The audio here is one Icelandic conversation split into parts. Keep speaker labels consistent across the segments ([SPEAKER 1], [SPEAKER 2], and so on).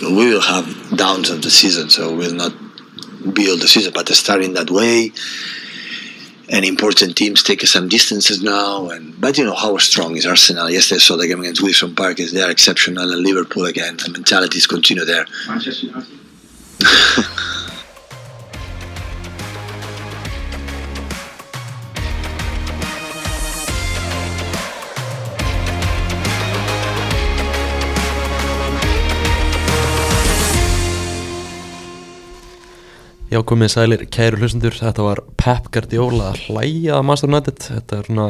[SPEAKER 1] we will have downs of the season, so we'll not build the season. But starting that way, and important teams take some distances now. And but you know how strong is Arsenal? Yesterday, saw the game against Wilson Park is there exceptional, and Liverpool again. The mentalities continue there.
[SPEAKER 2] Manchester United.
[SPEAKER 3] Já, komið sælir, kæru hlustendur, þetta var Pep Guardiola að hlæja að Master United, þetta er svona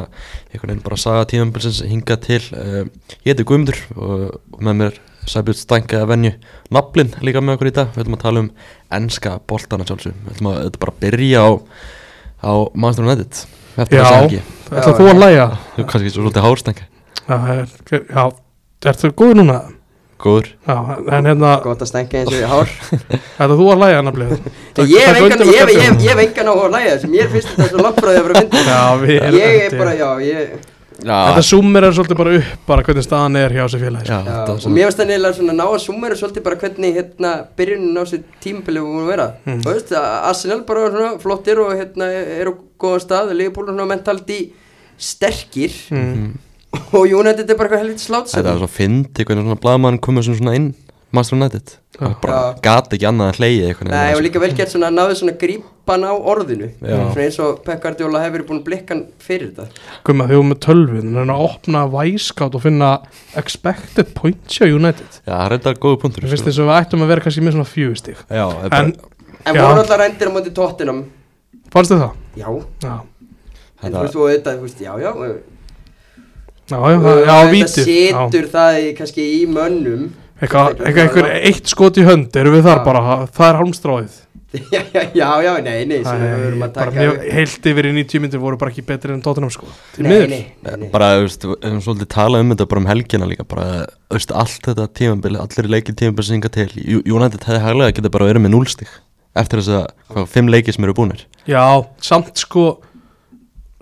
[SPEAKER 3] einhvern veginn bara saga tímanbilsins hinga til, uh, ég heiti Guðmundur og, og með mér Sæbjörn Stænka að venju Nablin líka með okkur í dag, við ætlum að tala um enska boltana sjálfsög, við ætlum að þetta bara byrja á, á Master United, eftir
[SPEAKER 4] Já.
[SPEAKER 3] þess að ekki,
[SPEAKER 4] Ætla þú að læja?
[SPEAKER 3] þú er kannski svo svolítið hárstænka,
[SPEAKER 4] Já, það er- já, ertu góð núna?
[SPEAKER 3] góður,
[SPEAKER 4] Já, en hérna,
[SPEAKER 5] Gótt að stengja eins og ég hár
[SPEAKER 4] ætla þú að læja nafnlið?
[SPEAKER 5] Ég hef engan- ég hef- ég hef- ég hef engan á að læja þessum Mér finnst þetta svo lappræði að vera myndið
[SPEAKER 4] Já, við erum
[SPEAKER 5] Ég er bara, já, ég
[SPEAKER 4] Þetta
[SPEAKER 3] já,
[SPEAKER 4] sumir er svolítið bara upp, bara hvernig staðan er hjá þessu félagi. sko.
[SPEAKER 3] já,
[SPEAKER 5] Já,
[SPEAKER 3] þetta var
[SPEAKER 5] og
[SPEAKER 3] svona,
[SPEAKER 5] mér finnst það neila svona ná að summera svolítið bara hvernig hérna byrjunin á sér tímabilið við vorum að vera
[SPEAKER 3] Hmm.
[SPEAKER 5] mm. og veist, Arsenal bara er svona flottir og hérna er á góðan stað Leopold er svona mentalt í sterkir mm. og United er bara eitthvað helvítið
[SPEAKER 3] Hmm. þetta var
[SPEAKER 5] slátsað
[SPEAKER 3] svo fyndi, hvernig svona blaðmann komið svona inn, Master United, það bara
[SPEAKER 5] Já.
[SPEAKER 3] gat ekki annað að hlæja einhvern
[SPEAKER 5] Nei, og líka vel gert svona náðu svona grípan á orðinu
[SPEAKER 3] Já.
[SPEAKER 5] svona eins og Pep Guardiola hefur búin blikkan fyrir þetta
[SPEAKER 4] Guðma, þið vorum með tölvun, hann er að opna væskátt og finna expected points hjá United.
[SPEAKER 3] Já, það er reynda góðu punktur
[SPEAKER 4] Mér finnst
[SPEAKER 3] sko.
[SPEAKER 4] þess að við ættum að vera kannski með svona fjögur stík.
[SPEAKER 3] Já, það er
[SPEAKER 4] En,
[SPEAKER 3] bara,
[SPEAKER 5] en
[SPEAKER 4] Já.
[SPEAKER 5] voru alltaf rændir á móti tóttinum
[SPEAKER 4] fannst þið það?
[SPEAKER 5] já, en
[SPEAKER 4] Já,
[SPEAKER 5] þú veist, og þetta, þú veist, já, já
[SPEAKER 4] já, já, það- já,
[SPEAKER 5] þetta
[SPEAKER 4] vítið. Já.
[SPEAKER 5] setur það í, kannski í mönnum
[SPEAKER 4] Eitthvað, eitthvað, eitthvað, eitt skot í hönd, erum við þar
[SPEAKER 5] Já.
[SPEAKER 4] bara, það er hálmstráið.
[SPEAKER 5] já, já, já, já, nei, nei, sem við
[SPEAKER 4] Æ,
[SPEAKER 5] verum að
[SPEAKER 4] bara
[SPEAKER 5] taka
[SPEAKER 4] mjög heilt yfir í 90 myndir voru bara ekki betri enn Tottenham sko Því
[SPEAKER 5] nei,
[SPEAKER 4] miður.
[SPEAKER 5] nei, nei, nei.
[SPEAKER 3] bara, þú veist, við höfum svolítið talað um þetta bara um helgina líka bara, þú veist, allt þetta tímambili, allir leikir tímambili sem hinga til Ju- United hefði hæglega geta bara verið með núlstig eftir þess að, hvað, fimm leikir sem eru búnir
[SPEAKER 4] Já, samt sko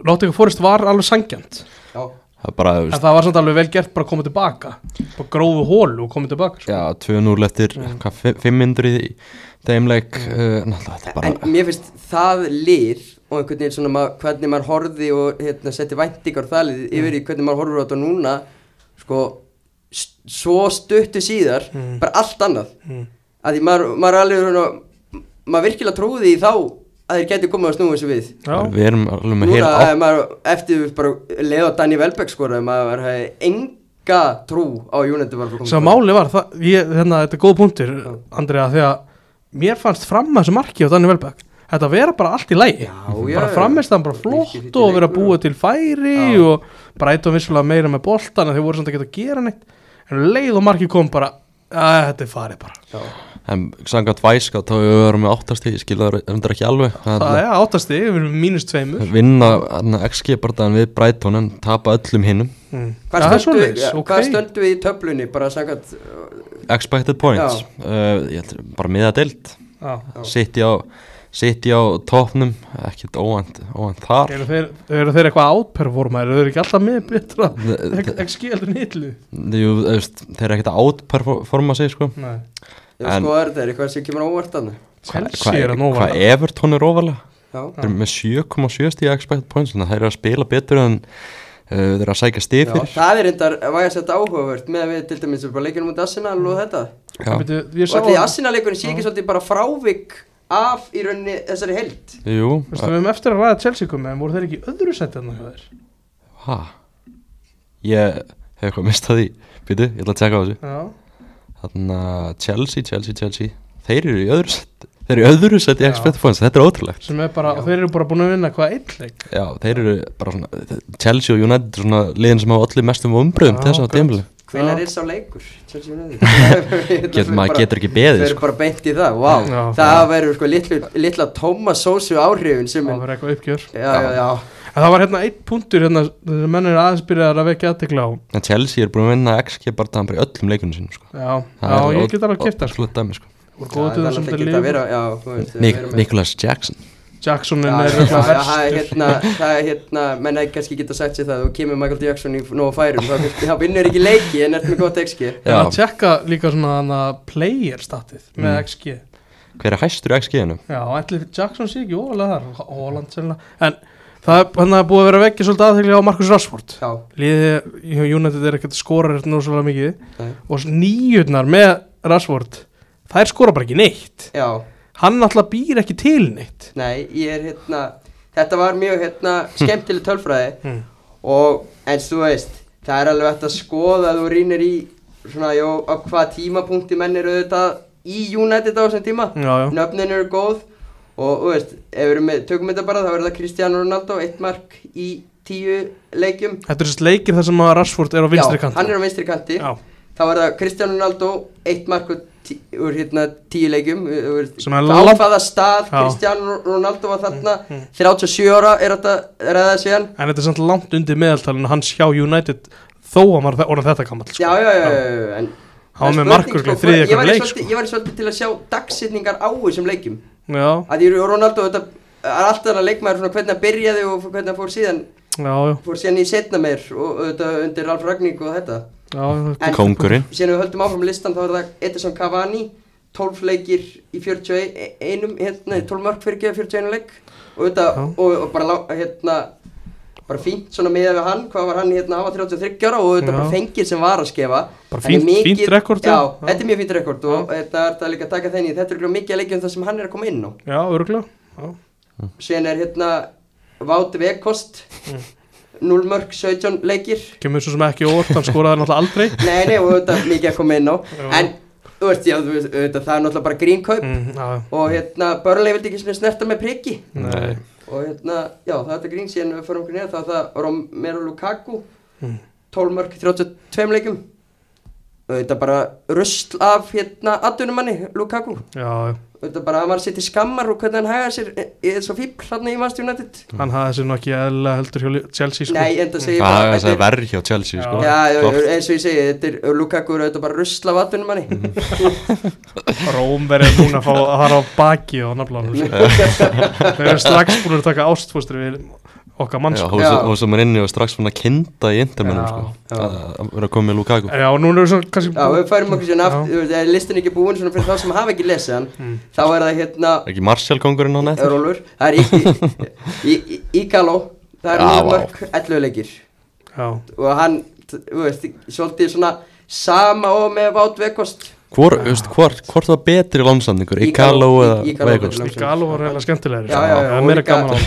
[SPEAKER 4] Nottingham Forest var alveg sangjant
[SPEAKER 5] Já,
[SPEAKER 3] það er bara, þú
[SPEAKER 4] En
[SPEAKER 3] veist,
[SPEAKER 4] það var samt alveg vel gert bara að koma tilbaka Bara grófu hólu og koma tilbaka sko.
[SPEAKER 3] já, 2-0 eftir, hvað, fimm- fimm myndur í þeimleik uh, náttúrulega, þetta er
[SPEAKER 5] en
[SPEAKER 3] bara
[SPEAKER 5] mér finnst það lið og einhvern veginn svona ma- hvernig maður horfði og hérna, setti væntingar á það
[SPEAKER 4] Mm.
[SPEAKER 5] lið yfir í hvernig maður horfur á þetta núna sko, s- svo stuttu síðar
[SPEAKER 4] Mm.
[SPEAKER 5] bara allt annað að því maður, maður er alveg svona, maður virkilega trúði í þá að þeir geti komið að snúa þessu við
[SPEAKER 4] Já,
[SPEAKER 3] við erum alveg með
[SPEAKER 5] Núna
[SPEAKER 3] heil
[SPEAKER 5] hefði maður eftir bara leið á Danny Welbeck skoraði maður hefði enga trú á United var að koma
[SPEAKER 4] sem
[SPEAKER 5] í-
[SPEAKER 4] máli var það, ég, hérna, Þetta er góð punktur, Andrea Því að mér fannst fram að þessu marki á Danny Welbeck Þetta vera bara allt í lægi
[SPEAKER 5] Já, já,
[SPEAKER 4] Bara
[SPEAKER 5] já.
[SPEAKER 4] framist hann bara
[SPEAKER 5] Virkilega
[SPEAKER 4] flott
[SPEAKER 5] fínt í
[SPEAKER 4] og vera
[SPEAKER 5] leikur
[SPEAKER 4] búið til færi og bara eitt og vissulega meira með boltan en þeir voru samt að geta að gera neitt En um leið og marki kom bara að, Þetta er farið bara
[SPEAKER 3] en sangat væsk að þá við erum með 8 stig, ég skil það reyndar ekki alveg
[SPEAKER 4] Það
[SPEAKER 3] Þannig
[SPEAKER 4] er áttast þig, við erum mínus tveimur
[SPEAKER 3] vinna þarna, XG bara við Brighton en tapa öllum hinnum
[SPEAKER 5] Hvað
[SPEAKER 4] Mm. Já, það er
[SPEAKER 5] stöndu-
[SPEAKER 4] svoleiðis,
[SPEAKER 5] ja,
[SPEAKER 4] ok.
[SPEAKER 5] hvað stöndu við í töflunni bara sangat
[SPEAKER 3] Expected points uh, ég held, bara miða deild
[SPEAKER 4] Já.
[SPEAKER 3] City á, City á topnum ekkert óvænt, óvænt þar
[SPEAKER 4] Eru þeir, eru þeir eitthvað átperforma, eru þeir ekki alltaf með betra
[SPEAKER 3] Þe- þe-
[SPEAKER 4] ekki skildur nýtlu
[SPEAKER 3] Jú, þú veist, þeir eru ekkert að outperforma sig sko.
[SPEAKER 4] Nei,
[SPEAKER 5] já
[SPEAKER 3] En-
[SPEAKER 5] sko er þetta er eitthvað sem kemur á óvart hann
[SPEAKER 4] Chelsea er að nóg
[SPEAKER 3] hvað Everton er ofalega
[SPEAKER 5] já
[SPEAKER 3] þeir eru með 7,7 stíð expected points þannig að þeir eru að spila betur en uh, þeir eru að sækja stíð
[SPEAKER 5] Já,
[SPEAKER 3] fyrir
[SPEAKER 5] það er reyndar, var ég að setja áhugavert með að við til dæmis við bara leikinu mútið Arsenal og þetta
[SPEAKER 3] Já.
[SPEAKER 4] Byrju, ég
[SPEAKER 5] og
[SPEAKER 4] sá
[SPEAKER 5] allir í
[SPEAKER 4] að,
[SPEAKER 5] Arsenal leikunni sé ekki svolítið bara frávik af í rauninni þessari held
[SPEAKER 3] Jú, uh,
[SPEAKER 4] veistu, við höfum eftir að ræða Chelsea komið, en voru þeir ekki í öðru sett hérna hjá þér?
[SPEAKER 3] hæ ég hef eitthvað mistað því býtu, ég ætla að tjekka á þessu
[SPEAKER 4] Já,
[SPEAKER 3] þannig að Chelsea, Chelsea, Chelsea þeir eru í öðru set þeir eru í öðru set í expected points, þetta er ótrúlegt
[SPEAKER 4] sem er bara, og þeir eru bara búin að vinna hvað eitt leik
[SPEAKER 3] Já, þeir eru bara svona Chelsea og United eru svona liðin sem hafa allir mestum umbröðum
[SPEAKER 4] Já,
[SPEAKER 3] til þess að
[SPEAKER 4] akkurat.
[SPEAKER 3] dæmlu
[SPEAKER 5] hvenar
[SPEAKER 4] Já.
[SPEAKER 5] er sá leikur Chelsea United?
[SPEAKER 3] Get- maður getur ekki beðið,
[SPEAKER 5] Þeir eru
[SPEAKER 3] sko.
[SPEAKER 5] bara beint í það, vá
[SPEAKER 4] Já.
[SPEAKER 5] Það verður sko litlu, litla Thomas Sosu áhrifin sem
[SPEAKER 4] það
[SPEAKER 5] er
[SPEAKER 4] var eitthvað uppgjör
[SPEAKER 5] Já, já, já
[SPEAKER 4] en það var hérna eitt punktur hérna, þessi menn eru aðeins byrjaðar að vekja aðtekla á
[SPEAKER 3] En Chelsea er búin að vinna XG bara það bara í öllum leikunum sínum sko.
[SPEAKER 4] Já, já ég get alveg að kipta sko,
[SPEAKER 3] sko. dæmi, sko.
[SPEAKER 4] voru
[SPEAKER 5] Já,
[SPEAKER 4] góðu til
[SPEAKER 5] Það er
[SPEAKER 4] þessum til
[SPEAKER 5] alltaf ekki að
[SPEAKER 4] líf
[SPEAKER 5] vera, já, þú veist,
[SPEAKER 3] Nik
[SPEAKER 5] vera með-
[SPEAKER 3] Nicholas Jackson
[SPEAKER 4] Jacksonin
[SPEAKER 5] Já,
[SPEAKER 4] er
[SPEAKER 5] já,
[SPEAKER 4] örugglega
[SPEAKER 5] já, það
[SPEAKER 4] verstur.
[SPEAKER 5] er hérna, það er hérna menn ekki kannski geta sagt sér það og kemur Michael Jackson í nóg færum þá, þá vinnur ekki leiki en ert með gott XG
[SPEAKER 4] Ég er að
[SPEAKER 3] Já, Mm.
[SPEAKER 4] tjekka líka svona hana player statið með XG
[SPEAKER 3] hver er hæstur í XG-inu?
[SPEAKER 4] Já, ætli Jackson sé ekki óvalega þar Holland sennilega En það er, hann er búið að vera að vekja svolítið aðtegli á Marcus Rashford
[SPEAKER 5] Já,
[SPEAKER 4] Liðið hjá United er ekkert skorar nú svolítið mikið
[SPEAKER 5] nei,
[SPEAKER 4] Og nýjurnar með Rashford Þær skora bara ekki neitt
[SPEAKER 5] já,
[SPEAKER 4] Hann alltaf býr ekki til neitt
[SPEAKER 5] nei, ég er hérna þetta var mjög hérna skemmtileg tölfræði
[SPEAKER 4] Hmm.
[SPEAKER 5] og eins þú veist, það er alveg hægt að skoða að þú rýnir í svona, jó, á hvaða tímapunkti menn eru auðvitað í United á þessum tíma
[SPEAKER 4] Já, já.
[SPEAKER 5] nöfnin eru góð og þú veist, ef við erum með, tökum þetta bara þá er það Cristiano Ronaldo, eitt mark í tíu leikjum
[SPEAKER 4] Þetta er sérst leikir þar sem að Rashford er á vinstri
[SPEAKER 5] Já, hann
[SPEAKER 4] kanti
[SPEAKER 5] er á vinstri kanti
[SPEAKER 4] Já,
[SPEAKER 5] Þá er það Cristiano Ronaldo, eitt mark úr, tí, úr hérna tíu leikjum úr,
[SPEAKER 4] Sem er
[SPEAKER 5] á
[SPEAKER 4] langt-
[SPEAKER 5] hvaða stað
[SPEAKER 4] Já.
[SPEAKER 5] Cristiano Ronaldo var þarna 37 ára er þetta ræða síðan
[SPEAKER 4] en þetta er samt langt undir meðaltalinu hans hjá United þó að maður þe- orðan þetta gammal
[SPEAKER 5] Já,
[SPEAKER 4] sko.
[SPEAKER 5] já, já, já, já, já en
[SPEAKER 4] Hann var
[SPEAKER 5] en
[SPEAKER 4] með
[SPEAKER 5] spurning,
[SPEAKER 4] markvörð í þriðja
[SPEAKER 5] ég væri
[SPEAKER 4] hverjum leik,
[SPEAKER 5] svolítið-
[SPEAKER 4] sko.
[SPEAKER 5] Ég var svolítið til að sjá dagsetningar á þessum leikjum
[SPEAKER 4] Já,
[SPEAKER 5] að ég eru Ronaldo þetta er alltaf hann að leikmaður svona hvernig hann byrjaði og hvernig hann fór síðan
[SPEAKER 4] já, já,
[SPEAKER 5] fór síðan í setna meir og auðvitað undir Ralf Ragník og þetta
[SPEAKER 4] já þetta-
[SPEAKER 5] En-
[SPEAKER 3] Kóngurinn
[SPEAKER 5] síðan ef við höldum áfram listan þá er það Edison Cavani 12 leikir í 41 einum, hérna, 12 mörg fyrir geða 41 leik og, þetta,
[SPEAKER 4] Já.
[SPEAKER 5] og, og bara lá- hérna bara fínt svona miðað við hann hvað var hann hérna, hann var 33 ára og þetta
[SPEAKER 4] Já.
[SPEAKER 5] bara fengið sem var að skefa
[SPEAKER 4] Bara
[SPEAKER 5] Þannig
[SPEAKER 4] fínt- fínt rekord,
[SPEAKER 5] já,
[SPEAKER 4] já.
[SPEAKER 5] þetta er mjög fínt rekord og þetta er þetta líka að taka þenni þetta er örugglega mikið að leikja um það sem hann er að koma inn á
[SPEAKER 4] Já, öruglega já.
[SPEAKER 5] síðan er hérna Vátt Vekost
[SPEAKER 4] Mm.
[SPEAKER 5] 0 mörg 17 leikir
[SPEAKER 4] Kemur svo sem ekki óvart, hann skoraði náttúrulega aldrei
[SPEAKER 5] Nei, nei, og auðvitað mikið að koma inn á
[SPEAKER 4] Já.
[SPEAKER 5] En, þú veist, já, þú veist, auðvitað, það er náttúrulega bara grínkaup
[SPEAKER 4] mm, Já, já.
[SPEAKER 5] Og hérna, Börnlei vildi ekki svona snerta með priki
[SPEAKER 4] nei,
[SPEAKER 5] Og hérna, já, það er þetta grín síðan við förum okkur neða Þá er það Romero Lukaku
[SPEAKER 4] Mm.
[SPEAKER 5] 12 mörg í 32 leikum Auðvitað bara rusl af hérna atvinnumanni, Lukaku
[SPEAKER 4] já, já
[SPEAKER 5] Auðvitað bara, hann var að setja í skammar og hvernig hann hægar sér e- e- Svo fíbl hann í Manchester United
[SPEAKER 4] Hann hafði sér nú ekki eðla heldur hjá Li- Chelsea sko.
[SPEAKER 5] Nei, enda segi ég
[SPEAKER 3] Það
[SPEAKER 5] bara
[SPEAKER 3] er
[SPEAKER 5] þetta er-
[SPEAKER 3] verð hjá Chelsea sko
[SPEAKER 5] Já, já,
[SPEAKER 3] Klárt.
[SPEAKER 5] eins og ég segi, þetta er Lukaku er auðvitað bara rusl af atvinnumanni
[SPEAKER 4] Róm verið núna að fá að fara á baki og nafnlanum Mm. Þeir eru strax búin að taka ástfóstri við okkar mann
[SPEAKER 3] Já,
[SPEAKER 4] sko.
[SPEAKER 3] hún
[SPEAKER 5] Já.
[SPEAKER 3] sem- hún sem er inni og strax fann að kinda í intermennum
[SPEAKER 4] Já,
[SPEAKER 3] sko
[SPEAKER 5] já.
[SPEAKER 3] Að að vera að koma með Lukaku
[SPEAKER 4] Já, og núna eru svo kannski
[SPEAKER 5] Já, við færum okkur síðan
[SPEAKER 4] Já. Hmm.
[SPEAKER 5] aftur, þegar listin er ekki búin svona fyrir þá sem hafa ekki lesið hann þá er það hérna,
[SPEAKER 3] Er ekki Marcel kongurinn á nættur?
[SPEAKER 5] Rólfur, það er Í- Í- Í- Ígaló, það er
[SPEAKER 3] Já,
[SPEAKER 5] mjög
[SPEAKER 3] vá.
[SPEAKER 5] mörg 11 leikir
[SPEAKER 4] Já,
[SPEAKER 5] og hann, t- þú veist, svolítið svona sama og með Vátt Vekost
[SPEAKER 3] Hvor, veist, hvor, hvort var betri lámsamningur? Íkalo
[SPEAKER 5] Igalo-
[SPEAKER 3] eða
[SPEAKER 5] Ah. Í- Igalo
[SPEAKER 3] Vegost?
[SPEAKER 5] betri
[SPEAKER 4] líka alveg var reyla skemmtilegri sko.
[SPEAKER 5] Já, já, já,
[SPEAKER 4] Það er
[SPEAKER 5] og
[SPEAKER 4] meira
[SPEAKER 5] líka-
[SPEAKER 4] gaman á hann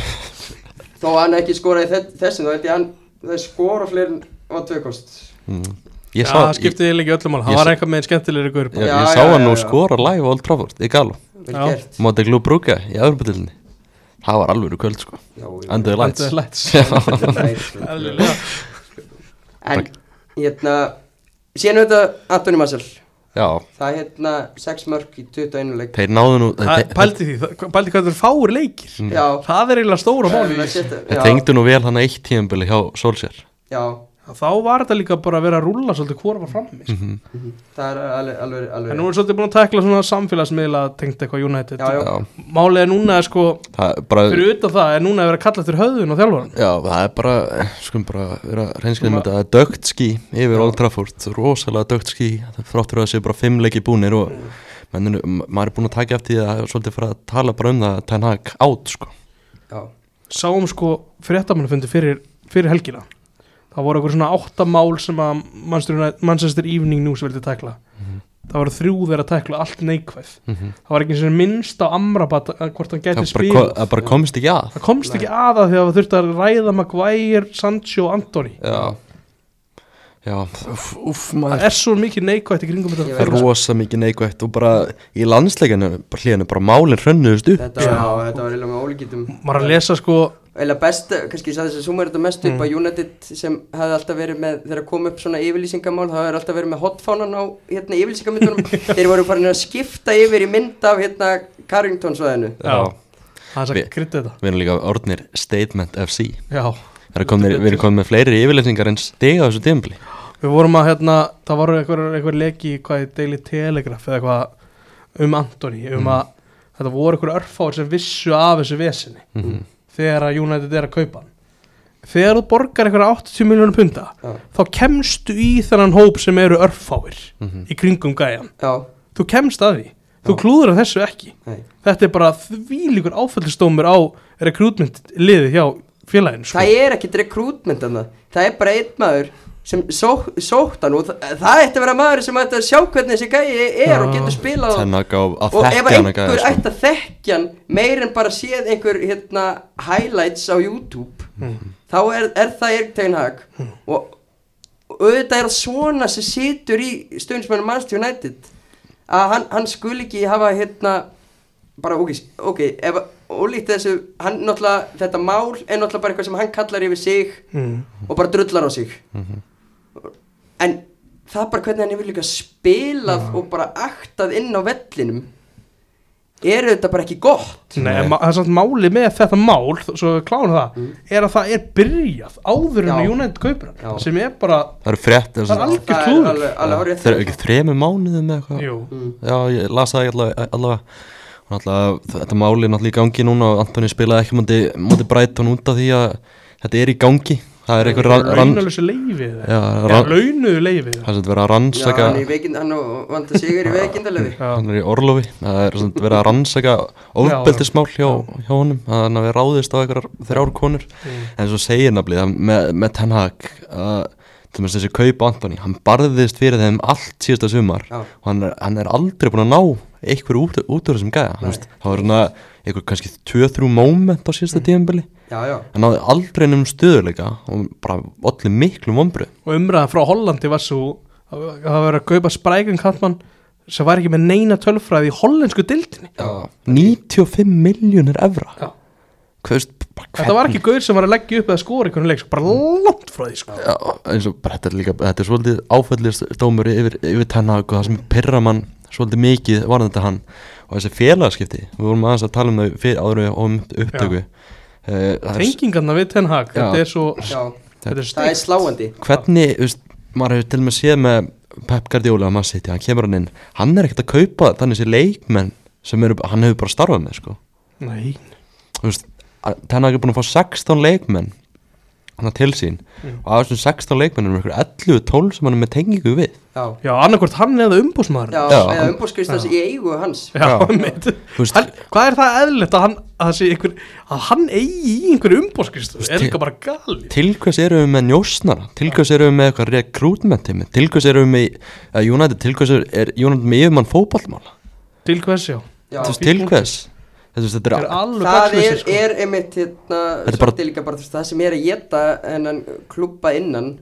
[SPEAKER 5] þó hann ekki skoraði þe- þessum, þá held ég hann það skora fleiri en Vátt Vekost
[SPEAKER 3] Mm. Ég
[SPEAKER 4] Já,
[SPEAKER 3] sá,
[SPEAKER 4] það
[SPEAKER 3] ég,
[SPEAKER 4] skipti eiginlega ekki öllum mál Hann
[SPEAKER 3] Ég
[SPEAKER 4] var
[SPEAKER 3] sá-
[SPEAKER 4] eitthvað með skemmtilegri gaur
[SPEAKER 3] ég,
[SPEAKER 5] Já,
[SPEAKER 3] ég
[SPEAKER 5] já,
[SPEAKER 3] sá hann
[SPEAKER 5] já,
[SPEAKER 3] nú
[SPEAKER 5] já.
[SPEAKER 3] skora live á Old Trafford Íkalo
[SPEAKER 5] vel
[SPEAKER 4] Já.
[SPEAKER 5] gert
[SPEAKER 3] Mátti glú brúka í aðurbyrðilinni Það var alveg kvöld sko
[SPEAKER 5] Já, já.
[SPEAKER 3] Under the lights
[SPEAKER 4] Under the lights.
[SPEAKER 3] Já.
[SPEAKER 4] Eðlilega.
[SPEAKER 5] en hérna síðan auðvitað Antoni Massel
[SPEAKER 3] Já,
[SPEAKER 5] það er hérna 6 mörg í 21 leik
[SPEAKER 3] þeir náðu nú
[SPEAKER 4] Það-
[SPEAKER 3] þeir-
[SPEAKER 4] Pældi því, það- pældi hvað þetta er fáir leikir
[SPEAKER 5] Já,
[SPEAKER 3] Mm.
[SPEAKER 4] Það er eiginlega stóra
[SPEAKER 5] það er
[SPEAKER 4] máli
[SPEAKER 5] alveg sérstakt.
[SPEAKER 3] Þeir
[SPEAKER 5] Já,
[SPEAKER 3] tengdu nú vel hann eitt tíðanbili hjá Solskjær
[SPEAKER 5] Já,
[SPEAKER 4] Þá var þetta líka bara að vera að rúlla svolítið hvora var frammi
[SPEAKER 3] Mhm.
[SPEAKER 4] sko.
[SPEAKER 5] það er alveg, alveg, alveg
[SPEAKER 4] En nú er svolítið búin að tækla svona samfélagsmiðla tengt eitthvað United
[SPEAKER 5] Já, já.
[SPEAKER 3] Já,
[SPEAKER 4] Málið er núna er sko,
[SPEAKER 3] það er bara
[SPEAKER 4] fyrir utan það er núna að vera að kalla eftir höfðun og þjálfaran
[SPEAKER 3] Já, það er bara, skulum bara vera reynskriðum þetta, það er dögt skí yfir Old Trafford, rosalega dögt skí fráttur að það séu bara fimm leiki búnir og menninu, maður er búin að taka eftir því að það er svolítið fyrir að tala bara um það Ten Hag átt, sko
[SPEAKER 5] já,
[SPEAKER 4] Sáum sko fréttamannafundi fyrir, fyrir helgina Það voru eitthvað svona átta mál sem að Manchester United- Manchester Evening News vildi tækla
[SPEAKER 3] Mhm.
[SPEAKER 4] Það voru þrjú þeirra að tækla allt neikvæð Það var ekki eins og minnst á Amrabat að hvort hann
[SPEAKER 3] það
[SPEAKER 4] gæti
[SPEAKER 3] bara, ko-
[SPEAKER 4] spilað
[SPEAKER 3] það bara komist ekki að
[SPEAKER 4] Það komst ekki aða því að það þurfti að ræða Maguire, Sancho og Antoni
[SPEAKER 3] Já Já, uff, uff
[SPEAKER 4] Það
[SPEAKER 3] maður
[SPEAKER 4] er svo mikið neikvætt í kringum
[SPEAKER 5] Ég
[SPEAKER 4] þetta
[SPEAKER 5] veit
[SPEAKER 3] er rosa mikið neikvætt og bara í landsleikinu, bara hlíðinu, bara málinn hrönnuðust upp
[SPEAKER 5] þetta, já. Já, þetta var eiginlega með ólíkítum
[SPEAKER 4] Maður er að lesa sko
[SPEAKER 5] Eða best, kannski sagði þess að sumar þetta mest upp
[SPEAKER 4] Mm.
[SPEAKER 5] að United sem hefði alltaf verið með þegar kom upp svona yfirlýsingamál það hefur alltaf verið með hotfánan á hérna yfirlýsingamyndunum þeir voru farin að skipta yfir í mynd af hérna Carrington svæðinu
[SPEAKER 4] Já. Það er
[SPEAKER 3] Vi-
[SPEAKER 4] að krydda þetta
[SPEAKER 3] Við erum líka orðnir Statement FC
[SPEAKER 4] Já,
[SPEAKER 3] Það er komnir, við erum komið með fleiri yfirleysingar en stiga þessu tíðanbili
[SPEAKER 4] við vorum að hérna, það
[SPEAKER 5] Mm.
[SPEAKER 4] voru einhver, einhver leki í hvað í Daily Telegraph eða eitthvað um Antoni, um að þetta voru ykkur örfáir sem vissu af þessu vesinni
[SPEAKER 3] Mhm.
[SPEAKER 4] þegar að United er að kaupa hann þegar þú borgar ykkur 80 miljónu punta
[SPEAKER 5] Já.
[SPEAKER 4] þá kemstu í þennan hóp sem eru örfáir
[SPEAKER 3] Mhm.
[SPEAKER 4] í kringum gæjan
[SPEAKER 5] já,
[SPEAKER 4] þú kemst að því, þú
[SPEAKER 5] Já.
[SPEAKER 4] klúður að þessu ekki
[SPEAKER 5] nei
[SPEAKER 4] þetta er bara þvílíkur áfællstómur á recruitment liði hjá félaginu sko.
[SPEAKER 5] það er ekkit rekrútment annað það er bara einn maður sem só, sótt hann og það, það ætti að vera maður sem ætti að sjá hvernig þessi gæi er og
[SPEAKER 4] Já.
[SPEAKER 5] getur spilað á-
[SPEAKER 3] Tennaga og að
[SPEAKER 5] og ef
[SPEAKER 3] þekkja hann að
[SPEAKER 5] einhver
[SPEAKER 3] gæja sko.
[SPEAKER 5] ætti að þekkja hann meir en bara séð einhver hérna, highlights á YouTube þá er, er það Erik Tegin Hag og, og auðvitað er það svona sem situr í stöðnismennum Manchester United að hann, hann skul ekki hafa hérna bara ok, ok ef, ólíkt þessu, hann náttúrulega þetta mál er náttúrulega bara eitthvað sem hann kallar yfir sig
[SPEAKER 4] mm.
[SPEAKER 5] og bara drullar á sig en það er bara hvernig hann hefur líka spilað og bara aktað inn á vellinum er þetta bara ekki gott
[SPEAKER 4] Nei,
[SPEAKER 3] Nei.
[SPEAKER 4] Nei. það er samt máli með þetta mál þó- svo við klárum það, er að það er byrjað áður en
[SPEAKER 5] Mm. Já.
[SPEAKER 4] að United kaupir
[SPEAKER 5] Já.
[SPEAKER 4] hann sem er bara,
[SPEAKER 3] Það eru frétt
[SPEAKER 4] það er
[SPEAKER 3] Það
[SPEAKER 4] algjör
[SPEAKER 5] það er
[SPEAKER 4] klúður
[SPEAKER 5] alveg, sko. alveg hárið
[SPEAKER 3] eru ekki þremur mánuðum eða eitthvað
[SPEAKER 4] Jú,
[SPEAKER 5] Mm.
[SPEAKER 3] Já, ég las það allavega, allavega. Og Náttúrulega, þetta máli er náttúrulega í gangi núna og Antoni spilaði ekki múti, múti Brighton út af því að þetta er í gangi það er einhver rann, rann
[SPEAKER 4] launalösu leifið
[SPEAKER 3] Já,
[SPEAKER 4] ja,
[SPEAKER 3] rann,
[SPEAKER 4] launuðu leifið
[SPEAKER 3] það er sem þetta verið að
[SPEAKER 5] Já,
[SPEAKER 3] rannsaka
[SPEAKER 5] hann, er í veikind, hann vanda sigur í veikindalöfi
[SPEAKER 3] hann er í orlofi, það er sem sagt verið að rannsaka ofbeldismál hjá, hjá honum að hann hafi ráðist á einhverjar þrjár konur
[SPEAKER 4] Mm.
[SPEAKER 3] en svo segir nafnið að með, með Ten Hag að til dæmis þessi kaup Antoni, hann barðist fyrir þeim allt síðasta sumar
[SPEAKER 5] Já.
[SPEAKER 3] og hann er, hann er aldrei búin að ná einhver út, út úr þessum gæja þú veist, það var svona einhver kannski 2-3 moment á
[SPEAKER 4] Mm.
[SPEAKER 3] síðasta tíðanbili
[SPEAKER 5] já, já,
[SPEAKER 3] hann náði aldrei nefnum stöðuleika og bara allir miklu vombrið
[SPEAKER 4] og umræðan frá Hollandi var svo að að það var að kaupa sprækan kattmann sem var ekki með neina tölfræði í hollensku dildinni
[SPEAKER 3] 95 miljónir evra
[SPEAKER 4] Já.
[SPEAKER 3] Hvers, bara,
[SPEAKER 4] þetta var ekki gaur sem var að leggja upp eða skora einhvern leik, sko, bara langt frá því sko.
[SPEAKER 3] Já, eins og bara þetta er líka þetta er svolítið áfællist dómur yfir, yfir tennag og það sem pyrra mann svolítið mikið var þetta hann og þessi félagaskipti, við vorum aðeins að tala um þau fyrir áður og um upptöku Eh, það er-
[SPEAKER 4] tengingarna við Ten Hag
[SPEAKER 3] Já.
[SPEAKER 4] þetta er svo
[SPEAKER 5] já
[SPEAKER 4] þetta er
[SPEAKER 5] það er
[SPEAKER 4] steikt
[SPEAKER 5] sláandi
[SPEAKER 3] hvernig, þú veist, maður hefur til og með séð með Pep Guardiola að maður sitja, hann kemur hann inn hann er ekkert að kaupa þannig þessi leikmenn sem eru, hann hefur bara starfað með sko.
[SPEAKER 4] Nei.
[SPEAKER 3] Þú veist, að- Ten Hag er búin að fá 16 leikmenn hann til sín og af þessum 16 leikmennum er einhver 11-12 sem hann er með tengingu við
[SPEAKER 5] já,
[SPEAKER 4] já, annarkvort hann eða umbúsmaður
[SPEAKER 5] já,
[SPEAKER 3] Já.
[SPEAKER 5] eða umbúrskristans í eigu hans
[SPEAKER 4] Já,
[SPEAKER 3] Já.
[SPEAKER 4] einmitt.
[SPEAKER 3] Þú veist-
[SPEAKER 4] hann, hvað er það eðlilegt að hann, að það sé einhver, að hann eigi í einhverju umbóskristu er
[SPEAKER 3] til-
[SPEAKER 4] líka bara gali
[SPEAKER 3] til hvers eru við með njósnara til hvers eru við með eitthvað recruitment team til hvers eru við með uh, United til hvers er, er United með yfirmann fótballmála
[SPEAKER 4] til hvers já,
[SPEAKER 5] já.
[SPEAKER 3] Þú veist, til hvers Þú veist, þetta
[SPEAKER 4] það
[SPEAKER 3] er
[SPEAKER 4] er alveg
[SPEAKER 5] það
[SPEAKER 4] gagnsleysi,
[SPEAKER 5] er,
[SPEAKER 4] sko.
[SPEAKER 5] er einmitt hérna,
[SPEAKER 3] Þetta er bara-
[SPEAKER 5] svolítið líka bara þú veist, það sem er að geta hennan klubba innan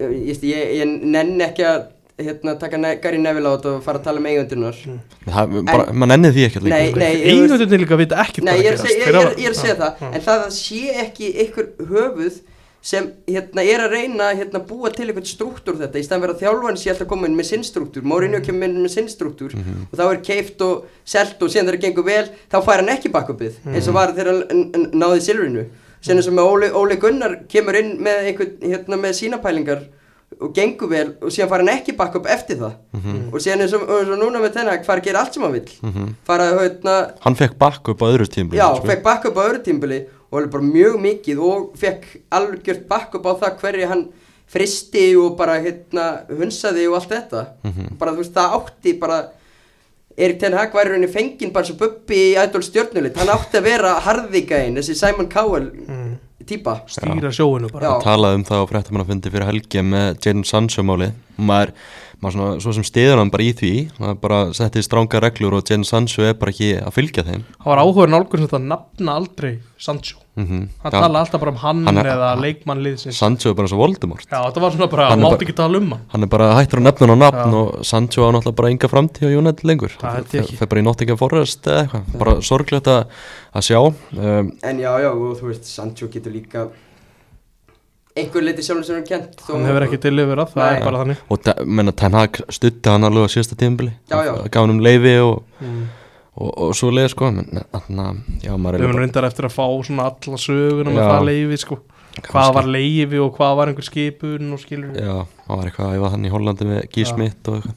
[SPEAKER 5] ég, ég, ég nenn ekki að hérna, taka ne Gary Neville á þetta og fara að tala um eigundunar
[SPEAKER 3] það, bara, maður nennið því ekkert líka
[SPEAKER 5] nei,
[SPEAKER 3] sko.
[SPEAKER 5] nei, ég veist-
[SPEAKER 4] eigendurnir líka vita ekkert
[SPEAKER 5] nei,
[SPEAKER 4] hvað
[SPEAKER 5] ég
[SPEAKER 4] er
[SPEAKER 5] er
[SPEAKER 4] að
[SPEAKER 5] að segja-
[SPEAKER 4] gerast. Þeir
[SPEAKER 5] ég er- ég er að
[SPEAKER 4] hafa-
[SPEAKER 5] segja það en það að sé ekki ykkur höfuð sem hérna, er að reyna að hérna, búa til eitthvað struktúr þetta í staðan verið að þjálfan sé alltaf komin með sinn struktúr Mourinho kemur inn með sinn struktúr og þá er keift og selt og síðan þegar það gengur vel þá fær hann ekki bakkupið eins og var þegar hann n- n- náði silfrinu síðan eins og með Óli, Óli Gunnar kemur inn með, einhvern, hérna, með sína pælingar og gengur vel og síðan fara hann ekki bakk upp eftir það og síðan eins og, eins og núna með þennan fara að gera allt sem hann vill fara að hérna,
[SPEAKER 3] hann fekk bakk upp á öðru sko. tímblum
[SPEAKER 5] Já, fekk backup á öðru tímbili og alveg bara mjög mikið og fekk algjört backup á það hverju hann fristi og bara hérna hunsaði og allt þetta bara þú veist það átti bara Erik Ten Hag var í rauninni fenginn bara svo bubbi í ædol stjörnulit, hann átti að vera harðigæinn, þessi Simon Cowell
[SPEAKER 4] Mm.
[SPEAKER 5] típa
[SPEAKER 4] stýra sjóinu bara
[SPEAKER 5] Já.
[SPEAKER 3] að tala um það á fréttamann að fyrir helgi með Jadon Sancho máli maður, maður svona, svo sem stiður hann bara í því maður bara setti stránga reglur og Jadon Sancho er bara ekki að fylgja þeim
[SPEAKER 4] það var áhuga nálgur sem þetta nafna aldrei Sancho
[SPEAKER 3] Mhm,
[SPEAKER 4] hann
[SPEAKER 3] já.
[SPEAKER 4] tala alltaf bara um hann,
[SPEAKER 3] Hann er-
[SPEAKER 4] eða leikmann liðsins já,
[SPEAKER 3] Sancho er bara eins og Voldemort
[SPEAKER 4] þetta var svona bara,
[SPEAKER 3] Hann er
[SPEAKER 4] mátt
[SPEAKER 3] bara-
[SPEAKER 4] ekki tala um hann
[SPEAKER 3] hann er bara hættur að nefna hann á nafn og Sancho á náttúrulega bara enga framtíð á United lengur
[SPEAKER 4] Það held ég ekki.
[SPEAKER 3] fer bara í Nottingham Forest eða eitthvað bara sorglegt að, að sjá um,
[SPEAKER 5] en já, já, og þú veist, Sancho getur líka einhver leiti sjálfum sem hann kent þó-
[SPEAKER 4] hann hefur ekki deliverað, það
[SPEAKER 5] Nei.
[SPEAKER 4] er bara þannig
[SPEAKER 3] og te- menna Ten Hag stutti hann alveg á síðasta tíðanbili
[SPEAKER 5] Já, já.
[SPEAKER 3] gaf hann um leifi og,
[SPEAKER 4] Mm.
[SPEAKER 3] og, og svo leið sko menn, na, já, maður
[SPEAKER 4] við
[SPEAKER 3] er
[SPEAKER 4] höfum
[SPEAKER 3] bara,
[SPEAKER 4] reyndar eftir að fá svona alla söguna með
[SPEAKER 3] Já.
[SPEAKER 4] það leifi sko hvað
[SPEAKER 3] Kannski.
[SPEAKER 4] var leifi og hvað var einhver skipun og skilur
[SPEAKER 3] já, það var eitthvað ég var hann í Hollandi með G. Smith og eitthvað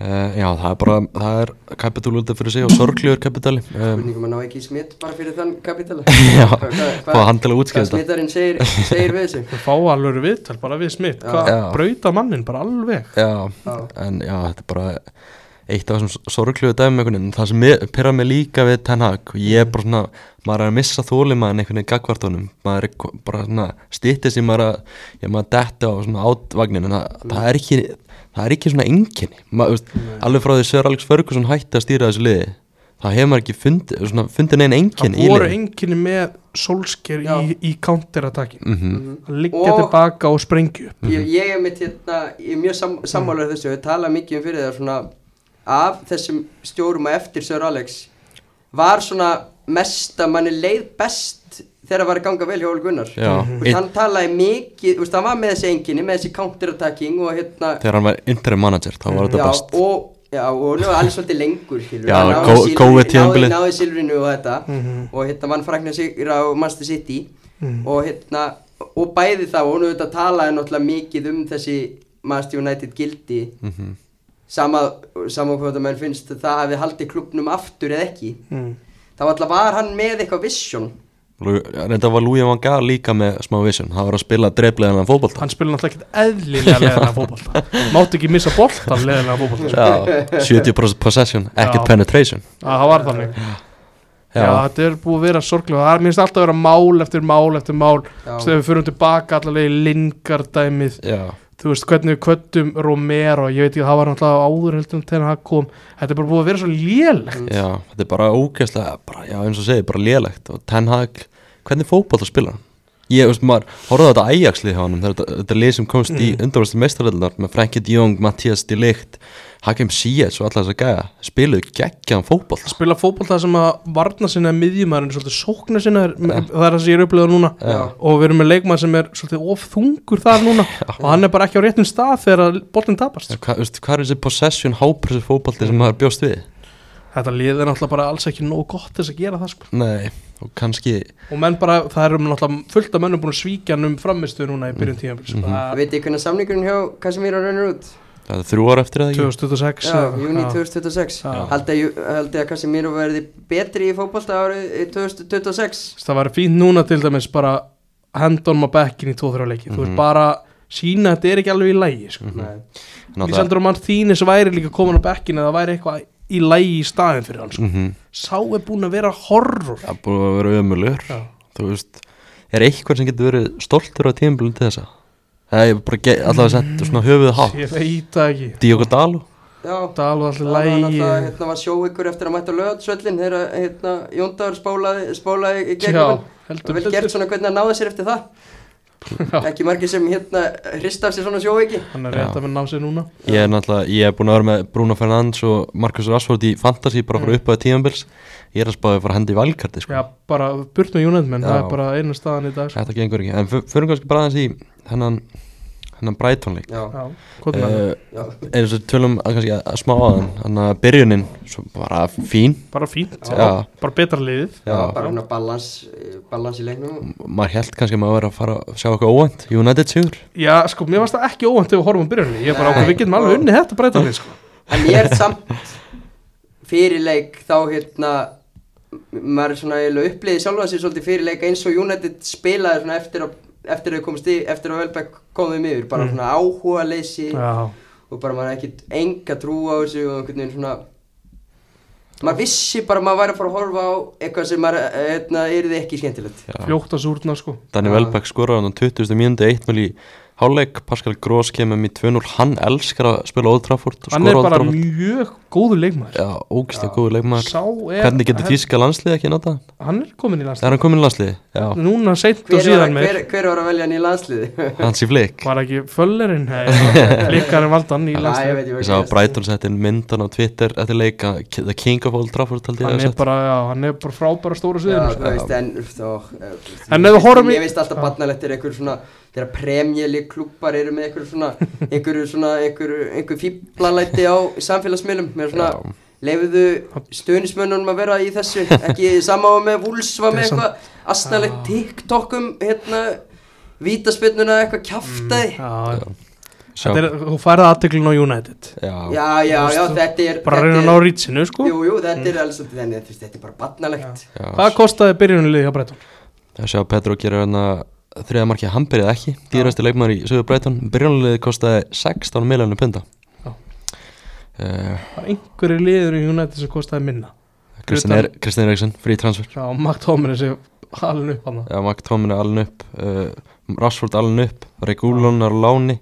[SPEAKER 3] Uh, já, það er bara, það er kapitál út af fyrir sig og sorglegur kapitali um,
[SPEAKER 5] Spurningum að ná ekki í smitt bara fyrir þann kapitala
[SPEAKER 3] Já,
[SPEAKER 5] Hvað- hvað-
[SPEAKER 3] fá að handla útskýra
[SPEAKER 5] Hvað
[SPEAKER 3] þetta
[SPEAKER 5] smittarinn segir, segir við þessu
[SPEAKER 4] Fá alveg viðtal bara við smitt
[SPEAKER 5] Já.
[SPEAKER 4] Hvað
[SPEAKER 3] Já.
[SPEAKER 4] brauta mannin bara alveg
[SPEAKER 3] Já,
[SPEAKER 5] Já.
[SPEAKER 3] en já, þetta er bara eitt af þessum sorglegu dæmi einhvern veginn, það sem pyrra mig líka við Ten Hag og ég er bara svona, maður er að missa þólimaðin einhvern veginn gagvartunum, maður er ko- bara svona stýttis í maður að ég maður detti á svona átvagnin en það, það er ekki, það er ekki svona enginni, maður, veist, alveg frá því Sör Alex Ferguson hætti að stýra þessu liði það hefur maður ekki fundið, svona, fundið neina enginn
[SPEAKER 4] Það
[SPEAKER 3] í
[SPEAKER 4] voru
[SPEAKER 3] liðinu.
[SPEAKER 4] enginni með solsker
[SPEAKER 5] Já.
[SPEAKER 4] í, í counterattaki
[SPEAKER 3] Mhm.
[SPEAKER 4] Að liggja
[SPEAKER 5] Og-
[SPEAKER 4] tilbaka og sprengju upp
[SPEAKER 5] ég, ég er mitt hérna ég er mjög sam, sammálar þessu við tala mikið um fyrir það svona af þessum stjórum að eftir Sir Alex var svona mest að manni leið best þegar það var að ganga vel hjá Óli Gunnar
[SPEAKER 3] Já.
[SPEAKER 5] Þú veist, hann talaði mikið, þú veist, hann var með þessi enginni með þessi counterattacking og hérna
[SPEAKER 3] þegar hann var interim manager, þá var þetta
[SPEAKER 5] já,
[SPEAKER 3] best
[SPEAKER 5] og, já, og nú er allir svolítið lengur skilur,
[SPEAKER 3] Já,
[SPEAKER 5] Hann náði
[SPEAKER 3] gó-
[SPEAKER 5] silfri-
[SPEAKER 3] góðu tímabilið.
[SPEAKER 5] náði, náði silfrinu og þetta og hérna vann frækna sigra á Master City og hérna og bæði þá, og nú þetta talaði náttúrulega mikið um þessi Master United gildi
[SPEAKER 3] Mhm.
[SPEAKER 5] sama, sama hvað það menn finnst það hafi haldið klubnum aftur eða ekki
[SPEAKER 4] Mm.
[SPEAKER 5] þá alltaf var hann með eitthvað vision
[SPEAKER 3] Lu- Reynda var Lúi Van Gaal líka með smá vision Það var að spila dreiflegan að fótbolta
[SPEAKER 4] Hann spila náttúrulega ekkert eðlilega leðina fótbolta Máttu ekki missa boltan leðina fótbolta sko.
[SPEAKER 3] Já, 70% possession, ekkert
[SPEAKER 4] Já.
[SPEAKER 3] penetration
[SPEAKER 4] Að Það var þannig Já,
[SPEAKER 3] Já,
[SPEAKER 4] þetta er búið að vera sorglega Það er minnst alltaf að vera mál eftir mál eftir mál
[SPEAKER 5] Já.
[SPEAKER 4] Þegar við förum tilbaka allavega í lingardæmið
[SPEAKER 3] já,
[SPEAKER 4] Þú veist, hvernig við kvöttum Romero Ég veit ekki, það var náttúrulega áður heldur en þegar hann kom Þetta er bara búið að vera svo lél
[SPEAKER 3] já Þetta er bara ógeðslega, bara, já eins og segi, bara lélegt Og Ten Hag, hvernig fótbolta spila hann? Ég, veist maður, horfðu á þetta Ajax-lið hjá honum Þetta, þetta er lið sem komst í undanvæmstu meistaröldunar Með Frankie de Jong, Mattias de Ligt Hakim Ziyech og alla þess að gæja Spiluðu geggjaðan fótbolta
[SPEAKER 4] Spila fótbolta sem að varna sinna miðjumæðurinn svolítið sókna sinna það er það sem ég er upplegað núna
[SPEAKER 5] Já.
[SPEAKER 4] og við erum með leikmann sem er svolítið ofþungur þar núna og hann er bara ekki á réttum stað þegar boltin tapast
[SPEAKER 3] Já, Hva, veist, Hvað er þessi possession, hápressu fótbolti sem maður bjóst við?
[SPEAKER 4] Þetta lið er náttúrulega bara alls ekki nógu gott til þess að gera það sko.
[SPEAKER 3] Nei, og kannski
[SPEAKER 4] og menn bara, það eru náttúrulega fullt af mennum búin að svíkja hann um framistu núna í byrjun tíum sko.
[SPEAKER 5] það
[SPEAKER 4] mm
[SPEAKER 5] veit ég hvernig samningurinn hjá Casemiro rennur út
[SPEAKER 3] Það er þrjú ára eftir eða ekki?
[SPEAKER 4] 2026
[SPEAKER 5] Já,
[SPEAKER 4] eða-
[SPEAKER 5] júni
[SPEAKER 4] já.
[SPEAKER 5] 2026
[SPEAKER 4] Já.
[SPEAKER 5] Haldið að Casemiro verði betri í fótbolta árið í 2026
[SPEAKER 4] það var fínt núna til dæmis bara hand on my back inn í 2-3 leiki þú veist bara sína að þetta er ekki alveg í lægi sko. mm
[SPEAKER 5] Nei.
[SPEAKER 4] -hmm. Lísandur og mann þínis væri líka komin á bekkin eða væri eitthvað í lægi í staðin fyrir hann sko.
[SPEAKER 3] Mhm.
[SPEAKER 4] sá er búin að vera horror
[SPEAKER 3] Það er búin að vera ömulur
[SPEAKER 4] Já.
[SPEAKER 3] Þú veist, er eitthvað sem getur verið stoltur á tímabilinu til þessa? Það er bara ge- allavega sett svona höfuðu hátt
[SPEAKER 4] ég veit það ekki
[SPEAKER 3] Diogo Dalu
[SPEAKER 5] Já,
[SPEAKER 4] það er alveg allir
[SPEAKER 5] það var náttúrulega,
[SPEAKER 4] lægi
[SPEAKER 5] hérna var sjó ykkur eftir að mæta lögatsvöllin þegar hérna, Jóndagur spólaði, spólaði í
[SPEAKER 4] Já,
[SPEAKER 5] gegnum hann
[SPEAKER 4] heldur
[SPEAKER 5] og vel
[SPEAKER 4] betur.
[SPEAKER 5] gert svona hvernig að náða sér eftir það ekki margir sem hérna hrist af sér svona sjó ekki
[SPEAKER 4] hann er rétt
[SPEAKER 3] Já.
[SPEAKER 4] að menn ná sér núna
[SPEAKER 3] Ég er náttúrulega, ég er búin að vera með Bruno Fernandes og Marcus Rashford í Fantasy bara frá uppaði tímabils Ég er að spáði að fara að henda í valkarti sko.
[SPEAKER 4] Mm. já, bara burt með United menn,
[SPEAKER 3] Já.
[SPEAKER 4] það er bara einu staðan í dag sko.
[SPEAKER 3] Þetta gengur ekki, en f- förum kannski bara aðeins í hennan, hennan Brightonleik
[SPEAKER 5] Já,
[SPEAKER 4] já, hvað er það?
[SPEAKER 3] uh,
[SPEAKER 5] já,
[SPEAKER 3] Eins og tölum að kannski að, að smá aðan Þannig að byrjunin, svo bara fín
[SPEAKER 4] bara fínt,
[SPEAKER 3] Já.
[SPEAKER 4] já. bara betra liðið
[SPEAKER 5] já,
[SPEAKER 3] Já.
[SPEAKER 5] bara svona balans, eh, balans í leiknum
[SPEAKER 3] Maður held kannski að maður verið að fara að sjá eitthvað óvænt United sigur
[SPEAKER 4] Já, sko, mér varst það ekki óvænt ef við horfum á byrjunni Ég er bara
[SPEAKER 5] Nei.
[SPEAKER 4] ákveð, við getum alveg unni þetta breytanlið, sko
[SPEAKER 5] en ég er samt fyrir leik þá hérna m- maður er svona eiginlega uppliði sjálfa sér svolítið fyrir leik eins og United spilaði svona eftir að eftir að komast í, eftir að Velbæk komum yfir bara
[SPEAKER 4] Mm.
[SPEAKER 5] svona áhuga leysi
[SPEAKER 4] Já,
[SPEAKER 5] og bara maður ekkert enga trú á þessu og einhvern veginn svona maður vissi bara að maður væri að fara að horfa á eitthvað sem maður, eh, hérna, yrði ekki skemmtilegt
[SPEAKER 3] Já.
[SPEAKER 4] fljótt að súrna, sko
[SPEAKER 3] Danni Velbæk skoraði hann á 20. mínúti 1-0 í hálfleik, Pascal Gross kemur með 2-0, hann elskar að spila Old Trafford og
[SPEAKER 4] Hann er
[SPEAKER 3] skora Old
[SPEAKER 4] bara
[SPEAKER 3] Trafford
[SPEAKER 4] mjög góður leikmaður
[SPEAKER 3] Já, ógislega góður leikmaður
[SPEAKER 4] Sá er,
[SPEAKER 3] Hvernig getur tíska landslið ekki nota? hann?
[SPEAKER 4] Hann er komin í
[SPEAKER 3] Það
[SPEAKER 4] landslið
[SPEAKER 3] er hann komin í landslið, já,
[SPEAKER 4] Núna seint og
[SPEAKER 5] hver, var,
[SPEAKER 4] síðan
[SPEAKER 5] að-
[SPEAKER 4] meir
[SPEAKER 5] hver, hver var að velja hann í landsliði?
[SPEAKER 3] hans í flik
[SPEAKER 4] Var ekki föllerinn, líkarinn valdan í
[SPEAKER 5] Æ, ég
[SPEAKER 4] landslið
[SPEAKER 5] veit ég
[SPEAKER 3] Ég
[SPEAKER 5] ekki
[SPEAKER 3] sá að Brighton setti inn myndan á Twitter eftir leik að The King of Old Trafford taldi ég
[SPEAKER 4] Hann
[SPEAKER 3] að
[SPEAKER 4] er
[SPEAKER 3] setja
[SPEAKER 4] bara, já, hann er bara frábæra stóra sko.
[SPEAKER 5] Já,
[SPEAKER 4] sviðinu,
[SPEAKER 5] þú veist, en þá, eh, þú veist,
[SPEAKER 4] En
[SPEAKER 5] ég
[SPEAKER 4] ef við
[SPEAKER 5] veist-
[SPEAKER 4] horfum í-
[SPEAKER 5] Ég veist alltaf barnalegt er einhver svona Þegar premjali klubbar eru með einhver svona Einhver svona, einhver, einhver fíblalæti á samfélagsmiðlum Með svona, leifuðu stuðnismönnunum að vera í þessu Ekki sama og með Wools var með
[SPEAKER 4] Þetta er
[SPEAKER 5] eitthvað Asnalegt
[SPEAKER 4] Mm.
[SPEAKER 5] TikTok um, hérna Vítaspinnuna eitthvað kjaftaði
[SPEAKER 4] sko Já,
[SPEAKER 3] Sjá,
[SPEAKER 4] Þetta er, þú færði aðteklun á United
[SPEAKER 3] já,
[SPEAKER 5] já, já, já, þetta er
[SPEAKER 4] bara
[SPEAKER 5] þetta
[SPEAKER 4] reyna að
[SPEAKER 5] er-
[SPEAKER 4] ná rýtsinu sko
[SPEAKER 5] Jú, jú, þetta er alls þannig, þú veist, þetta er bara barnalegt
[SPEAKER 3] já,
[SPEAKER 4] hvað kostaði byrjunulið hjá Breton?
[SPEAKER 3] Það sjá Petro gerir hérna þriða markið hann byrjaði ekki, dýrasti leikmaður í Söður Breiton Byrjónliðið kostaði 16 miljónu punta
[SPEAKER 4] Já.
[SPEAKER 3] Eh,
[SPEAKER 4] einhverju liður í United sem kostaði minna
[SPEAKER 3] Kristinn
[SPEAKER 4] Utan-
[SPEAKER 3] er- Kristinn Eriksson, frí transfer
[SPEAKER 4] já, Mark Tomlin sem halin upp hann
[SPEAKER 3] Já, Mark Tómin er alveg upp uh, Rashford alveg upp, Regulon er á láni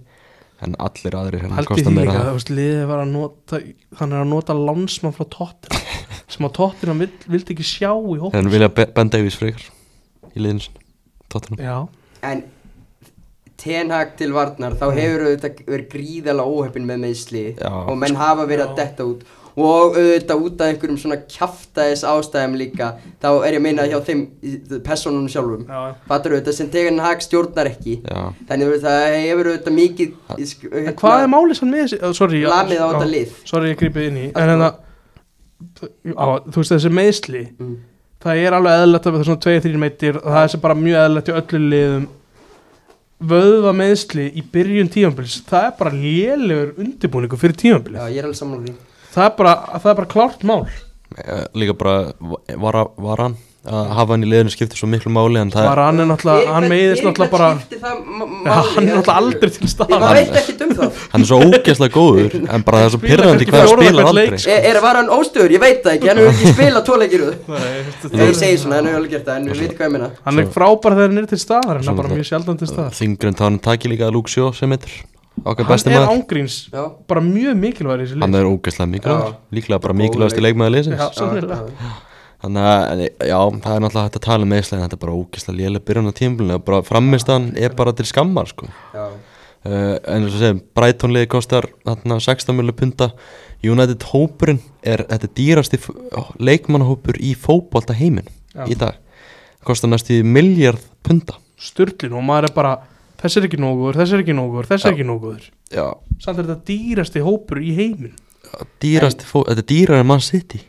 [SPEAKER 3] en allir aðrir hérna
[SPEAKER 4] held ég
[SPEAKER 3] kosta
[SPEAKER 4] því
[SPEAKER 3] meira
[SPEAKER 4] líka,
[SPEAKER 3] en
[SPEAKER 4] þú
[SPEAKER 3] það.
[SPEAKER 4] veist, liðið var að nota hann er að nota landsmann frá Tottenham sem að Tottenham vild, vildi ekki sjá í hóp
[SPEAKER 3] en vilja Ben Ben Davies frekar í liðinu sinni, Tottenham
[SPEAKER 4] já,
[SPEAKER 5] En tenhag til varnar þá hefur auðvitað verið gríðalega óheppin með meðsli
[SPEAKER 3] Já.
[SPEAKER 5] og menn hafa verið að detta út og auðvitað út af einhverjum svona kjaftaðis ástæðum líka þá er ég að meina hjá þeim í- persónunum sjálfum
[SPEAKER 4] já.
[SPEAKER 5] fattur auðvitað sem tenhag stjórnar ekki
[SPEAKER 3] Já,
[SPEAKER 5] þannig að það hefur auðvitað mikið í sk-
[SPEAKER 4] en
[SPEAKER 5] hérna-
[SPEAKER 4] hvað er málið sann með þessi uh, sorry, já,
[SPEAKER 5] Lamið á
[SPEAKER 4] já,
[SPEAKER 5] þetta lið.
[SPEAKER 4] sorry, ég gripið inn í
[SPEAKER 5] Allt
[SPEAKER 4] en hérna á, þú veist þessi meðsli
[SPEAKER 5] Mm.
[SPEAKER 4] það er alveg eðlætt að við það er svona 2-3 meitir og það er sem bara mjög eðlætt í öllu liðum vöðva meðsli í byrjun tímanbils það er bara lélegur undirbúningu fyrir tímanbils
[SPEAKER 5] Já, ég er alveg sammála því
[SPEAKER 4] það, er bara, það er bara klárt mál
[SPEAKER 3] eh, líka bara var, var hann að hafa hann í liðinu skiptir svo miklu máli en það
[SPEAKER 4] bara hann er
[SPEAKER 5] Fyrir
[SPEAKER 4] náttúrulega, hann
[SPEAKER 5] hvern-
[SPEAKER 4] meiðist
[SPEAKER 5] fyrir
[SPEAKER 4] náttúrulega
[SPEAKER 5] hvern
[SPEAKER 4] bara
[SPEAKER 5] skiptir það ma-
[SPEAKER 4] Já,
[SPEAKER 5] máli?
[SPEAKER 4] hann er náttúrulega aldrei til
[SPEAKER 5] Ég
[SPEAKER 4] staðar
[SPEAKER 5] maður veit ekkert um það
[SPEAKER 3] hann er svo ógeðslega góður en bara það er svo
[SPEAKER 4] Spila
[SPEAKER 3] pyrrandi
[SPEAKER 4] kannski
[SPEAKER 3] hvað hann
[SPEAKER 4] fjórða
[SPEAKER 3] spilar
[SPEAKER 4] hvern
[SPEAKER 3] aldrei
[SPEAKER 4] leik,
[SPEAKER 3] sko.
[SPEAKER 5] Er, er var hann óstöður? Ég veit það ekki, hann hefur ekki spilað tóleikir
[SPEAKER 4] Nei, þetta
[SPEAKER 5] Þegar
[SPEAKER 4] er-
[SPEAKER 5] ég segi svona, hann hefur alveg gert það, en við veitum hvað ég minna
[SPEAKER 4] hann er frábær þegar hann er til staðar en hann er
[SPEAKER 3] Svona
[SPEAKER 4] bara
[SPEAKER 3] það-
[SPEAKER 4] mjög sjaldan til staðar
[SPEAKER 3] þingri en þannig takir líka Luke Sjó sem heitir okkar besti
[SPEAKER 4] hann er
[SPEAKER 3] maður
[SPEAKER 4] ángríns
[SPEAKER 5] Já,
[SPEAKER 4] bara mjög mikilvægur í þessu
[SPEAKER 3] hann
[SPEAKER 4] lið
[SPEAKER 3] er ógeðslega mikilvægur,
[SPEAKER 5] Já.
[SPEAKER 3] líklega bara
[SPEAKER 5] Góður
[SPEAKER 3] mikilvægasti
[SPEAKER 5] leik.
[SPEAKER 3] leikmaður
[SPEAKER 4] Já,
[SPEAKER 3] liðsins
[SPEAKER 4] sannlega.
[SPEAKER 3] þannig að já, það er náttúrulega hægt að tala með Ísland en þetta er bara ógeðslega lélega byrjun á tímbilinu og bara frammistaðan er bara til skammar sko.
[SPEAKER 5] já
[SPEAKER 3] uh, en eins og segjum, Brighton liði kostar þarna 16 milju punta United hópurinn er þetta er dýrasti f- leikmannahópur í fótbolta heimin
[SPEAKER 4] Já.
[SPEAKER 3] í dag kostar næstu því miljard punta
[SPEAKER 4] sturlin og maður er bara þess er ekki nóguður, þess er ekki nóguður, þess er
[SPEAKER 3] Já.
[SPEAKER 4] ekki nóguður
[SPEAKER 3] já,
[SPEAKER 4] samt er þetta dýrasti hópur í heimin
[SPEAKER 3] dýrasti fó, þetta er dýrar en mann city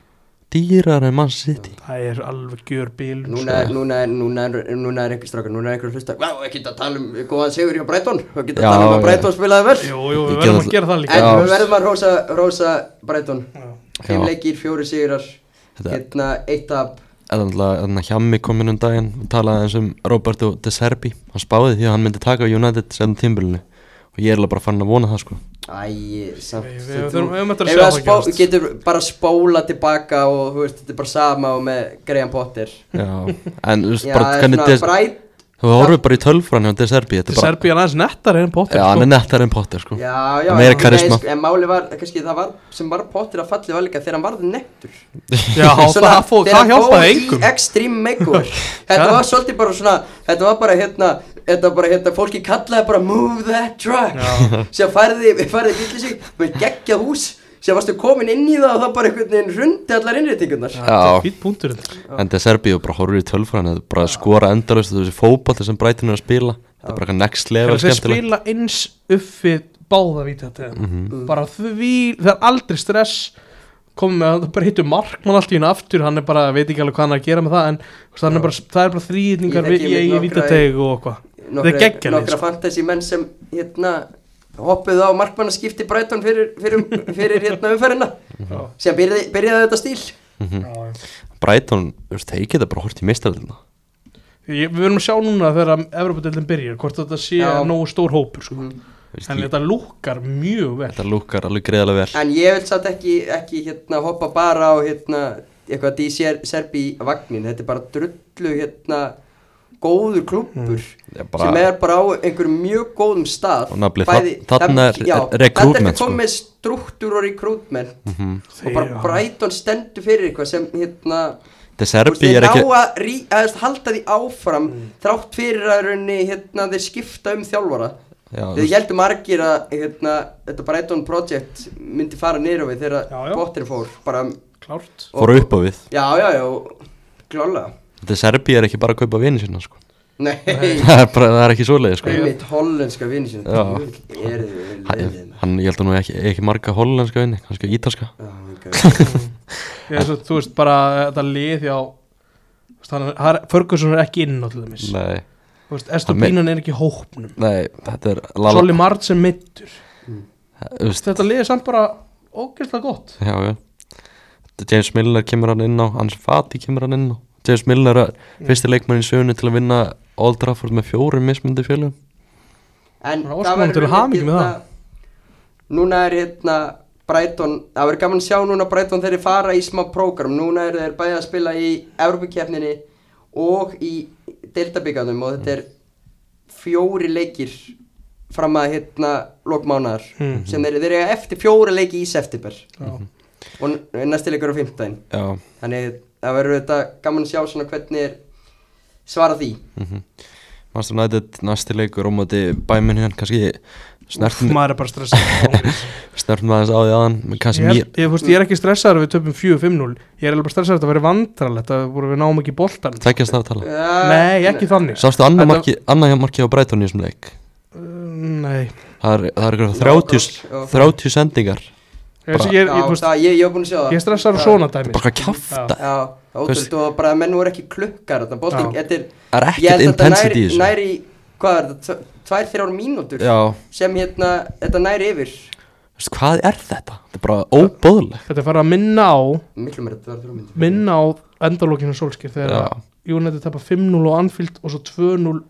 [SPEAKER 3] dýrar en mann city
[SPEAKER 4] það er alveg gjör sko. bíl
[SPEAKER 5] Núna, er- núna, er- núna, er- núna er einhver strákar, núna er einhver að hlusta Vá, ekki þetta að tala um góðan sigur hjá Breitón Og ekki þetta
[SPEAKER 3] Já,
[SPEAKER 5] að tala um
[SPEAKER 3] já.
[SPEAKER 5] að Breitón spilaði vel
[SPEAKER 4] jú, jú,
[SPEAKER 3] Ég
[SPEAKER 4] við
[SPEAKER 3] get
[SPEAKER 4] verðum
[SPEAKER 3] all-
[SPEAKER 4] að gera það líka
[SPEAKER 5] En
[SPEAKER 3] Já.
[SPEAKER 5] við verðum að rosa, rosa Breitón
[SPEAKER 4] Já.
[SPEAKER 3] Já.
[SPEAKER 5] Fimm leikir, fjóri sigurar,
[SPEAKER 3] Þetta-
[SPEAKER 5] hérna, eitt tap
[SPEAKER 3] eða náttúrulega þannig að Hjami kom inn um daginn og talaði eins um Roberto De Serbi hann spáði því að hann myndi taka United sem tímbilinu og ég er alveg bara fann að vona það sko
[SPEAKER 5] Æ, samt
[SPEAKER 4] Nei, við-
[SPEAKER 5] þetta-
[SPEAKER 4] við þurfum- við eigum eftir að
[SPEAKER 5] Ef
[SPEAKER 4] sjá
[SPEAKER 5] að
[SPEAKER 4] það
[SPEAKER 5] spá-
[SPEAKER 4] gerast.
[SPEAKER 5] Getur bara spóla tilbaka og þú veist, þetta er bara sama og með Graham Potter
[SPEAKER 3] já, en þú veist
[SPEAKER 5] Já,
[SPEAKER 3] bara
[SPEAKER 5] svona
[SPEAKER 3] hvernig Des-
[SPEAKER 5] Bright
[SPEAKER 3] þú horfir bara í tölfræn hjá De Serbi þetta er bara,
[SPEAKER 4] Serbíu er aðeins nettar en Potter
[SPEAKER 3] já
[SPEAKER 4] sko.
[SPEAKER 3] hann er nettar en Potter sko
[SPEAKER 5] Já,
[SPEAKER 3] Það
[SPEAKER 5] já,
[SPEAKER 3] er meira
[SPEAKER 5] en-
[SPEAKER 3] karisma.
[SPEAKER 5] nei, sko, En máli var, kannski það var sem var Potter að falli var líka þegar hann varði nettur
[SPEAKER 4] Já, það, fó, það
[SPEAKER 5] þegar hann fór
[SPEAKER 4] hjálpaði
[SPEAKER 5] í
[SPEAKER 4] engum
[SPEAKER 5] Extreme makeover Þetta
[SPEAKER 4] Já.
[SPEAKER 5] var svolítið bara svona Þetta var bara hérna Þetta var bara hérna Fólki kallaði bara Move that truck Sér færði Færði bílið sig Með geggjað hús Sér varstu komin inn í það Og það bara einhvern veginn Rundi allar innréttingunar
[SPEAKER 3] Já.
[SPEAKER 4] Þetta er fýtt punktur þetta.
[SPEAKER 3] en De Serbi þú bara horfir í tölfræn þetta er bara að skora endalust þessi fótball sem Brighton er að spila þetta er bara eitthvað next
[SPEAKER 4] Þegar
[SPEAKER 3] level
[SPEAKER 4] Þeir
[SPEAKER 3] skemmtilegt Mhm.
[SPEAKER 4] spila eins uppi báða víti þetta hérna.
[SPEAKER 5] Mm.
[SPEAKER 4] Bara því, það er aldrei stress komið með að það bara hittu markmann allt í hennu aftur hann er bara, veit ekki alveg hvað hann er að gera með það en þú veist, hann er bara, það er bara þrýðningar
[SPEAKER 5] Ég þekki
[SPEAKER 4] í eigin
[SPEAKER 5] nokkra-
[SPEAKER 4] vítateg og hvað þetta er
[SPEAKER 5] Nokkra,
[SPEAKER 4] geggjalið
[SPEAKER 5] nokkra
[SPEAKER 4] sko.
[SPEAKER 5] fantasy menn sem Hérna Hoppuð á markmannaskipti Brighton fyrir, fyrir, fyrir hérna umferðina Sér byrjaði, byrjaði þetta stíl
[SPEAKER 3] Mhm. Brighton, þú veist, þeir geta bara hort í mistaraldina
[SPEAKER 4] Ég- Við verðum að sjá núna þegar Evropadeildin byrjar hvort þetta sé
[SPEAKER 5] Já. Mhm.
[SPEAKER 4] nógu stór hópur sko.
[SPEAKER 3] Veist,
[SPEAKER 4] en
[SPEAKER 3] ég-
[SPEAKER 4] þetta lúkar mjög vel
[SPEAKER 3] þetta lúkar alveg greiðlega vel
[SPEAKER 5] En ég vil satt ekki, ekki hérna, hoppa bara á hérna, eitthvað DC Serbi vagnin, þetta er bara drullu hérna, góður klúppur
[SPEAKER 3] Já, Mm. bara-
[SPEAKER 5] sem er bara á einhverjum mjög góðum stað
[SPEAKER 3] Og nafnið, þa- þarna er
[SPEAKER 5] já,
[SPEAKER 3] recruitment,
[SPEAKER 5] Þetta er
[SPEAKER 3] sko. Mhm.
[SPEAKER 5] komið með struktúr og recruitment og
[SPEAKER 4] Þeir-
[SPEAKER 5] bara Brighton stendur fyrir eitthvað sem hérna
[SPEAKER 3] De Serbi
[SPEAKER 5] þeir
[SPEAKER 3] er ekki
[SPEAKER 5] ná að, rí, að halda því áfram
[SPEAKER 4] Mm.
[SPEAKER 5] þrátt fyrir að raunni hérna, þeir skipta um þjálfara
[SPEAKER 3] Já, þú
[SPEAKER 5] þeir heldur margir að hérna, þetta Brighton Project myndi fara niður á við
[SPEAKER 4] Já,
[SPEAKER 5] þegar
[SPEAKER 4] já.
[SPEAKER 5] Potter fór bara, um
[SPEAKER 4] klárt
[SPEAKER 3] fór upp á við
[SPEAKER 5] já, já, já, klálega
[SPEAKER 3] De Serbi er ekki bara að kaupa vini sína sko
[SPEAKER 5] nei,
[SPEAKER 3] það er bara, það er ekki svoleiði sko
[SPEAKER 5] einmitt hollenska vini sinni
[SPEAKER 3] Já.
[SPEAKER 5] er þið vel
[SPEAKER 3] hann,
[SPEAKER 5] liðið
[SPEAKER 3] hann- ég held að nú ekki, ekki marga hollenska vini kannski ítalska
[SPEAKER 5] Já, ok.
[SPEAKER 4] Ég, svo, þú veist bara þetta lið já þú veist, hann er- hann er- Ferguson er ekki inn á til dæmis
[SPEAKER 3] nei,
[SPEAKER 4] Þú veist, Estur Bínan er ekki í hópnum
[SPEAKER 3] nei, þetta er
[SPEAKER 4] Solly Mart sem mittur
[SPEAKER 3] Þú veist,
[SPEAKER 4] Þetta liði samt bara ógeðslega gott
[SPEAKER 3] já, já James Milner kemur hann inn á Hans Fati kemur hann inn á James Milner er fyrsti leikmann í sögunni til að vinna Old Trafford með fjórum mismundi fjölum
[SPEAKER 5] En
[SPEAKER 4] Bara óskum honum til hamingju með það.
[SPEAKER 5] Núna er hérna Brighton, það verður gaman að sjá núna Brighton þeir fara í smá prógram Núna eru þeir bæði að spila í Evropakefninni og í Deltabyggarnum og þetta er fjóri leikir fram að hérna lokmánaðar
[SPEAKER 4] Mhm.
[SPEAKER 5] sem þeir, þeir eru eftir fjóri leiki í september
[SPEAKER 4] Já.
[SPEAKER 3] Mhm.
[SPEAKER 5] og n- næsti leikur á fimmtæn
[SPEAKER 3] Já,
[SPEAKER 5] þannig það verður þetta gaman að sjá svona hvernig er svara því
[SPEAKER 3] Master United næsti leikur á móti bæminn hérna kannski snertum
[SPEAKER 4] Maður er bara stressað
[SPEAKER 3] snertum aðeins á því aðan kannski
[SPEAKER 4] Ég,
[SPEAKER 3] mér
[SPEAKER 4] ég, ég, fúst, ég er ekki stressaður að við töpum 4-5-0 Ég er alveg bara stressaður að þetta verið vandralegt að voru við náum ekki boltan
[SPEAKER 3] tveggja staftala
[SPEAKER 5] Nei,
[SPEAKER 4] Nei, ekki þannig
[SPEAKER 3] Sástu annað
[SPEAKER 4] Þetta-
[SPEAKER 3] marki, annað marki á Brighton í þessum leik
[SPEAKER 4] Nei
[SPEAKER 3] Það er, það er ykkur 30,
[SPEAKER 5] Já.
[SPEAKER 3] 30 sendingar
[SPEAKER 4] Ég,
[SPEAKER 3] Bara-
[SPEAKER 4] ég, ég,
[SPEAKER 5] Já,
[SPEAKER 4] ég, fúst,
[SPEAKER 5] það, ég, ég hef búin að sjá það
[SPEAKER 4] ég er stressaður á
[SPEAKER 5] Já.
[SPEAKER 4] svona dæmi
[SPEAKER 3] Bara hvað kjafta
[SPEAKER 5] Já, það er
[SPEAKER 3] Þú veist-
[SPEAKER 5] ótrúlega og bara að menn voru ekki klukkar þarna, boltinn,
[SPEAKER 4] Já.
[SPEAKER 5] þetta er,
[SPEAKER 3] Það er
[SPEAKER 5] ég
[SPEAKER 3] ekkert
[SPEAKER 5] held að þetta
[SPEAKER 3] intensity í
[SPEAKER 5] næri,
[SPEAKER 3] þessu
[SPEAKER 5] næri hvað er þetta, tv- tvær, þrjár mínútur
[SPEAKER 3] Já,
[SPEAKER 5] sem hérna, þetta næri yfir
[SPEAKER 3] veistu, hvað er þetta? Þetta er bara óbóðlegt
[SPEAKER 4] Þetta er farið að minna á
[SPEAKER 5] miklu meira þetta var þrjár mínútur
[SPEAKER 4] minna á endalókinu sólskir
[SPEAKER 3] Já.
[SPEAKER 4] þegar United tapar 5-0 á Anfield og svo 2-0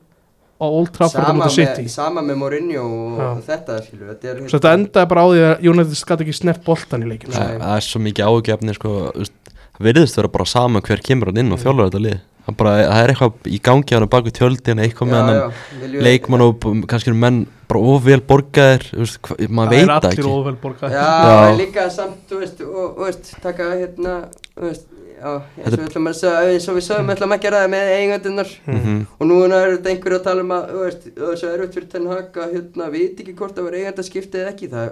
[SPEAKER 4] á Old Trafford hérna á
[SPEAKER 5] sama
[SPEAKER 4] móti City
[SPEAKER 5] með, sama með Mourinho og
[SPEAKER 4] Já.
[SPEAKER 5] þetta skilur, þetta er
[SPEAKER 4] Svo þetta endaði bara á því að United skatt ekki snert boltan í sko. leikinu
[SPEAKER 3] Það það er svo mikið ágefni sko, þú veist, Það virðist vera bara sama hver kemur hann inn
[SPEAKER 5] Mm.
[SPEAKER 3] og þjólar þetta lið Það, bara, það er eitthvað í gangi á hann baku tjöldin eitthvað með hann leikmann og b- kannski eru menn bara ofvel borgaðir þú veist, hva- maður veit
[SPEAKER 4] Það er
[SPEAKER 3] það
[SPEAKER 4] allir
[SPEAKER 3] ekki
[SPEAKER 4] óvelborga
[SPEAKER 5] já,
[SPEAKER 3] Já.
[SPEAKER 5] en líka samt, þú veist, og, og veist taka hérna, þú veist já, eins og við ætlum að segja, eins og við sögum, við ætlum að gera það með eigandunar
[SPEAKER 3] Mhm.
[SPEAKER 5] og núna er þetta einhverju að tala um að þú veist, þess að erut fyrir Ten Hag að hérna, veit ekki hvort það var eigandi að skipta eða ekki það,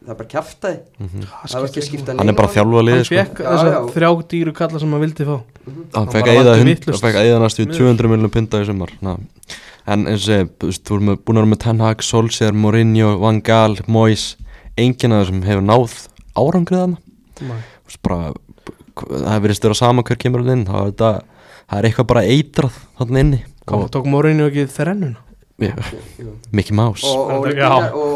[SPEAKER 5] það er bara kjaftaði það var ekki að skipta
[SPEAKER 3] hann er bara að þjálfa
[SPEAKER 4] Hann
[SPEAKER 3] liðið sko.
[SPEAKER 4] fekk
[SPEAKER 5] Já,
[SPEAKER 4] þess
[SPEAKER 5] já.
[SPEAKER 4] að þrjá dýru kalla sem hann vildi fá
[SPEAKER 3] hann
[SPEAKER 4] hann
[SPEAKER 3] fekk að
[SPEAKER 4] bara
[SPEAKER 3] eyða
[SPEAKER 4] valdi
[SPEAKER 3] hund-
[SPEAKER 4] vitlaust.
[SPEAKER 3] hann fekk að eða næstu í
[SPEAKER 4] Miður.
[SPEAKER 3] 200 miljonum pinda í sumar Na. en eins og ég, þú veist, þú erum með- búin að vera með Ten Hag, Solskjaer, Mourinho Van Gaal, Moyes enginn af þessum hefur náð árangrið hann bara, það virðist vera sama hver kemur hann inn það er, þetta, það er eitthvað bara eitrað hann inni
[SPEAKER 4] Hvað tók Mourinho ekki þrennuna?
[SPEAKER 3] Já, Mickey Mouse
[SPEAKER 4] Já,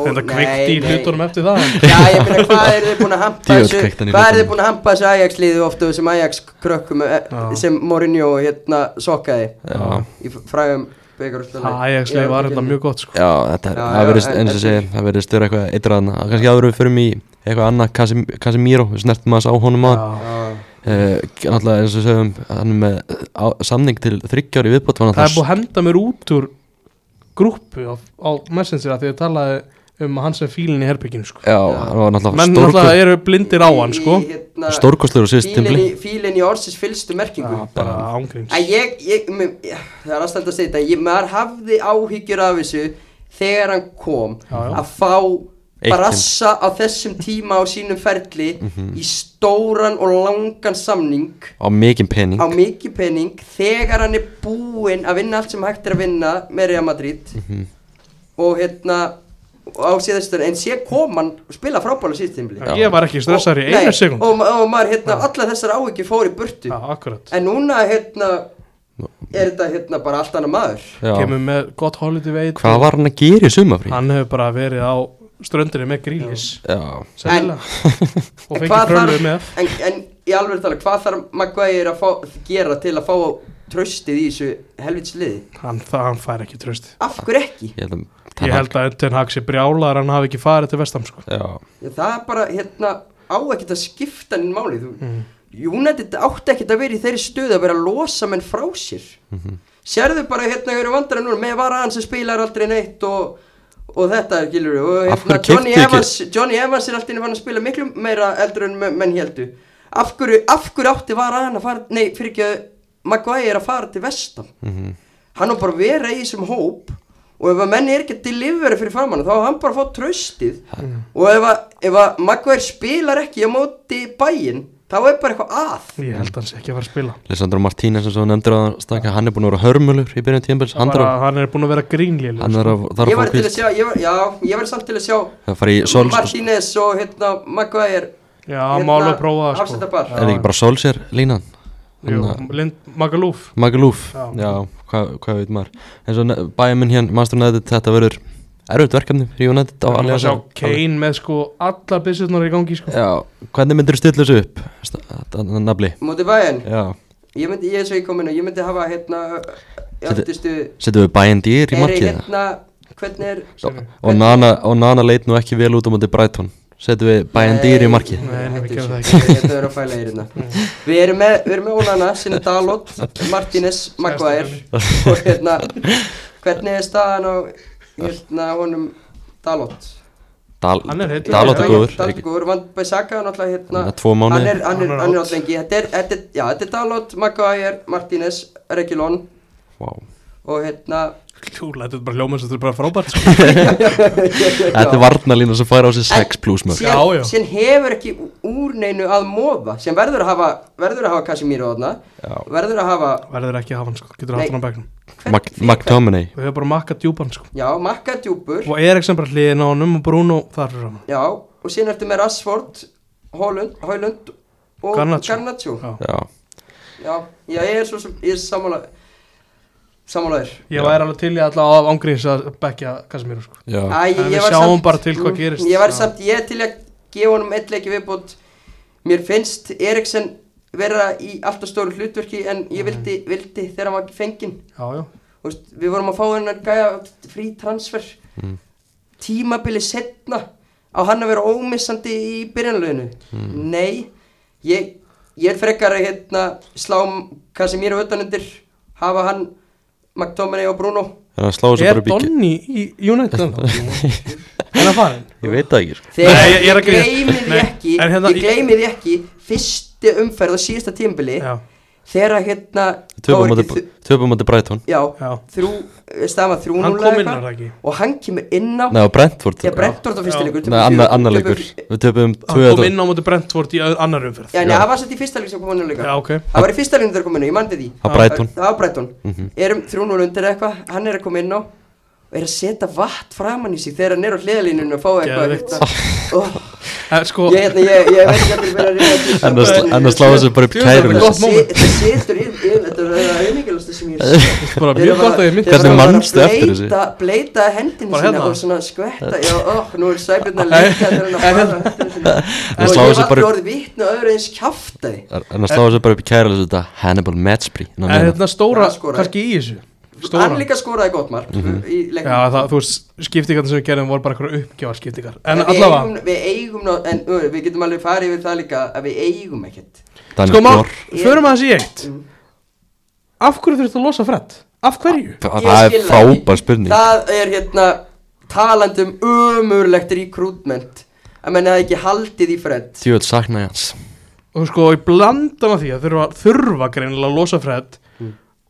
[SPEAKER 4] þetta kveikt í hlutunum eftir það en-
[SPEAKER 5] Já, ég meina, hvað er þið búin að hampa
[SPEAKER 3] Djöfull
[SPEAKER 5] þessu
[SPEAKER 3] kveikti hann í
[SPEAKER 5] Hvað er þið
[SPEAKER 3] hlutunum.
[SPEAKER 5] búin að hampa þessu Ajax liðu ofta þessum Ajax krökkum
[SPEAKER 4] Já.
[SPEAKER 5] sem Mourinho hérna sokkaði
[SPEAKER 3] Já.
[SPEAKER 5] í frægum byggarústunni
[SPEAKER 4] Það Ajaxlið var hérna mjög gott sko
[SPEAKER 3] Já, þetta er,
[SPEAKER 5] Já,
[SPEAKER 3] það
[SPEAKER 5] já,
[SPEAKER 3] verðist,
[SPEAKER 5] en-
[SPEAKER 3] eins og
[SPEAKER 5] en-
[SPEAKER 3] ég segi, það verðist vera eitthvað eitraðan, kannski áður en við förum í eitthvað annað, Casim- Casemiro, við snertum aðeins á honum að,
[SPEAKER 4] Já.
[SPEAKER 3] uh, náttúrulega eins og segjum, hann er með á, samning til þryggjári viðbót, þannig
[SPEAKER 4] Það er
[SPEAKER 3] að
[SPEAKER 4] búið að henda mér út úr grúppu á, á Messenger af því að talaði um að hann sem fílinn í herbygginu sko
[SPEAKER 3] já, hann var
[SPEAKER 4] Menn
[SPEAKER 3] náttúrulega
[SPEAKER 4] náttúrulega
[SPEAKER 3] stórkost-
[SPEAKER 4] eru blindir á hann sko
[SPEAKER 3] stórkostlegur á Ah, síðust tímli,
[SPEAKER 5] hérna, Fílinn í orsis fylstu merkingu
[SPEAKER 4] Já, bara ángríns
[SPEAKER 5] Að ég, ég, mér- ég, það er aðstænd að segja þetta, ég, maður hafði áhyggjur af þessu þegar hann kom
[SPEAKER 4] já.
[SPEAKER 5] að fá
[SPEAKER 3] Eitt
[SPEAKER 5] brassa á þessum tíma á sínum ferli
[SPEAKER 3] Mhm.
[SPEAKER 5] í stóran og langan samning
[SPEAKER 3] á mikinn pening,
[SPEAKER 5] á mikið pening þegar hann er búinn að vinna allt sem hægt er að vinna með Real Madrid og hérna og á síðastunni, en sé kom hann og spila frábæla síðstimli
[SPEAKER 4] Já, Ég var ekki stressar í einu sekund
[SPEAKER 5] og, og maður hérna, allar þessar áhyggjur fór í burtu
[SPEAKER 4] Já, akkurat
[SPEAKER 5] En núna, hérna, er þetta hérna bara allt annað maður.
[SPEAKER 3] já,
[SPEAKER 4] Kemur með gott holiday veit
[SPEAKER 3] hvað var hann að gera í sumafrí?
[SPEAKER 4] Hann hefur bara verið á ströndinni með grílis
[SPEAKER 3] Já,
[SPEAKER 4] Sennilega Og
[SPEAKER 5] En
[SPEAKER 4] fengið
[SPEAKER 5] hvað
[SPEAKER 4] prölu með
[SPEAKER 5] þarf, en, en í alveg tala, hvað þarf Maguire að fá, gera til að fá tröstið í þessu helvits liði?
[SPEAKER 4] Hann, það, hann fær ekki tröst
[SPEAKER 5] Af hverju ekki?
[SPEAKER 3] ég held að,
[SPEAKER 4] Ég held að Ten Hag sé brjálaðar hann hafi ekki farið til vestam sko
[SPEAKER 3] já,
[SPEAKER 5] Það er bara, hérna, á ekkert að skipta nýn máli. Þú,
[SPEAKER 3] Mhm.
[SPEAKER 5] United átti ekkert að vera í þeirri stöðu að vera að losa menn frá sér.
[SPEAKER 3] Mhm.
[SPEAKER 5] Sérðu bara, hérna, ég eru vandara núna, með varaðan sem spilar aldrei neitt og, og þetta, gilur við. Og,
[SPEAKER 3] Af
[SPEAKER 5] hérna,
[SPEAKER 3] hverju
[SPEAKER 5] Johnny
[SPEAKER 3] keyptuð ekki-
[SPEAKER 5] Evans, Johnny Evans er alltaf inn að spila miklu meira eldur en men- menn heldu. Af hverju, af hverju átti varaðan að fara, nei, fyrir ekki að Maguire að fara til vestam?
[SPEAKER 3] Mhm.
[SPEAKER 5] hann á bara að vera í þessum hóp og ef að menn er ekki að delivera fyrir framann þá á hann bara að fá tröstið og ef að, ef að Maguire spilar ekki á móti bæinn þá er bara eitthvað að
[SPEAKER 3] Mm.
[SPEAKER 4] Ég held að hann sé ekki að fara að spila
[SPEAKER 3] Lissandro Martínez sem svo nefndur að staka, hann er búin að vera hörmulur í byrjun tímbils, hann
[SPEAKER 4] bara,
[SPEAKER 3] þarf
[SPEAKER 4] hann er búin að vera grínlíl
[SPEAKER 3] hann er að, þarf
[SPEAKER 5] ég
[SPEAKER 3] að
[SPEAKER 5] var
[SPEAKER 3] fá
[SPEAKER 5] til að
[SPEAKER 3] kvíld,
[SPEAKER 5] sjá, ég var, já, ég var samt til að sjá
[SPEAKER 3] það fari í Sol-
[SPEAKER 5] Martínez og hérna Maguire
[SPEAKER 4] Já, hann má alveg prófa það sko
[SPEAKER 5] afsetabar
[SPEAKER 3] er ekki bara Solskjær línan
[SPEAKER 4] Jú, Lind Magalúf
[SPEAKER 3] Magalúf,
[SPEAKER 4] Já.
[SPEAKER 3] já, hvað, hvað veit maður eins og bæjuminn hérna, Master United þetta verður erfitt verkefni fyrir United á
[SPEAKER 4] Það var að
[SPEAKER 3] Allianz
[SPEAKER 4] sjá
[SPEAKER 3] Arena.
[SPEAKER 4] Kane með sko allar byssunar í gangi sko
[SPEAKER 5] Já,
[SPEAKER 3] Hvernig myndir þú stilla þessu upp, sta- þarna nafli?
[SPEAKER 5] móti bæinn
[SPEAKER 3] Já,
[SPEAKER 5] Ég myndi, ég svo ég kom inn og ég myndi hafa hérna Í
[SPEAKER 3] Þetta-
[SPEAKER 5] aftustu
[SPEAKER 3] setjum við bæinn dýr í
[SPEAKER 5] Eri
[SPEAKER 3] markið
[SPEAKER 5] hérna, hvernig er
[SPEAKER 3] og, og, Nana, og Nana leit nú ekki vel út á móti Brighton Setjum við bæinn dýr í markið
[SPEAKER 4] Nei, nei, við
[SPEAKER 5] hættu
[SPEAKER 4] gerum það
[SPEAKER 5] þessu. Þetta er að fæla í hérna Við erum með, við erum með Ólana, Sinna Dalot Martínez, Maguire Og hérna, hvernig er staðan á Hérna, honum Dalot
[SPEAKER 3] Dal,
[SPEAKER 4] Hann er heill.
[SPEAKER 3] Dalot er góður
[SPEAKER 5] Dalot
[SPEAKER 3] ekki-
[SPEAKER 5] góður, vann Bæsaka náttúrulega
[SPEAKER 3] Hann
[SPEAKER 5] hérna
[SPEAKER 3] er Tvo
[SPEAKER 5] Hann
[SPEAKER 3] mánuði
[SPEAKER 5] er, hann
[SPEAKER 4] Hann
[SPEAKER 5] er,
[SPEAKER 4] er
[SPEAKER 5] hann er
[SPEAKER 4] out.
[SPEAKER 5] átt lengi Þetta er, þetta er, já, þetta er Dalot, Maguire, Martínez, Reguilón
[SPEAKER 3] Vá.
[SPEAKER 5] Og hérna
[SPEAKER 4] Kjúla, þetta er bara hljóma, þetta er bara frábært sko
[SPEAKER 3] Þetta er varnalína sem fær á sig 6 pluss mörg
[SPEAKER 4] Já, já.
[SPEAKER 5] síðan, síðan hefur ekki úr neinu að móða síðan verður að hafa verður að hafa Casimiro þarna
[SPEAKER 3] Já.
[SPEAKER 5] verður að hafa
[SPEAKER 4] Verður ekki að hafa hann sko, getur haft
[SPEAKER 5] Nei.
[SPEAKER 4] hann á begnum
[SPEAKER 3] McTominay
[SPEAKER 4] Við höfum bara makkað djúpan sko
[SPEAKER 5] já, makka djúpur
[SPEAKER 4] Og Eriksson bara hliðin á honum og Bruno þar fyrir hann
[SPEAKER 5] já, og síðan ertu með Rashford Holund, Holund og
[SPEAKER 4] Garnacho.
[SPEAKER 5] Garnaccio já.
[SPEAKER 4] Já.
[SPEAKER 3] Já,
[SPEAKER 5] já, ég er svo sem ég er sammála sammálaður
[SPEAKER 4] Ég væri alveg til í allavega af ángríns að bekja Casemiro sko
[SPEAKER 3] já
[SPEAKER 5] Æ,
[SPEAKER 4] En við
[SPEAKER 5] ég var
[SPEAKER 4] sjáum
[SPEAKER 5] samt-
[SPEAKER 4] bara til hvað
[SPEAKER 5] Mm,
[SPEAKER 4] gerist.
[SPEAKER 5] Ég var
[SPEAKER 4] Já.
[SPEAKER 5] samt, ég er til að gefa honum eitt leiki viðbót Mér finnst Eriksen vera í alltaf stóru hlutverki En ég vildi, vildi þegar hann var fenginn
[SPEAKER 4] Já, já,
[SPEAKER 5] Þú veist, Við vorum að fá hennar gæja frí transfer
[SPEAKER 4] Mm.
[SPEAKER 5] Tímabili setna Á hann að vera ómissandi í byrjanleginu
[SPEAKER 4] Mm.
[SPEAKER 5] Nei Ég, ég er frekar að hérna, slá Casemiro utanundir Hafa hann McTominay og Bruno
[SPEAKER 3] Þannig að slá þessu
[SPEAKER 4] Er
[SPEAKER 3] bara byggi
[SPEAKER 4] Donny í United ennþá? Er það farin?
[SPEAKER 3] Ég veit það ekki sko.
[SPEAKER 5] Þegar
[SPEAKER 4] Nei,
[SPEAKER 5] ég,
[SPEAKER 4] ég- ég er að grínast.
[SPEAKER 5] gleymi því
[SPEAKER 4] Nei,
[SPEAKER 5] ekki
[SPEAKER 4] en hérna-
[SPEAKER 5] Ég gleymi því ekki Fyrsti umferð á síðasta tímbili
[SPEAKER 4] Já,
[SPEAKER 5] Þegar að hérna
[SPEAKER 3] Töpum
[SPEAKER 5] þá er
[SPEAKER 3] móti-
[SPEAKER 5] ekki þ-
[SPEAKER 3] Töpum móti Brighton
[SPEAKER 5] Já,
[SPEAKER 4] Já.
[SPEAKER 5] þrjú Stama þrjú
[SPEAKER 4] Hann
[SPEAKER 5] núna
[SPEAKER 4] kom inn á
[SPEAKER 5] eitthvað.
[SPEAKER 4] það ekki?
[SPEAKER 5] Og hann kemur inn á
[SPEAKER 3] Nei, og Brentford
[SPEAKER 5] Þegar Brentford á fyrsta
[SPEAKER 4] Já.
[SPEAKER 5] leikur
[SPEAKER 3] Nei, annar annar leikur Við töpum
[SPEAKER 4] hann kom
[SPEAKER 3] 2-1
[SPEAKER 4] inn á móti Brentford í öð- annar umferð
[SPEAKER 5] Já, nei, það var sett í fyrsta leikur sem kom hann
[SPEAKER 4] Já,
[SPEAKER 5] líka
[SPEAKER 4] ok
[SPEAKER 5] Það var í fyrsta leikur þegar kom inn á, ég mandi því
[SPEAKER 3] Á Brighton. Mhm.
[SPEAKER 5] Það var Brighton Erum þrjú núna undir eitthvað, hann er að koma inn á Og er að setja vatn framan í sig Þegar hann er á hliðalínunum og fá eitthvað
[SPEAKER 4] Geðveikt.
[SPEAKER 5] hérna. Ó,
[SPEAKER 4] En sko,
[SPEAKER 5] Ég, hérna, ég, ég veit ekki að fyrir að reyna
[SPEAKER 3] En að sl- en að slá þessu bara upp
[SPEAKER 4] Djöfull,
[SPEAKER 3] kæru
[SPEAKER 4] þetta er gott.
[SPEAKER 3] list.
[SPEAKER 4] moment.
[SPEAKER 5] Þetta setur inn, inn þetta er það einingilasta sem ég sé
[SPEAKER 4] bara mjög gott að ég myndi
[SPEAKER 3] Þeir eru Hvernig manstu eftir þessu?
[SPEAKER 5] Bleita, bleita hendinu
[SPEAKER 4] Bara
[SPEAKER 5] sína
[SPEAKER 4] hérna?
[SPEAKER 5] og svona skvetta Já, ó, nú er sæbjörna leika þegar hann
[SPEAKER 4] hérna.
[SPEAKER 5] að fara á hendur sinni.
[SPEAKER 3] En
[SPEAKER 5] Og
[SPEAKER 3] slá
[SPEAKER 5] ég hef
[SPEAKER 3] þessu bara
[SPEAKER 5] aldrei
[SPEAKER 3] upp
[SPEAKER 5] orðið vitni að öðru eins kjaftaði
[SPEAKER 3] En að slá þessu bara upp í kæru Þetta er Hannibal Matchbury ná,
[SPEAKER 4] en
[SPEAKER 3] meina.
[SPEAKER 4] hérna stóra,
[SPEAKER 5] Já, skoraði.
[SPEAKER 4] kannski í þessu
[SPEAKER 5] Hann
[SPEAKER 4] Stóra
[SPEAKER 5] líka skoraði gott mark
[SPEAKER 3] Mhm.
[SPEAKER 5] í
[SPEAKER 4] Já,
[SPEAKER 5] leiknum
[SPEAKER 4] það, þú veist, skiptingarnir sem við gerðum voru bara eitthvað uppgjáðar skiptingar En
[SPEAKER 5] við
[SPEAKER 4] allavega,
[SPEAKER 5] eigum, Við eigum, ná- en ö, við getum alveg farið yfir það líka að við eigum ekkert
[SPEAKER 3] Danny
[SPEAKER 4] sko má,
[SPEAKER 3] Gore
[SPEAKER 4] förum að þessi í eitt
[SPEAKER 5] Mm.
[SPEAKER 4] Af hverju þurftu að losa fredd? Af hverju?
[SPEAKER 3] Þa-
[SPEAKER 5] Ég
[SPEAKER 3] Það
[SPEAKER 5] skil
[SPEAKER 3] er
[SPEAKER 5] það
[SPEAKER 3] frábær spurning
[SPEAKER 5] Það er hérna talandi um umurlegt recruitment að menna það ekki haldið í fredd
[SPEAKER 3] Tjóðið saknaði hans
[SPEAKER 4] Og sko, ég blanda með því að þurfa, þurfa greinilega að losa fredd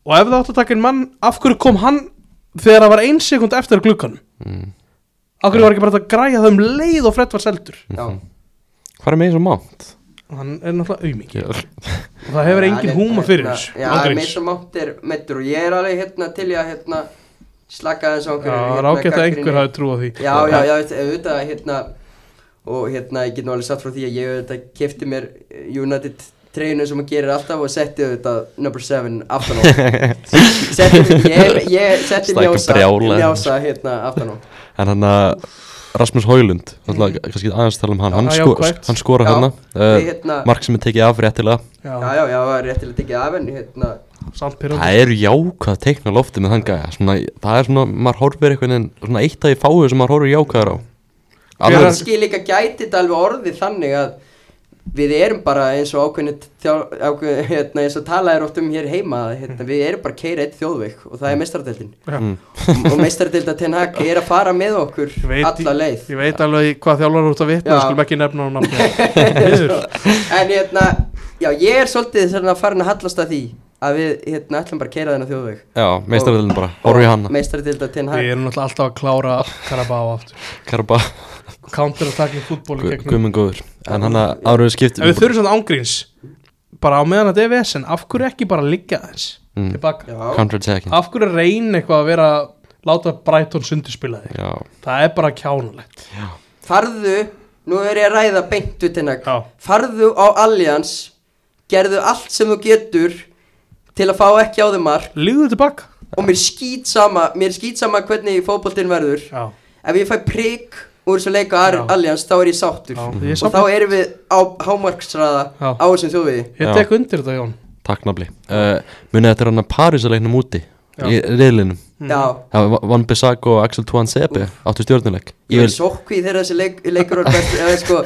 [SPEAKER 4] Og ef það átt að taka einn mann, af hverju kom hann þegar það var ein sekund eftir glugganum?
[SPEAKER 3] Mm.
[SPEAKER 4] Af hverju var ekki bara hægt að græja það um leið og fredd var seldur?
[SPEAKER 5] Já,
[SPEAKER 3] Hvað er með eins og mánt?
[SPEAKER 4] Hann er náttúrulega aumingi
[SPEAKER 3] Ég-
[SPEAKER 4] Og það hefur engin húma fyrir þessu
[SPEAKER 5] hérna, Já,
[SPEAKER 4] ángríns.
[SPEAKER 5] Meitur Mátt er meittur og ég er alveg hérna til ég að hérna slaka þess á
[SPEAKER 4] Já,
[SPEAKER 5] einhverju
[SPEAKER 4] það er
[SPEAKER 5] hérna,
[SPEAKER 4] ágætt að
[SPEAKER 5] gagnrýni.
[SPEAKER 4] einhver hafi trú á því
[SPEAKER 5] Já, já, já, veist, auðvitað hérna og hérna ég get nú alveg satt frá því að ég auðvitað kefti mér eh, United treyjunu sem maður gerir alltaf og setti auðvitað number 7 aftan á setti mér, ég, ég setti
[SPEAKER 3] Stækka
[SPEAKER 5] mjása
[SPEAKER 3] brjála.
[SPEAKER 5] mjása hérna aftan á
[SPEAKER 3] En hann að Rasmus Haulund mm. kannski aðeins tala um hann,
[SPEAKER 4] Já,
[SPEAKER 3] hann,
[SPEAKER 4] já,
[SPEAKER 3] sko,
[SPEAKER 4] korrekt.
[SPEAKER 3] hann skora
[SPEAKER 5] Já,
[SPEAKER 3] hérna
[SPEAKER 5] við
[SPEAKER 3] uh,
[SPEAKER 5] hérna-
[SPEAKER 3] Mark sem er tekið af réttilega
[SPEAKER 5] Já, já, já, það var réttilega tekið af henni hérna
[SPEAKER 4] samt
[SPEAKER 3] Það
[SPEAKER 4] pyrrandi
[SPEAKER 3] eru jákvæð teikna loftið með þann gæja svona, Það er svona, maður horfir eitthvað en svona eitt af í fáu sem maður horfir jákvæðar á
[SPEAKER 4] Hver
[SPEAKER 3] Alveg,
[SPEAKER 4] er-
[SPEAKER 5] kannski líka gæti þetta alveg orðið þannig að við erum bara eins og ákveðin ákveðin, hérna, eins og talað er oft um hér heima að, hérna, við erum bara keira eitt þjóðveik og það er meistaradeildin og meistaradeilda ten hag er að fara með okkur
[SPEAKER 4] Ég veit-
[SPEAKER 5] alla leið
[SPEAKER 4] Ég veit alveg í hvað þjálfur út að vitna
[SPEAKER 5] Já.
[SPEAKER 4] Við skulum ekki nefna hún nafni
[SPEAKER 5] en hérna, já ég er svolítið þarna farin að hallast að því að við hérna ætlum bara að keira þennan þjóðveik
[SPEAKER 3] Já, meistarveldin bara, horfir í hann
[SPEAKER 5] meistaradeilda ten
[SPEAKER 4] Við
[SPEAKER 5] hag
[SPEAKER 4] erum náttúrulega alltaf að klára Karabá aftur
[SPEAKER 3] Karba,
[SPEAKER 4] Counter attacking fútból í gegnum
[SPEAKER 3] guðmund góður En hann að áruðu skipt
[SPEAKER 4] En við þurfum svona ángríns Bara á meðan að DVS en af hverju ekki bara liggja aðeins
[SPEAKER 3] Mm.
[SPEAKER 4] Tilbaka
[SPEAKER 5] já,
[SPEAKER 3] Counter-attacking
[SPEAKER 4] Af hverju reyna eitthvað að vera Láta Brighton sundurspila þig
[SPEAKER 3] Já,
[SPEAKER 4] Það er bara kjánulegt
[SPEAKER 5] farðu nú er ég að ræða beint við ten hag
[SPEAKER 4] Já.
[SPEAKER 5] farðu á Allianz gerðu allt sem þú getur til að fá ekki á þau mark
[SPEAKER 4] Líðu tilbaka
[SPEAKER 5] og mér skýt sama, mér skýt sama hvernig fótboltinn verður
[SPEAKER 4] Já.
[SPEAKER 5] ef ég fæ prik úr þessu leik á
[SPEAKER 4] Já.
[SPEAKER 5] Allianz þá er ég sáttur
[SPEAKER 4] Já,
[SPEAKER 5] og
[SPEAKER 4] ég
[SPEAKER 5] þá
[SPEAKER 4] sammála.
[SPEAKER 5] erum við á hámarksraða
[SPEAKER 4] Já.
[SPEAKER 5] á þessum þjóðvegi
[SPEAKER 4] Ég tek undir þetta Jón
[SPEAKER 3] Takk nafli uh, Munið þetta er hann að Parísaleiknum úti
[SPEAKER 4] Já.
[SPEAKER 3] Í riðlinum
[SPEAKER 4] Mhm.
[SPEAKER 5] já,
[SPEAKER 3] Það var Van Bissaka og Axel Tuan Sepe Áttu stjórnuleik
[SPEAKER 5] ég
[SPEAKER 3] Ég
[SPEAKER 5] er
[SPEAKER 3] vil
[SPEAKER 5] sokk í þegar þessi leik, leikur var best eða sko,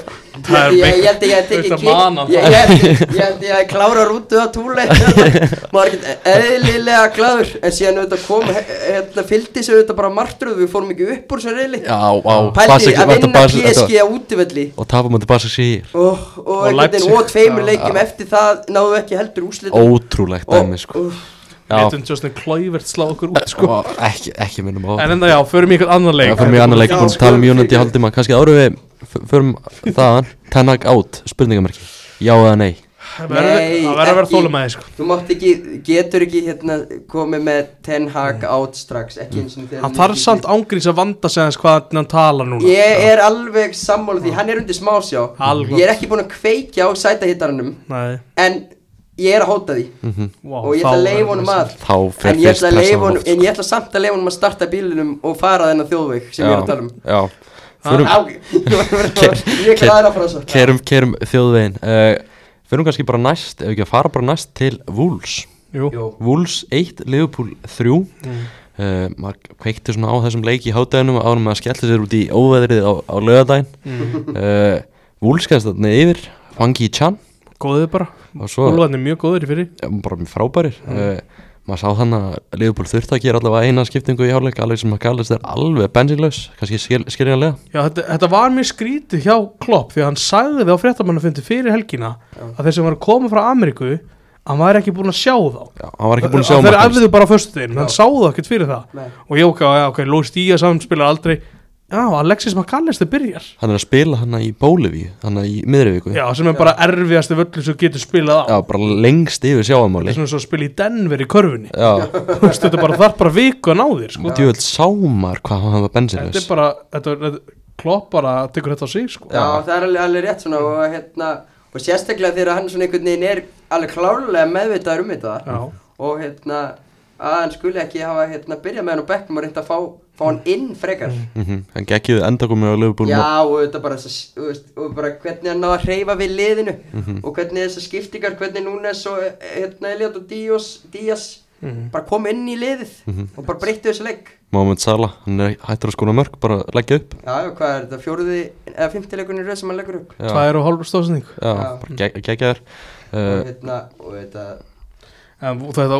[SPEAKER 4] Það er
[SPEAKER 5] ég, ég, ég held að ég held
[SPEAKER 4] veikt
[SPEAKER 5] ekki
[SPEAKER 4] að mana
[SPEAKER 5] kýr ég ég held ég held ég að klára rútu að túle maður er ekkert eðlilega gladur en síðan auðvitað kom he- hérna fylgdi sér auðvitað bara martröð við fórum ekki upp úr sér reyli
[SPEAKER 3] Já, á
[SPEAKER 5] pældi
[SPEAKER 3] Basek-
[SPEAKER 5] að
[SPEAKER 3] þetta
[SPEAKER 5] vinna
[SPEAKER 3] Basek- þetta var-
[SPEAKER 5] PSG á útivelli
[SPEAKER 3] Og tapa mútið Basaks í
[SPEAKER 5] og, og,
[SPEAKER 4] Og
[SPEAKER 5] og,
[SPEAKER 4] Leipzig.
[SPEAKER 5] og tveimur
[SPEAKER 4] Já.
[SPEAKER 5] leikjum eftir það náðu ekki heldur úslitum
[SPEAKER 3] Ótrúlegt dæmi sko
[SPEAKER 5] og,
[SPEAKER 3] Já,
[SPEAKER 4] Letum Justin Kluivert slá okkur út sko
[SPEAKER 3] og ekki, ekki minnum á
[SPEAKER 4] En enda já, förum í eitthvað annan leik
[SPEAKER 3] Það fyrir mjög annar leik,
[SPEAKER 5] Já,
[SPEAKER 3] búin að tala um
[SPEAKER 5] sko,
[SPEAKER 3] Jónandi
[SPEAKER 5] fyrir-
[SPEAKER 3] haldima Kannski árum við, f- förum þaðan Tanak out, spurningamarki Já eða nei
[SPEAKER 4] Það verður
[SPEAKER 5] Nei,
[SPEAKER 4] það verður að vera
[SPEAKER 5] ekki.
[SPEAKER 4] þólumæði sko
[SPEAKER 5] þú mátt ekki, getur ekki hérna komið með Ten Hag out strax ekki eins og þegar
[SPEAKER 4] Hann þarf samt ángrís að vanda sig hans hvað hann talar núna
[SPEAKER 5] ég er alveg sammála því, hann er undir smásjá
[SPEAKER 4] Alveg.
[SPEAKER 5] ég er ekki búinn að kveikja á sætahittarannum
[SPEAKER 4] Nei,
[SPEAKER 5] en ég er að hóta því
[SPEAKER 4] wow,
[SPEAKER 5] og ég
[SPEAKER 4] þá
[SPEAKER 5] ætla að
[SPEAKER 4] verður
[SPEAKER 5] leifa honum
[SPEAKER 4] þessi-
[SPEAKER 5] að
[SPEAKER 3] Þá fer fyrst
[SPEAKER 5] en ég, ætla að
[SPEAKER 3] pressan
[SPEAKER 5] leyfa
[SPEAKER 3] á
[SPEAKER 5] honum,
[SPEAKER 3] loft,
[SPEAKER 5] en ég ætla samt að leifa honum að starta bílinum og fara þennan þjóðveg sem ég er að tala um
[SPEAKER 3] Já,
[SPEAKER 5] Á,
[SPEAKER 3] förum,
[SPEAKER 5] ég var að vera- ég er
[SPEAKER 3] Ker-
[SPEAKER 5] glæður að fara svo
[SPEAKER 3] kerum, kerum þjóðvegin uh, Förum kannski bara næst, ef ekki að fara bara næst til Wolves
[SPEAKER 4] Jú,
[SPEAKER 3] Wolves 1, Liverpool 3 mm. maður kveikti svona á þessum leik í hátæðinum árum að skellti sér út í óveðrið á, á lögadaginn mm. uh, Wolves kannski þarna yfir Fangi Chan
[SPEAKER 4] góðið bara
[SPEAKER 3] og svo
[SPEAKER 4] Úlfarn er mjög góður í fyrir
[SPEAKER 3] ja, bara mjög frábærir uh, maður sá þannig að Liverpool þurfti að gera allavega eina skiptingu í hálfleik alveg sem að kallast er alveg bensinlaus kannski skil, skiljanlega
[SPEAKER 4] Já, þetta, þetta var mjög skrítið hjá Klopp því að hann sagði það á fréttamannafundi fyrir helgina að þeir sem var að koma frá Ameríku hann var ekki búinn að sjá þá
[SPEAKER 3] Já, hann var ekki búin að sjá
[SPEAKER 4] að þeir
[SPEAKER 3] markalist.
[SPEAKER 4] æfðu bara á föstudegin hann sá það ekkert fyrir það
[SPEAKER 5] Nei.
[SPEAKER 4] og ég ok, já, ok, Lóis Díaz samspilar aldrei já, Alexis McAllister byrjar
[SPEAKER 3] hann er að spila hann í Bólivíu hann í miðrivíku
[SPEAKER 4] já, sem er bara erfiðasti völlu sem getur spilað á
[SPEAKER 3] Já, bara lengst yfir
[SPEAKER 4] það
[SPEAKER 3] sjáamáli
[SPEAKER 4] er svona svo að spila í Denver í körfunni
[SPEAKER 3] já,
[SPEAKER 4] Þú veist, þetta bara þarf bara viku að ná þér sko.
[SPEAKER 3] djúvel sámar hvað hann var
[SPEAKER 4] þetta er
[SPEAKER 3] bensinlaus
[SPEAKER 4] bara, þetta, þetta, Klopp bara tekur þetta á sig sko.
[SPEAKER 5] Já, það er alveg, alveg rétt svona og hérna og sérstaklega þegar hann svona einhvern veginn er alveg klárlega meðvitaður um þetta
[SPEAKER 4] Já.
[SPEAKER 5] og hérna að hann skuli ekki hafa hérna byrjað með hann á bekknum og reynda að fá, fá hann inn frekar
[SPEAKER 3] mm hann gekkiði enda komið á Liverpool og-
[SPEAKER 5] Já og þetta bara, þess, þú veist, og bara hvernig hann náði að hreyfa við liðinu og hvernig þessar skiptingar, hvernig núna svo hérna Eliott og Díos, Días bara kom inn í liðið og bara breyttu þessu leik
[SPEAKER 3] Mohamed Salah, hann er hættur að skona mörg bara leggja upp
[SPEAKER 5] Já, já, hvað er þetta, fjóruði eða fymtileikunni röð sem hann leggur upp
[SPEAKER 3] Já.
[SPEAKER 4] tvær og hálf stóðsending
[SPEAKER 3] já,
[SPEAKER 5] Já.
[SPEAKER 3] bara geg- geggjaður
[SPEAKER 5] og
[SPEAKER 3] uh,
[SPEAKER 5] hérna, og þetta
[SPEAKER 4] En þetta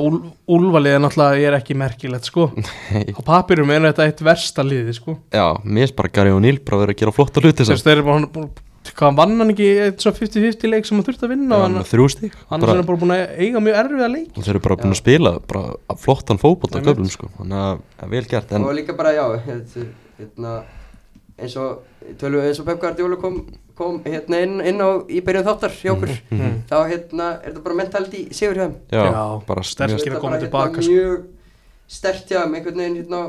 [SPEAKER 4] úlvalið er náttúrulega er ekki merkilegt sko
[SPEAKER 3] Nei.
[SPEAKER 4] Á papirum er þetta eitt versta liði sko
[SPEAKER 3] já, mér er bara Gary O'Neill bara verið að gera flotta hluti
[SPEAKER 4] Þess að þeir eru bara hann- bara Hvað vann hann ekki eitt svo 50-50 leik sem hann þurfti að vinna og hann,
[SPEAKER 3] með þrjú stík
[SPEAKER 4] annars er hann bara búin að eiga mjög erfiða leik
[SPEAKER 3] og þeir eru bara búin að spila bara flottan fótboll á
[SPEAKER 4] Einmitt.
[SPEAKER 3] göflum sko þannig að það er vel gert en
[SPEAKER 5] og líka bara, já, þetta, er, hérna eins og, tölum, eins og Pep Guardiola kom, kom hérna inn, inn á í byrjun þáttar hjá okkur þá hérna, er þetta bara mentality sigur hjá þeim
[SPEAKER 3] já,
[SPEAKER 4] já,
[SPEAKER 3] bara mjög
[SPEAKER 4] sterk. Kannski að
[SPEAKER 5] Þetta
[SPEAKER 4] koma
[SPEAKER 5] bara,
[SPEAKER 4] tilbaka,
[SPEAKER 5] hérna,
[SPEAKER 4] sko.
[SPEAKER 5] mjög stert hjá þeim, einhvern veginn hérna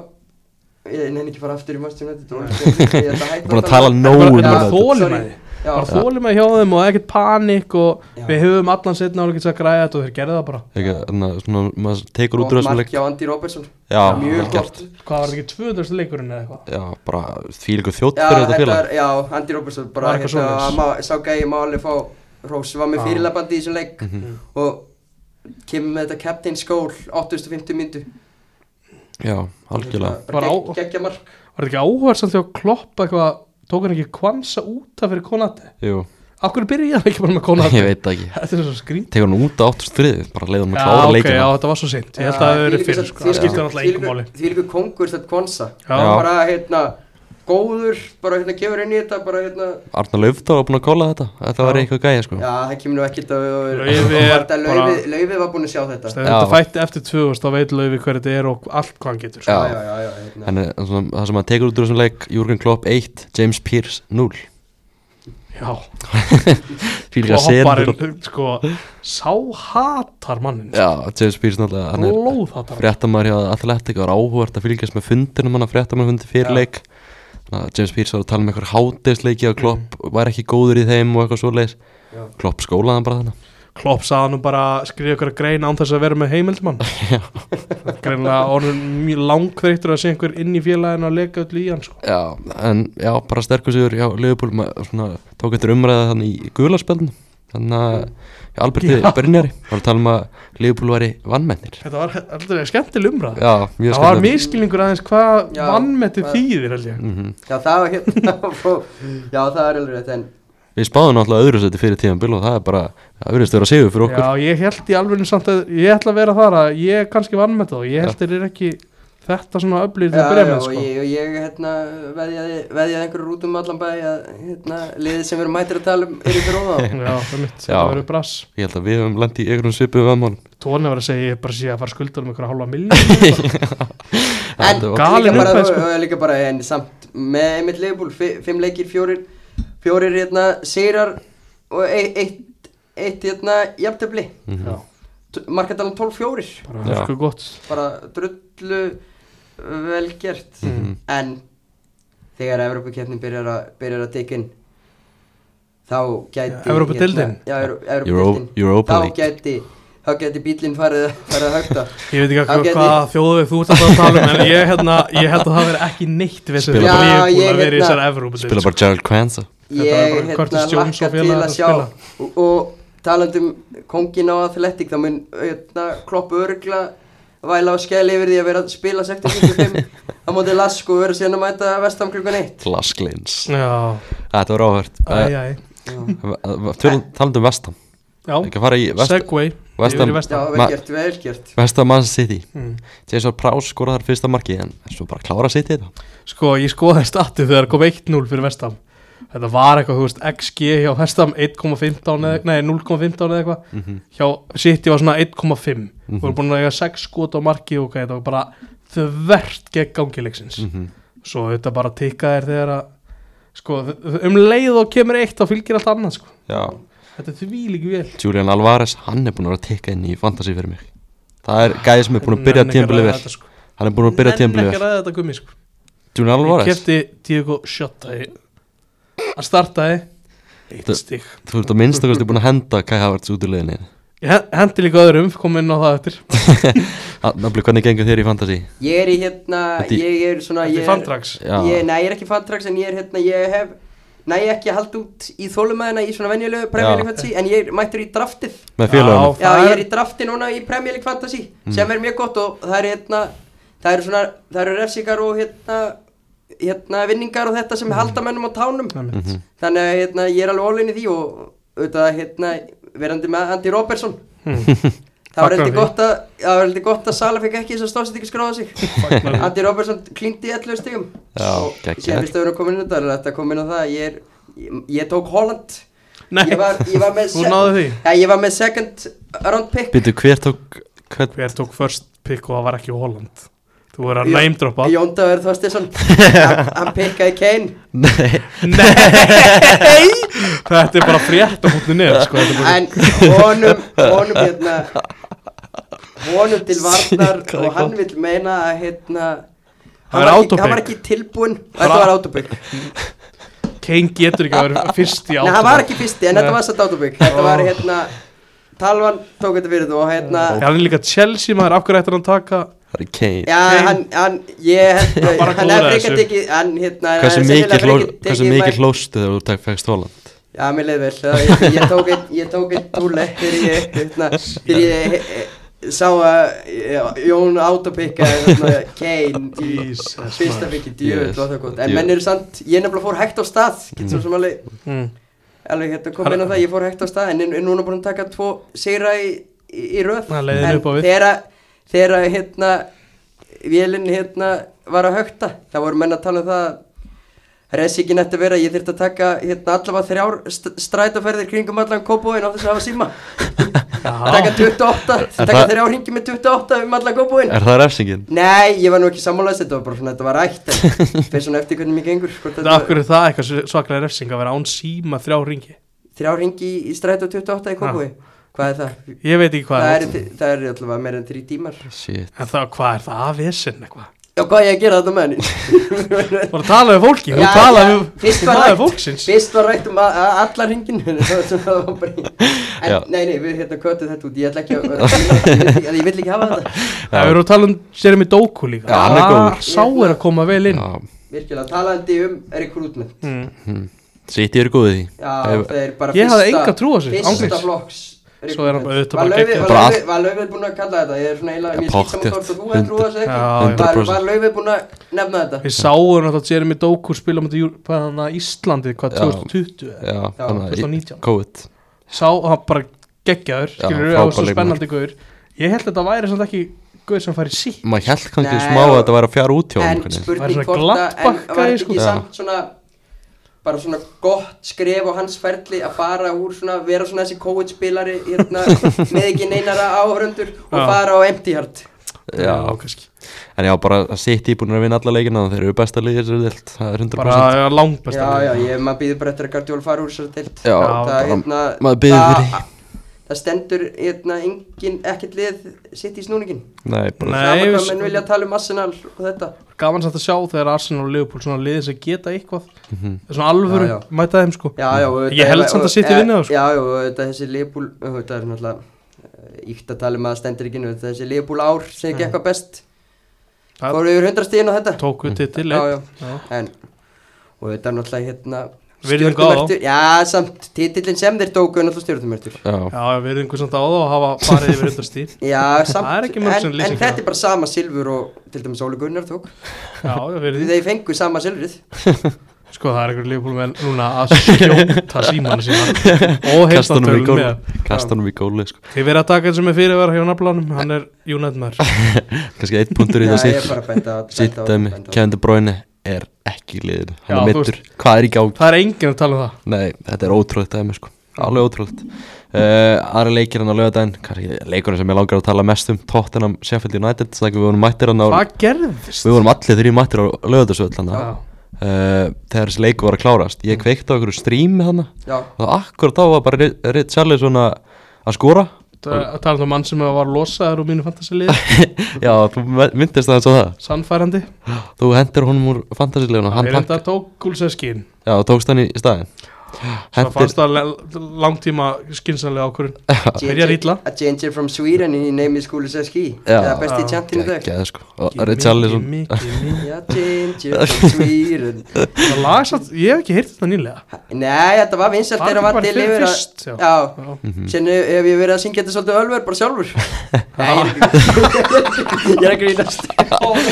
[SPEAKER 5] ég nefn ekki fara aftur í Manchester United og ég ætla að hætta
[SPEAKER 3] Búin að
[SPEAKER 5] þetta.
[SPEAKER 3] tala
[SPEAKER 4] Bara-
[SPEAKER 3] nóg um
[SPEAKER 4] bara
[SPEAKER 3] þetta.
[SPEAKER 4] þolinmæði.
[SPEAKER 5] Já,
[SPEAKER 4] bara þólum að hjá þeim og ekkert panik og
[SPEAKER 5] Já.
[SPEAKER 4] við höfum allan setna álega að græða þetta og þeir gerðu það bara
[SPEAKER 3] ekki, þannig að svona, maður tekur út úr
[SPEAKER 5] gott
[SPEAKER 3] þessum leik
[SPEAKER 5] mark hjá Andy Robertson
[SPEAKER 3] já,
[SPEAKER 5] mjög
[SPEAKER 3] vel gert
[SPEAKER 5] gott
[SPEAKER 4] Hvað var þetta ekki 200. leikurinn eða eitthvað
[SPEAKER 3] já, bara því líka þjótt
[SPEAKER 5] Já,
[SPEAKER 3] fyrir þetta
[SPEAKER 5] þetta
[SPEAKER 3] félag
[SPEAKER 5] er, já, Andy Robertson bara
[SPEAKER 4] Var eitthvað
[SPEAKER 5] hérna,
[SPEAKER 4] svoleiðis?
[SPEAKER 5] hann má- sá gæði má alveg fá Rós var með
[SPEAKER 4] Já. Mhm.
[SPEAKER 5] fyrirlabandi í þessum leik og kemur með þetta Captain Skól 850 myndu
[SPEAKER 3] já, algjörlega
[SPEAKER 4] Bara
[SPEAKER 5] bara
[SPEAKER 4] á-
[SPEAKER 5] gegg- geggja mark
[SPEAKER 4] Var þetta ekki áhversamt hjá Klopp eitthvað Tók hann ekki kvansa út af fyrir Konati
[SPEAKER 3] Jú,
[SPEAKER 4] Akkur byrjaði hann ekki bara með Konati
[SPEAKER 3] ég veit það ekki
[SPEAKER 4] Þetta er svo skrít
[SPEAKER 3] tekur hann út á 8.3 bara leiður hann að
[SPEAKER 4] Já,
[SPEAKER 3] klára
[SPEAKER 4] ok,
[SPEAKER 3] leikina
[SPEAKER 4] já, þetta var svo seint Ég held að það hefur verið fyrir, sko, það skiptir náttúrulega engum máli
[SPEAKER 5] Því líka kongur þetta konsa
[SPEAKER 4] Já.
[SPEAKER 5] Bara hérna, góður, bara hérna kemur inn í þetta Bara hérna,
[SPEAKER 3] Arnar Löfdór var búin að kóla þetta þetta var eitthvað gæja sko
[SPEAKER 5] já það kemur nú ekkert að
[SPEAKER 4] Laufey er bara-
[SPEAKER 5] Laufið var búin að sjá þetta
[SPEAKER 3] Já.
[SPEAKER 4] Þegar þetta fætti eftir 2000, þá veit Laufi hver þetta er og allt hvað hann getur, sko
[SPEAKER 5] Já, já, já, já hérna.
[SPEAKER 3] en eh, svona, það sem maður tekur út úr þessum leik Jürgen Klopp 1, James Pearce 0
[SPEAKER 4] Já,
[SPEAKER 3] því líka
[SPEAKER 4] og
[SPEAKER 3] senur
[SPEAKER 4] hopparinn, sko, sá hatar sko. mannin
[SPEAKER 3] já, James Pearce náttúrulega hann er-
[SPEAKER 4] Blóð hatar hann
[SPEAKER 3] fréttamæður hjá Atletic var áhugvert að fylgjast með fundinum hann að fréttamæður fundi fyrir leik þannig að James Pearce var að tala um einhver hátisleiki og Klopp var ekki góður í þeim og eitthvað svoleiðis
[SPEAKER 5] Mm. Já.
[SPEAKER 3] Klopp skólaði hann bara þannig
[SPEAKER 4] Klopp sagði nú bara, skrifa ykkur að greina án þess að vera með heimildmann greinlega orðin mjög langþreyttur að sé einhver inn í félaginu að leka öllu í hann sko.
[SPEAKER 3] Já, en já, bara sterkur sigur Já, Leopold, maður svona tók eftir umræða þannig í gularspelnum Þannig að já, Alberti
[SPEAKER 4] Já.
[SPEAKER 3] Brynjari var að tala um að Leopold væri vannmennir
[SPEAKER 4] Þetta var aldrei skemmtileg umræð
[SPEAKER 3] Já, mjög
[SPEAKER 4] Það var
[SPEAKER 3] skemmtilegt.
[SPEAKER 4] miskilningur aðeins hvað
[SPEAKER 5] Já,
[SPEAKER 4] vannmetið
[SPEAKER 5] hvað-
[SPEAKER 4] þýðir held ég
[SPEAKER 3] Mhm.
[SPEAKER 5] Já, það var hérna Já, það er alveg rétt en
[SPEAKER 3] Við spáðum náttúrulega öðru seti fyrir tíðan og það er bara, það verðist að vera sigur fyrir okkur
[SPEAKER 4] Já, ég held í alveg samt að ég ætla að vera þar að ég er kannski vannmetið og ég held þeir eru ekki þetta svona öflýr til að
[SPEAKER 5] Já,
[SPEAKER 4] byrja
[SPEAKER 5] já,
[SPEAKER 4] með
[SPEAKER 5] og
[SPEAKER 4] sko.
[SPEAKER 5] ég, og ég hérna, veðjaði, veðjaði einhverjur út um allan bæ að hérna, liðið sem við erum mættir að tala um er ykkur óða
[SPEAKER 4] Já, það er mitt,
[SPEAKER 3] Já.
[SPEAKER 4] þetta verður brass
[SPEAKER 3] Ég held að við höfum landið í einhverjum svipu við aðmálum
[SPEAKER 4] Tóni var að segja, ég er bara sé að fara skulda um einhverja hálfa miljón
[SPEAKER 5] En
[SPEAKER 3] þetta
[SPEAKER 5] líka
[SPEAKER 3] var-
[SPEAKER 4] Galin
[SPEAKER 5] bara,
[SPEAKER 4] upphæð, sko.
[SPEAKER 5] og- og líka bara en samt með einmitt leifbúl, fimm leikir, fjórir fjórir hérna, sigrar og e- eitt eitt hérna, jafntöfli
[SPEAKER 4] Já,
[SPEAKER 5] markadalan 12-4
[SPEAKER 4] bara
[SPEAKER 3] Já.
[SPEAKER 4] hörku sko gott
[SPEAKER 5] bara drullu vel gert en þegar Evrópukeppnin byrjar, að- byrjar að tekin þá gæti hérna,
[SPEAKER 4] Já, Evrópudeildin?
[SPEAKER 5] já, Evró-
[SPEAKER 3] Euro-
[SPEAKER 5] Evrópudeildin
[SPEAKER 3] Europa
[SPEAKER 5] þá
[SPEAKER 3] League.
[SPEAKER 5] gæti þá gæti bílinn farið, farið að högta
[SPEAKER 4] Ég veit ekki
[SPEAKER 5] Þá
[SPEAKER 4] hvað
[SPEAKER 5] gæti-
[SPEAKER 4] hva þjóðu þú ert að fara að tala um en ég, hérna, ég held að það veri ekki neitt við sem
[SPEAKER 3] Spila
[SPEAKER 4] ég
[SPEAKER 5] bara-
[SPEAKER 4] er búin
[SPEAKER 5] Já, ég
[SPEAKER 4] að vera í
[SPEAKER 5] hérna-
[SPEAKER 4] þessari sko. Evrópu
[SPEAKER 3] Spila bara Gerald Kwanza
[SPEAKER 4] Þetta
[SPEAKER 5] ég
[SPEAKER 4] er bara
[SPEAKER 5] hérna
[SPEAKER 4] Curtis Jones
[SPEAKER 5] lakka
[SPEAKER 4] og
[SPEAKER 5] til
[SPEAKER 4] félagar
[SPEAKER 5] að
[SPEAKER 4] að
[SPEAKER 5] sjá
[SPEAKER 4] spila.
[SPEAKER 5] og, og talandum kongin á Athletic þá mun hérna, klopp örgla væla á skell yfir því að vera að spila 65 á móti lask og vera síðan að mæta vestam klukkan 1
[SPEAKER 3] Glasklins
[SPEAKER 4] Já,
[SPEAKER 3] Þetta var áhört Eh,
[SPEAKER 4] æj, æj
[SPEAKER 3] Talandum Vestam Ekki
[SPEAKER 4] Eh.
[SPEAKER 3] að
[SPEAKER 4] Já,
[SPEAKER 3] fara í Vestam
[SPEAKER 4] segway
[SPEAKER 3] West
[SPEAKER 4] Yfir í
[SPEAKER 3] Ham-
[SPEAKER 4] West
[SPEAKER 5] já,
[SPEAKER 4] Ham.
[SPEAKER 3] Ma-
[SPEAKER 5] vel gert, vel gert
[SPEAKER 3] Vestam mann City
[SPEAKER 4] Mm.
[SPEAKER 3] Jason Prowse skoraði þar fyrsta marki en svo bara klára City þetta
[SPEAKER 4] Sko, ég skoðaði statu þegar kom 1-0 fyrir Vestam Þetta var eitthvað, þú veist, XG hjá Vestam 1,15 eða, nei, 0,15 eða eitthvað
[SPEAKER 3] Mhm.
[SPEAKER 4] Hjá City var svona 1,5 mm Við vorum búin að eiga 6 skot á marki og okay, þetta var bara þvert gegn gangileiksins
[SPEAKER 3] Mhm.
[SPEAKER 4] Svo þetta bara tikka þér þegar að Sko, þ- þ- um leið og kemur eitt þá fylgir allt annað, sko
[SPEAKER 3] Já
[SPEAKER 4] Þetta er því líki vel
[SPEAKER 3] Julian Alvarez, hann er búin að vera að tikka inn í fantasy fyrir mig Það er gæði sem er búin að byrja tímbilið vel
[SPEAKER 4] Sko.
[SPEAKER 3] Hann er búin að byrja
[SPEAKER 4] Nenni
[SPEAKER 3] tímbilið
[SPEAKER 4] ekki að
[SPEAKER 3] vel
[SPEAKER 4] ræða þetta gummi, sko
[SPEAKER 3] Julian
[SPEAKER 4] Ég
[SPEAKER 3] Alvarez,
[SPEAKER 4] kefti Diego Shota í- Hann startaði Eitt
[SPEAKER 3] Þetta-
[SPEAKER 4] stig
[SPEAKER 3] þú ert að minnstakosti búin að henda Kai Havertz út úr liðinni
[SPEAKER 4] Ég hen- hendi líka öðrum, kom inn á það eftir
[SPEAKER 3] Nafnir, hvernig gengur þér í fantasy?
[SPEAKER 5] ég er í hérna,
[SPEAKER 3] Þetta í-
[SPEAKER 5] ég er svona
[SPEAKER 4] Þetta
[SPEAKER 5] ég
[SPEAKER 4] er
[SPEAKER 5] er,
[SPEAKER 4] fandrags
[SPEAKER 3] Já,
[SPEAKER 5] ég, nei, ég er ekki fantrax en ég er hérna, ég hef næ ekki að halda út í þólumæðina í svona venjulegu premjölu fantasy en ég er mættur í draftið
[SPEAKER 3] með félagum
[SPEAKER 4] Já.
[SPEAKER 5] Já,
[SPEAKER 4] Það
[SPEAKER 5] ég
[SPEAKER 4] er-
[SPEAKER 5] er í drafti núna í Premier League Fantasy sem er mjög gott og það eru hérna það eru svona, það eru refsingar og hérna, hérna vinningar og þetta sem halda mönnum á tánum
[SPEAKER 4] Mhm. Einmitt.
[SPEAKER 5] þannig að hérna, ég er alveg ólinni því og auðvitað hérna verandi með Andy Robertson það
[SPEAKER 4] Hmm.
[SPEAKER 5] var
[SPEAKER 4] Fagnar
[SPEAKER 5] heldur
[SPEAKER 4] því.
[SPEAKER 5] gott að það var heldur gott að Sala fekk ekki þess að stóðsett ekki skráða sig
[SPEAKER 4] Fagnar því.
[SPEAKER 5] Andy Robertson klíndi í 11 stigum
[SPEAKER 3] Já,
[SPEAKER 5] og
[SPEAKER 3] geggjað.
[SPEAKER 5] síðan fyrst að við erum komin inn þetta er þetta komin á það að ég er ég, ég tók Holland
[SPEAKER 4] Nei.
[SPEAKER 5] ég var, ég var með
[SPEAKER 4] Þú
[SPEAKER 5] se-
[SPEAKER 4] náði því?
[SPEAKER 5] Já, ég var með second round pick
[SPEAKER 3] Býtu, hver tók hvern,
[SPEAKER 4] Hver tók first pick og það var ekki Holland Þú verður að
[SPEAKER 5] Jón-
[SPEAKER 4] name droppa
[SPEAKER 5] Jón Dagur Þorstinsson hann, hann pikkaði Kane
[SPEAKER 3] Nei,
[SPEAKER 4] Nei Þetta er bara frétt á húnni niður sko. þetta er bara-
[SPEAKER 5] en honum honum hérna honum til varnar
[SPEAKER 3] Shit, hvað er
[SPEAKER 5] og hann vil meina að hérna
[SPEAKER 4] Það
[SPEAKER 5] hann
[SPEAKER 4] er
[SPEAKER 5] var, ekki,
[SPEAKER 4] autopick.
[SPEAKER 5] hann var ekki tilbúinn þetta var autopick Nei,
[SPEAKER 4] Kane getur ekki að vera fyrst í átt
[SPEAKER 5] hann var ekki fyrsti en þetta
[SPEAKER 4] Nei.
[SPEAKER 5] var satt autopick þetta var hérna Talvan tók þetta fyrir þú og hérna
[SPEAKER 4] Hann er líka Chelsea maður, af hverju ættir hann að taka
[SPEAKER 3] það er Kane
[SPEAKER 5] já, hann, hann, ég
[SPEAKER 4] Hann bara
[SPEAKER 5] hann
[SPEAKER 4] klúðraði
[SPEAKER 5] hefði ekki
[SPEAKER 4] þessu.
[SPEAKER 5] tekið hann, hérna,
[SPEAKER 3] Hversu
[SPEAKER 5] hann hefði
[SPEAKER 3] mikið
[SPEAKER 5] sennilega
[SPEAKER 3] hló-
[SPEAKER 5] frekar
[SPEAKER 3] hversu
[SPEAKER 5] tekið
[SPEAKER 3] mikið
[SPEAKER 5] Mike-
[SPEAKER 3] hlóstu þegar þú tek- fékkst Holland?
[SPEAKER 5] Já, mér leið vel, það- ég, ég tók einn, ég tók einn túle fyrir ég, hérna, fyrir ég eh, eh, sá að eh, Jón autopikka hérna, Kane í
[SPEAKER 4] Jesus,
[SPEAKER 5] fyrsta
[SPEAKER 4] maður.
[SPEAKER 5] byggi djöð,
[SPEAKER 3] Yes,
[SPEAKER 5] var það gott, en
[SPEAKER 3] djöfull.
[SPEAKER 5] menn eru samt, ég nefnilega fór hægt á stað, getur svo sem alveg,
[SPEAKER 4] mm.
[SPEAKER 5] alveg hérna kom inn á það, ég fór hægt á stað, en, en núna búin að taka tvo sigra í, í, í röð,
[SPEAKER 4] Það leiðir
[SPEAKER 5] en
[SPEAKER 4] upp á við.
[SPEAKER 5] þegar að- þegar að, hérna, vélinn hérna var að högta, það voru menn að tala um það að Resíkin ætti að vera, ég þyrfti að taka hérna allavega þrjár st strætóferðir kringum allan kópóin á þess að hafa síma taka 28,
[SPEAKER 3] Er
[SPEAKER 5] taka
[SPEAKER 3] það-
[SPEAKER 5] þrjár ringi með 28 um allan kópóin
[SPEAKER 3] Er það refsingin?
[SPEAKER 5] Nei, ég var nú ekki sammálaðis, þetta var bara svona, þetta var rætt en fyrir svona eftir hvernig mér gengur hvort
[SPEAKER 4] Það af hverju er það eitthvað svaklega refsing að vera án síma þrjá ringi
[SPEAKER 5] þrjár ringi í strætó 28 í kópói Hvað er það?
[SPEAKER 4] Ég veit ekki hvað
[SPEAKER 5] Það
[SPEAKER 4] það
[SPEAKER 5] er, það er allavega meira en þrjí tímar
[SPEAKER 3] Shit
[SPEAKER 4] En það, hvað er það að vesen eitthvað
[SPEAKER 5] Já, hvað er ég að gera þetta með henni?
[SPEAKER 4] Bara tala við fólki, þú
[SPEAKER 5] Já,
[SPEAKER 4] tala
[SPEAKER 5] já,
[SPEAKER 4] við
[SPEAKER 5] fyrst
[SPEAKER 4] þú
[SPEAKER 5] var
[SPEAKER 4] tala við
[SPEAKER 5] rætt.
[SPEAKER 4] fólksins
[SPEAKER 5] Fyrst var rætt um a- a- allan ringin það var bara í- En,
[SPEAKER 3] Já.
[SPEAKER 5] nei, nei, við hérna köttum þetta út Ég ætla ekki að, ég vil ekki, ég vil ekki hafa þetta
[SPEAKER 4] Það eru að tala um Jeremy Doku líka
[SPEAKER 3] Já, hann er
[SPEAKER 4] Ah,
[SPEAKER 3] góður.
[SPEAKER 4] Sá er að koma vel inn
[SPEAKER 3] Já,
[SPEAKER 5] Virkilega, talandi um recruitment
[SPEAKER 4] mm.
[SPEAKER 3] Sitt ég er góðið því
[SPEAKER 5] Já,
[SPEAKER 3] Ef-
[SPEAKER 5] það er bara
[SPEAKER 4] Ég
[SPEAKER 5] fyrsta
[SPEAKER 4] hafði enga trú á þessu,
[SPEAKER 5] Fyrsta
[SPEAKER 4] ángrips.
[SPEAKER 5] flokks
[SPEAKER 4] Svo er hann bara auðvitað
[SPEAKER 5] Var
[SPEAKER 4] bara
[SPEAKER 5] Laufey-
[SPEAKER 4] geggjaður.
[SPEAKER 5] var
[SPEAKER 3] Bara
[SPEAKER 5] Laufey- var Laufey búinn að kalla þetta Ég er svona
[SPEAKER 3] Ja,
[SPEAKER 5] eiginlega Mér skýrt saman
[SPEAKER 3] pottþétt.
[SPEAKER 5] hvort að þú hefði trú á þessu
[SPEAKER 4] Já,
[SPEAKER 5] ekki
[SPEAKER 4] já.
[SPEAKER 5] Var-
[SPEAKER 3] 100%.
[SPEAKER 5] Var Laufey búinn að nefna þetta
[SPEAKER 4] Við sáum náttúrulega Jeremy Doku spila mútið Júrpæðana Íslandi hvað
[SPEAKER 3] Já.
[SPEAKER 4] 2020 eða?
[SPEAKER 3] Já, þannig að
[SPEAKER 4] 2019.
[SPEAKER 3] COVID
[SPEAKER 4] Sá hann bara geggjaður
[SPEAKER 3] Já,
[SPEAKER 4] skilur við á
[SPEAKER 3] frábær
[SPEAKER 4] þessu
[SPEAKER 3] leikmaður.
[SPEAKER 4] spennandi guður Ég held að þetta væri samt ekki guður sem færi sítt
[SPEAKER 3] Maður held kannski
[SPEAKER 5] Nei,
[SPEAKER 3] smá að
[SPEAKER 5] og-
[SPEAKER 3] þetta væri að fjara út hjá honum, hvernig.
[SPEAKER 5] En
[SPEAKER 4] Var svona
[SPEAKER 5] spurning hvort að En
[SPEAKER 4] glattbakkaði,
[SPEAKER 5] var þetta
[SPEAKER 4] sko.
[SPEAKER 5] ekki
[SPEAKER 3] Já.
[SPEAKER 5] samt svona bara svona gott skref á hans ferli að fara úr svona, vera svona þessi kóiðspilari hérna, með ekki neinara áhörundur og
[SPEAKER 4] Já.
[SPEAKER 5] fara á empty heart
[SPEAKER 3] Já,
[SPEAKER 4] kannski
[SPEAKER 3] En já, bara að City búin að vinna alla leikina Þeir eru besta liðir sér dild Það er 100%
[SPEAKER 4] Bara langbest
[SPEAKER 5] Já, já, ég, maður býður bara eftir að Guardiola fara úr þessari deilt
[SPEAKER 3] Já,
[SPEAKER 5] það,
[SPEAKER 3] bara-
[SPEAKER 5] hérna,
[SPEAKER 3] maður biður
[SPEAKER 5] það-
[SPEAKER 3] fyrir.
[SPEAKER 5] Það stendur, hérna, engin, ekkert lið sitt í snúningin
[SPEAKER 3] Nei, bara
[SPEAKER 4] Nei,
[SPEAKER 5] Sama
[SPEAKER 4] við-
[SPEAKER 5] hvað menn vilja tala um Arsenal og þetta
[SPEAKER 4] Gaman samt að sjá þegar Arsenal og Liverpool svona liðið sem geta eitthvað
[SPEAKER 3] Mhm.
[SPEAKER 4] Svona alvöru
[SPEAKER 5] Já, já.
[SPEAKER 4] mæta þeim sko
[SPEAKER 5] Já, já og
[SPEAKER 4] Ég held samt að City
[SPEAKER 5] og-
[SPEAKER 4] vinni það, sko.
[SPEAKER 5] Já, já, og þetta þessi liðbúl, þetta er náttúrulega Íkt að tala um að það stendur ekki nú Þetta þessi liðbúl ár sem gekk hvað best
[SPEAKER 4] Það-
[SPEAKER 5] Fóru yfir hundrastíðin og þetta
[SPEAKER 4] Tóku til til
[SPEAKER 5] Já, já.
[SPEAKER 4] já.
[SPEAKER 5] En, og þetta er náttúrulega, hérna
[SPEAKER 4] Virðing á þá.
[SPEAKER 5] stjörnumerktur- Já, samt, titillin sem þeir tóku er náttúrulega stjórnumörtur
[SPEAKER 3] Já,
[SPEAKER 4] Já, við erum einhvern samt á það og hafa farið yfir undan stíl
[SPEAKER 5] Já, samt,
[SPEAKER 4] Það er ekki mörg sem
[SPEAKER 5] en,
[SPEAKER 4] lýsa
[SPEAKER 5] en
[SPEAKER 4] ekki
[SPEAKER 5] þetta
[SPEAKER 4] það.
[SPEAKER 5] er bara sama silfur og til dæmis Óli Gunnar tók
[SPEAKER 4] Já, við erum
[SPEAKER 5] Þeir fengu sama silfrið
[SPEAKER 4] Sko það er einhver leifbólmenn núna að skjóta símanu sína
[SPEAKER 3] kastanum í
[SPEAKER 4] og heiltatölun
[SPEAKER 3] góli
[SPEAKER 4] með
[SPEAKER 3] Kastanum í góli, sko
[SPEAKER 4] Þið verið að taka eins og með fyrirvara hjá naflanum hann er United maður
[SPEAKER 3] Kannski eitt punktur í
[SPEAKER 5] Já,
[SPEAKER 3] það
[SPEAKER 5] ég er
[SPEAKER 3] sitt
[SPEAKER 5] bara að benda á-
[SPEAKER 3] Sitt
[SPEAKER 5] benda á-
[SPEAKER 3] dæmi,
[SPEAKER 5] benda á-
[SPEAKER 3] Kevin De Bruyne er ekki í liðinu Hann
[SPEAKER 4] Já,
[SPEAKER 3] er
[SPEAKER 4] þú
[SPEAKER 3] mittur, hvað er í gangi?
[SPEAKER 4] Það er enginn að tala um það
[SPEAKER 3] Nei, þetta er ótrúlegt dæmi, sko Alveg ótrúlegt uh, Aðra leikir hann á lögadaginn Kannski leikurinn sem ég langar að tala mest um Tottenham, Sheffield United Þannig að við vorum mættir hann á
[SPEAKER 4] Hvað gerðist?
[SPEAKER 3] Við vorum allir þrjú mættir á lögadagsöld hann
[SPEAKER 4] Já. Mm.
[SPEAKER 3] Uh, þegar þessi leiku var að klárast ég kveikti á einhverju strími hann
[SPEAKER 5] Já,
[SPEAKER 3] og akkur þá var bara Richarlið svona að skora
[SPEAKER 4] Það tala um mann sem var losaður úr mínu fantasilið
[SPEAKER 3] já, þú myndist það eins og það
[SPEAKER 4] sannfærandi
[SPEAKER 3] þú hendir honum úr fantasíleifuna hann
[SPEAKER 4] Við erum
[SPEAKER 3] pakk,
[SPEAKER 4] þetta tók gúlsefskin
[SPEAKER 3] já, og tókst hann í staðin
[SPEAKER 4] Svo
[SPEAKER 3] hendir,
[SPEAKER 4] fannst það le- langtíma skinsanlega ákvörun Byrjar illa
[SPEAKER 5] A changer from Sweden í neymi skúli sér skí
[SPEAKER 3] Já.
[SPEAKER 5] Það er
[SPEAKER 4] Ah,
[SPEAKER 5] besti chantin í dag
[SPEAKER 3] geggjaði sko og Richarlið
[SPEAKER 4] Mikið, mikið, mikið.
[SPEAKER 5] Já, changer from Sweden
[SPEAKER 4] Það lag satt, ég hef ekki heyrt þetta nýlega
[SPEAKER 5] Nei, þetta var vinsalt
[SPEAKER 4] Var þetta
[SPEAKER 5] þegar hann var
[SPEAKER 4] bara
[SPEAKER 5] til
[SPEAKER 4] fyrir
[SPEAKER 5] yfir að-
[SPEAKER 4] fyrst, já.
[SPEAKER 5] Já,
[SPEAKER 4] Já.
[SPEAKER 3] Mhm.
[SPEAKER 5] sen hef ég verið að syngja þetta svolítið ölver, bara sjálfur Nei, ég er ekki- ég er að grínast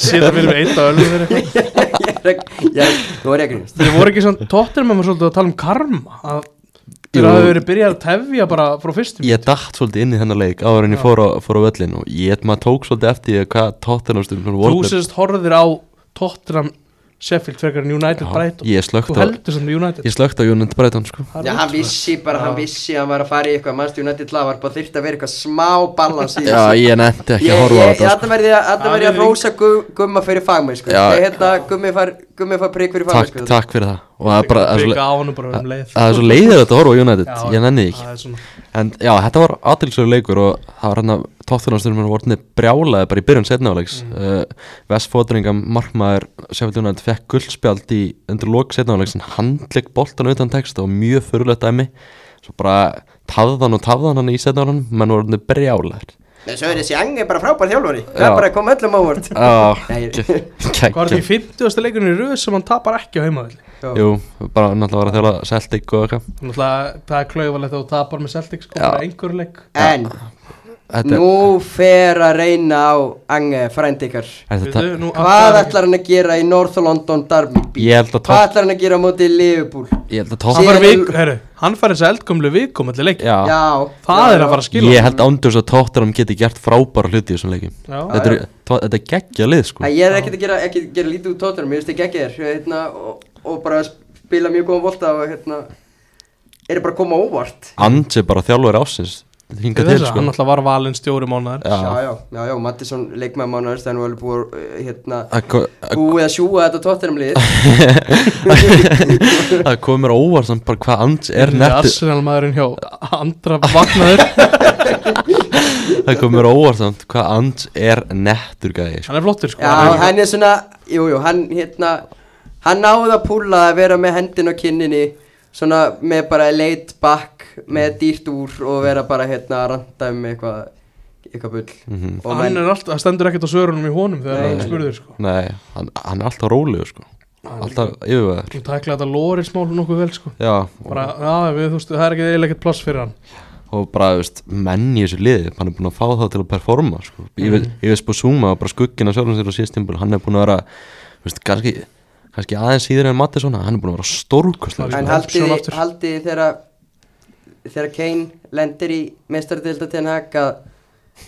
[SPEAKER 4] Sér að við erum eitt að öllu verið
[SPEAKER 5] Ég er að- ég er- Nú er ég að grínast
[SPEAKER 4] Þeir voru ekki svona tóttir með maður svolítið að tala um karma að
[SPEAKER 3] Jú.
[SPEAKER 4] þeir hafa verið byrjað að tefja bara frá fyrstum
[SPEAKER 3] ég datt svolítið inn í þennan leik áður en ég fór á, fór á völlin og ég maður tók svolítið eftir því hvað tóttinastum
[SPEAKER 4] þú sérst horfir á Tottenham Sheffield frekar en United Brighton
[SPEAKER 3] ég slögt
[SPEAKER 4] þú
[SPEAKER 3] á
[SPEAKER 4] heldur sem United
[SPEAKER 3] ég slögt á Jónund Breitan sko
[SPEAKER 4] Það er
[SPEAKER 5] Já, hann
[SPEAKER 4] ótrúlegt.
[SPEAKER 5] vissi bara, hann
[SPEAKER 4] Já.
[SPEAKER 5] vissi að hann var að fara í eitthvað mannstu United lag, var bara þyrft að vera eitthvað smá balans í
[SPEAKER 3] já, ég nefndi ekki að
[SPEAKER 5] Ég,
[SPEAKER 3] horfa á
[SPEAKER 5] ég,
[SPEAKER 3] þetta sko.
[SPEAKER 5] þetta verði að, þarna
[SPEAKER 4] Já,
[SPEAKER 5] verð ég að
[SPEAKER 4] við-
[SPEAKER 5] rósa gu- gumma fyrir fagmenn, sko
[SPEAKER 3] Já.
[SPEAKER 5] Ég hérna, gummi far, gummi far prik fyrir fagmenn,
[SPEAKER 3] takk,
[SPEAKER 5] sko
[SPEAKER 3] takk fyrir það og það er bara, það er svo le-
[SPEAKER 4] Byggja á hann bara um leið
[SPEAKER 3] það er svo leiðir þetta að horfa á United
[SPEAKER 4] Já,
[SPEAKER 3] ég nenni því ekki
[SPEAKER 4] það er svona-
[SPEAKER 3] En já, þetta var aðtilsögur leikur og það var hann að tóttunarstyrmur voru brjálaði bara í byrjun setna áleiks mm. uh, Vestfótringam markmaður Sjáfjöldunald fekk guldspjald í undir lok setna áleiks en handlegg boltan utan texta og mjög förulegt dæmi svo bara tafðan og tafðan hann í setna áleikum menn voru hann brjálaðir
[SPEAKER 5] En svo er þessi Ang er bara frábær þjálfari Það
[SPEAKER 3] Já.
[SPEAKER 5] er bara að koma öllum ávart
[SPEAKER 3] Já,
[SPEAKER 5] Nei.
[SPEAKER 4] Ah, Hvað er því
[SPEAKER 3] kekja
[SPEAKER 4] 50. leikunni í röð sem hann tapar ekki á heimaðalli
[SPEAKER 3] Jú, bara náttúrulega var að þjála Celtic og eitthvað
[SPEAKER 4] Náttúrulega það er klaufalegt að þú tapar með Celtics sko, bara einhver leik
[SPEAKER 5] En
[SPEAKER 3] Þetta er-
[SPEAKER 5] nú fer að reyna á Ang frænd ykkar
[SPEAKER 3] er þetta
[SPEAKER 4] Við- nú
[SPEAKER 5] Hvað
[SPEAKER 4] ætlar-
[SPEAKER 5] ætlar hann að gera í North London Derby?
[SPEAKER 3] Ég held að
[SPEAKER 5] Hvað
[SPEAKER 3] topp
[SPEAKER 5] ætlar hann að gera á móti í Liverpool?
[SPEAKER 3] Ég held að
[SPEAKER 4] Hann
[SPEAKER 3] topp
[SPEAKER 4] fær
[SPEAKER 5] Síðan-
[SPEAKER 4] vik- heyrðu, Hann fær þessi eldgumlu viðkomalli leik
[SPEAKER 3] Já,
[SPEAKER 5] Já
[SPEAKER 4] Það
[SPEAKER 5] já,
[SPEAKER 4] er
[SPEAKER 5] já.
[SPEAKER 4] að fara að skilja
[SPEAKER 3] Ég held ándjós að tóttunum geti gert frábæra hluti í þessum leikum
[SPEAKER 4] Já.
[SPEAKER 3] Þetta er, tó- þetta er geggja lið sko
[SPEAKER 5] Æ, Ég er ekkert að gera, ekki að gera lítið út tóttunum, ég veist ekki ekki þér hérna, og, og bara spila mjög góðan volta og hérna er bara að koma á óvart
[SPEAKER 3] Andi bara þjálfur ásins
[SPEAKER 4] Til
[SPEAKER 3] Hingað til
[SPEAKER 4] þess að
[SPEAKER 3] sko
[SPEAKER 4] hann alltaf var valinn stjóri mánuðar
[SPEAKER 3] Já.
[SPEAKER 5] Já, já, já, já, Mattisson leikmæði mánuðar það er nú alveg búið að, uh, hérna,
[SPEAKER 3] Það ko-
[SPEAKER 5] búið að sjúga þetta tóttunum lið
[SPEAKER 3] það kom mér á óvart samt bara hvað Andi er
[SPEAKER 4] Yrði
[SPEAKER 3] nettur
[SPEAKER 4] Arsenal maðurinn hjá andra vagnaður
[SPEAKER 3] Það kom mér á óvart samt hvað Andi er nettur gæði sko.
[SPEAKER 4] Hann er flottur sko
[SPEAKER 5] Já, hann er svona, jú, jú, hann hérna, hann náði að púla að vera með hendin á kinninni svona með bara leit bakk með dýrt úr og vera bara hérna að ranta um eitthvað eitthvað bull
[SPEAKER 3] Mhm.
[SPEAKER 5] og
[SPEAKER 4] hann
[SPEAKER 5] menn,
[SPEAKER 4] er alltaf, það stendur ekkert á svörunum í honum þegar
[SPEAKER 5] Nei.
[SPEAKER 4] hann spurður sko
[SPEAKER 3] Nei, hann, hann er alltaf rólegur sko
[SPEAKER 4] Hann er
[SPEAKER 3] Alltaf yfirveður
[SPEAKER 4] hún tæklaði þetta Lorenz mál nokkuð vel sko
[SPEAKER 3] Já,
[SPEAKER 4] bara, já, við, þú veist, það er ekki eiginlega ekkert pláss fyrir hann
[SPEAKER 3] og bara, þú veist, menn í þessu liði hann er búin að fá þá til að performa sko. yfir,
[SPEAKER 4] Mhm.
[SPEAKER 3] yfir Sposuma og bara skuggin að sjálfum sér á síðstimbul, hann er búin að vera þú veist, kannski, kannski aðeins síður en Mattisson hann er búin að vera sko. stórkostlega
[SPEAKER 5] en
[SPEAKER 4] Sjón
[SPEAKER 5] haldiði,
[SPEAKER 4] aftur.
[SPEAKER 5] haldiði þegar þegar Kane lendir í meistardelda til Hag að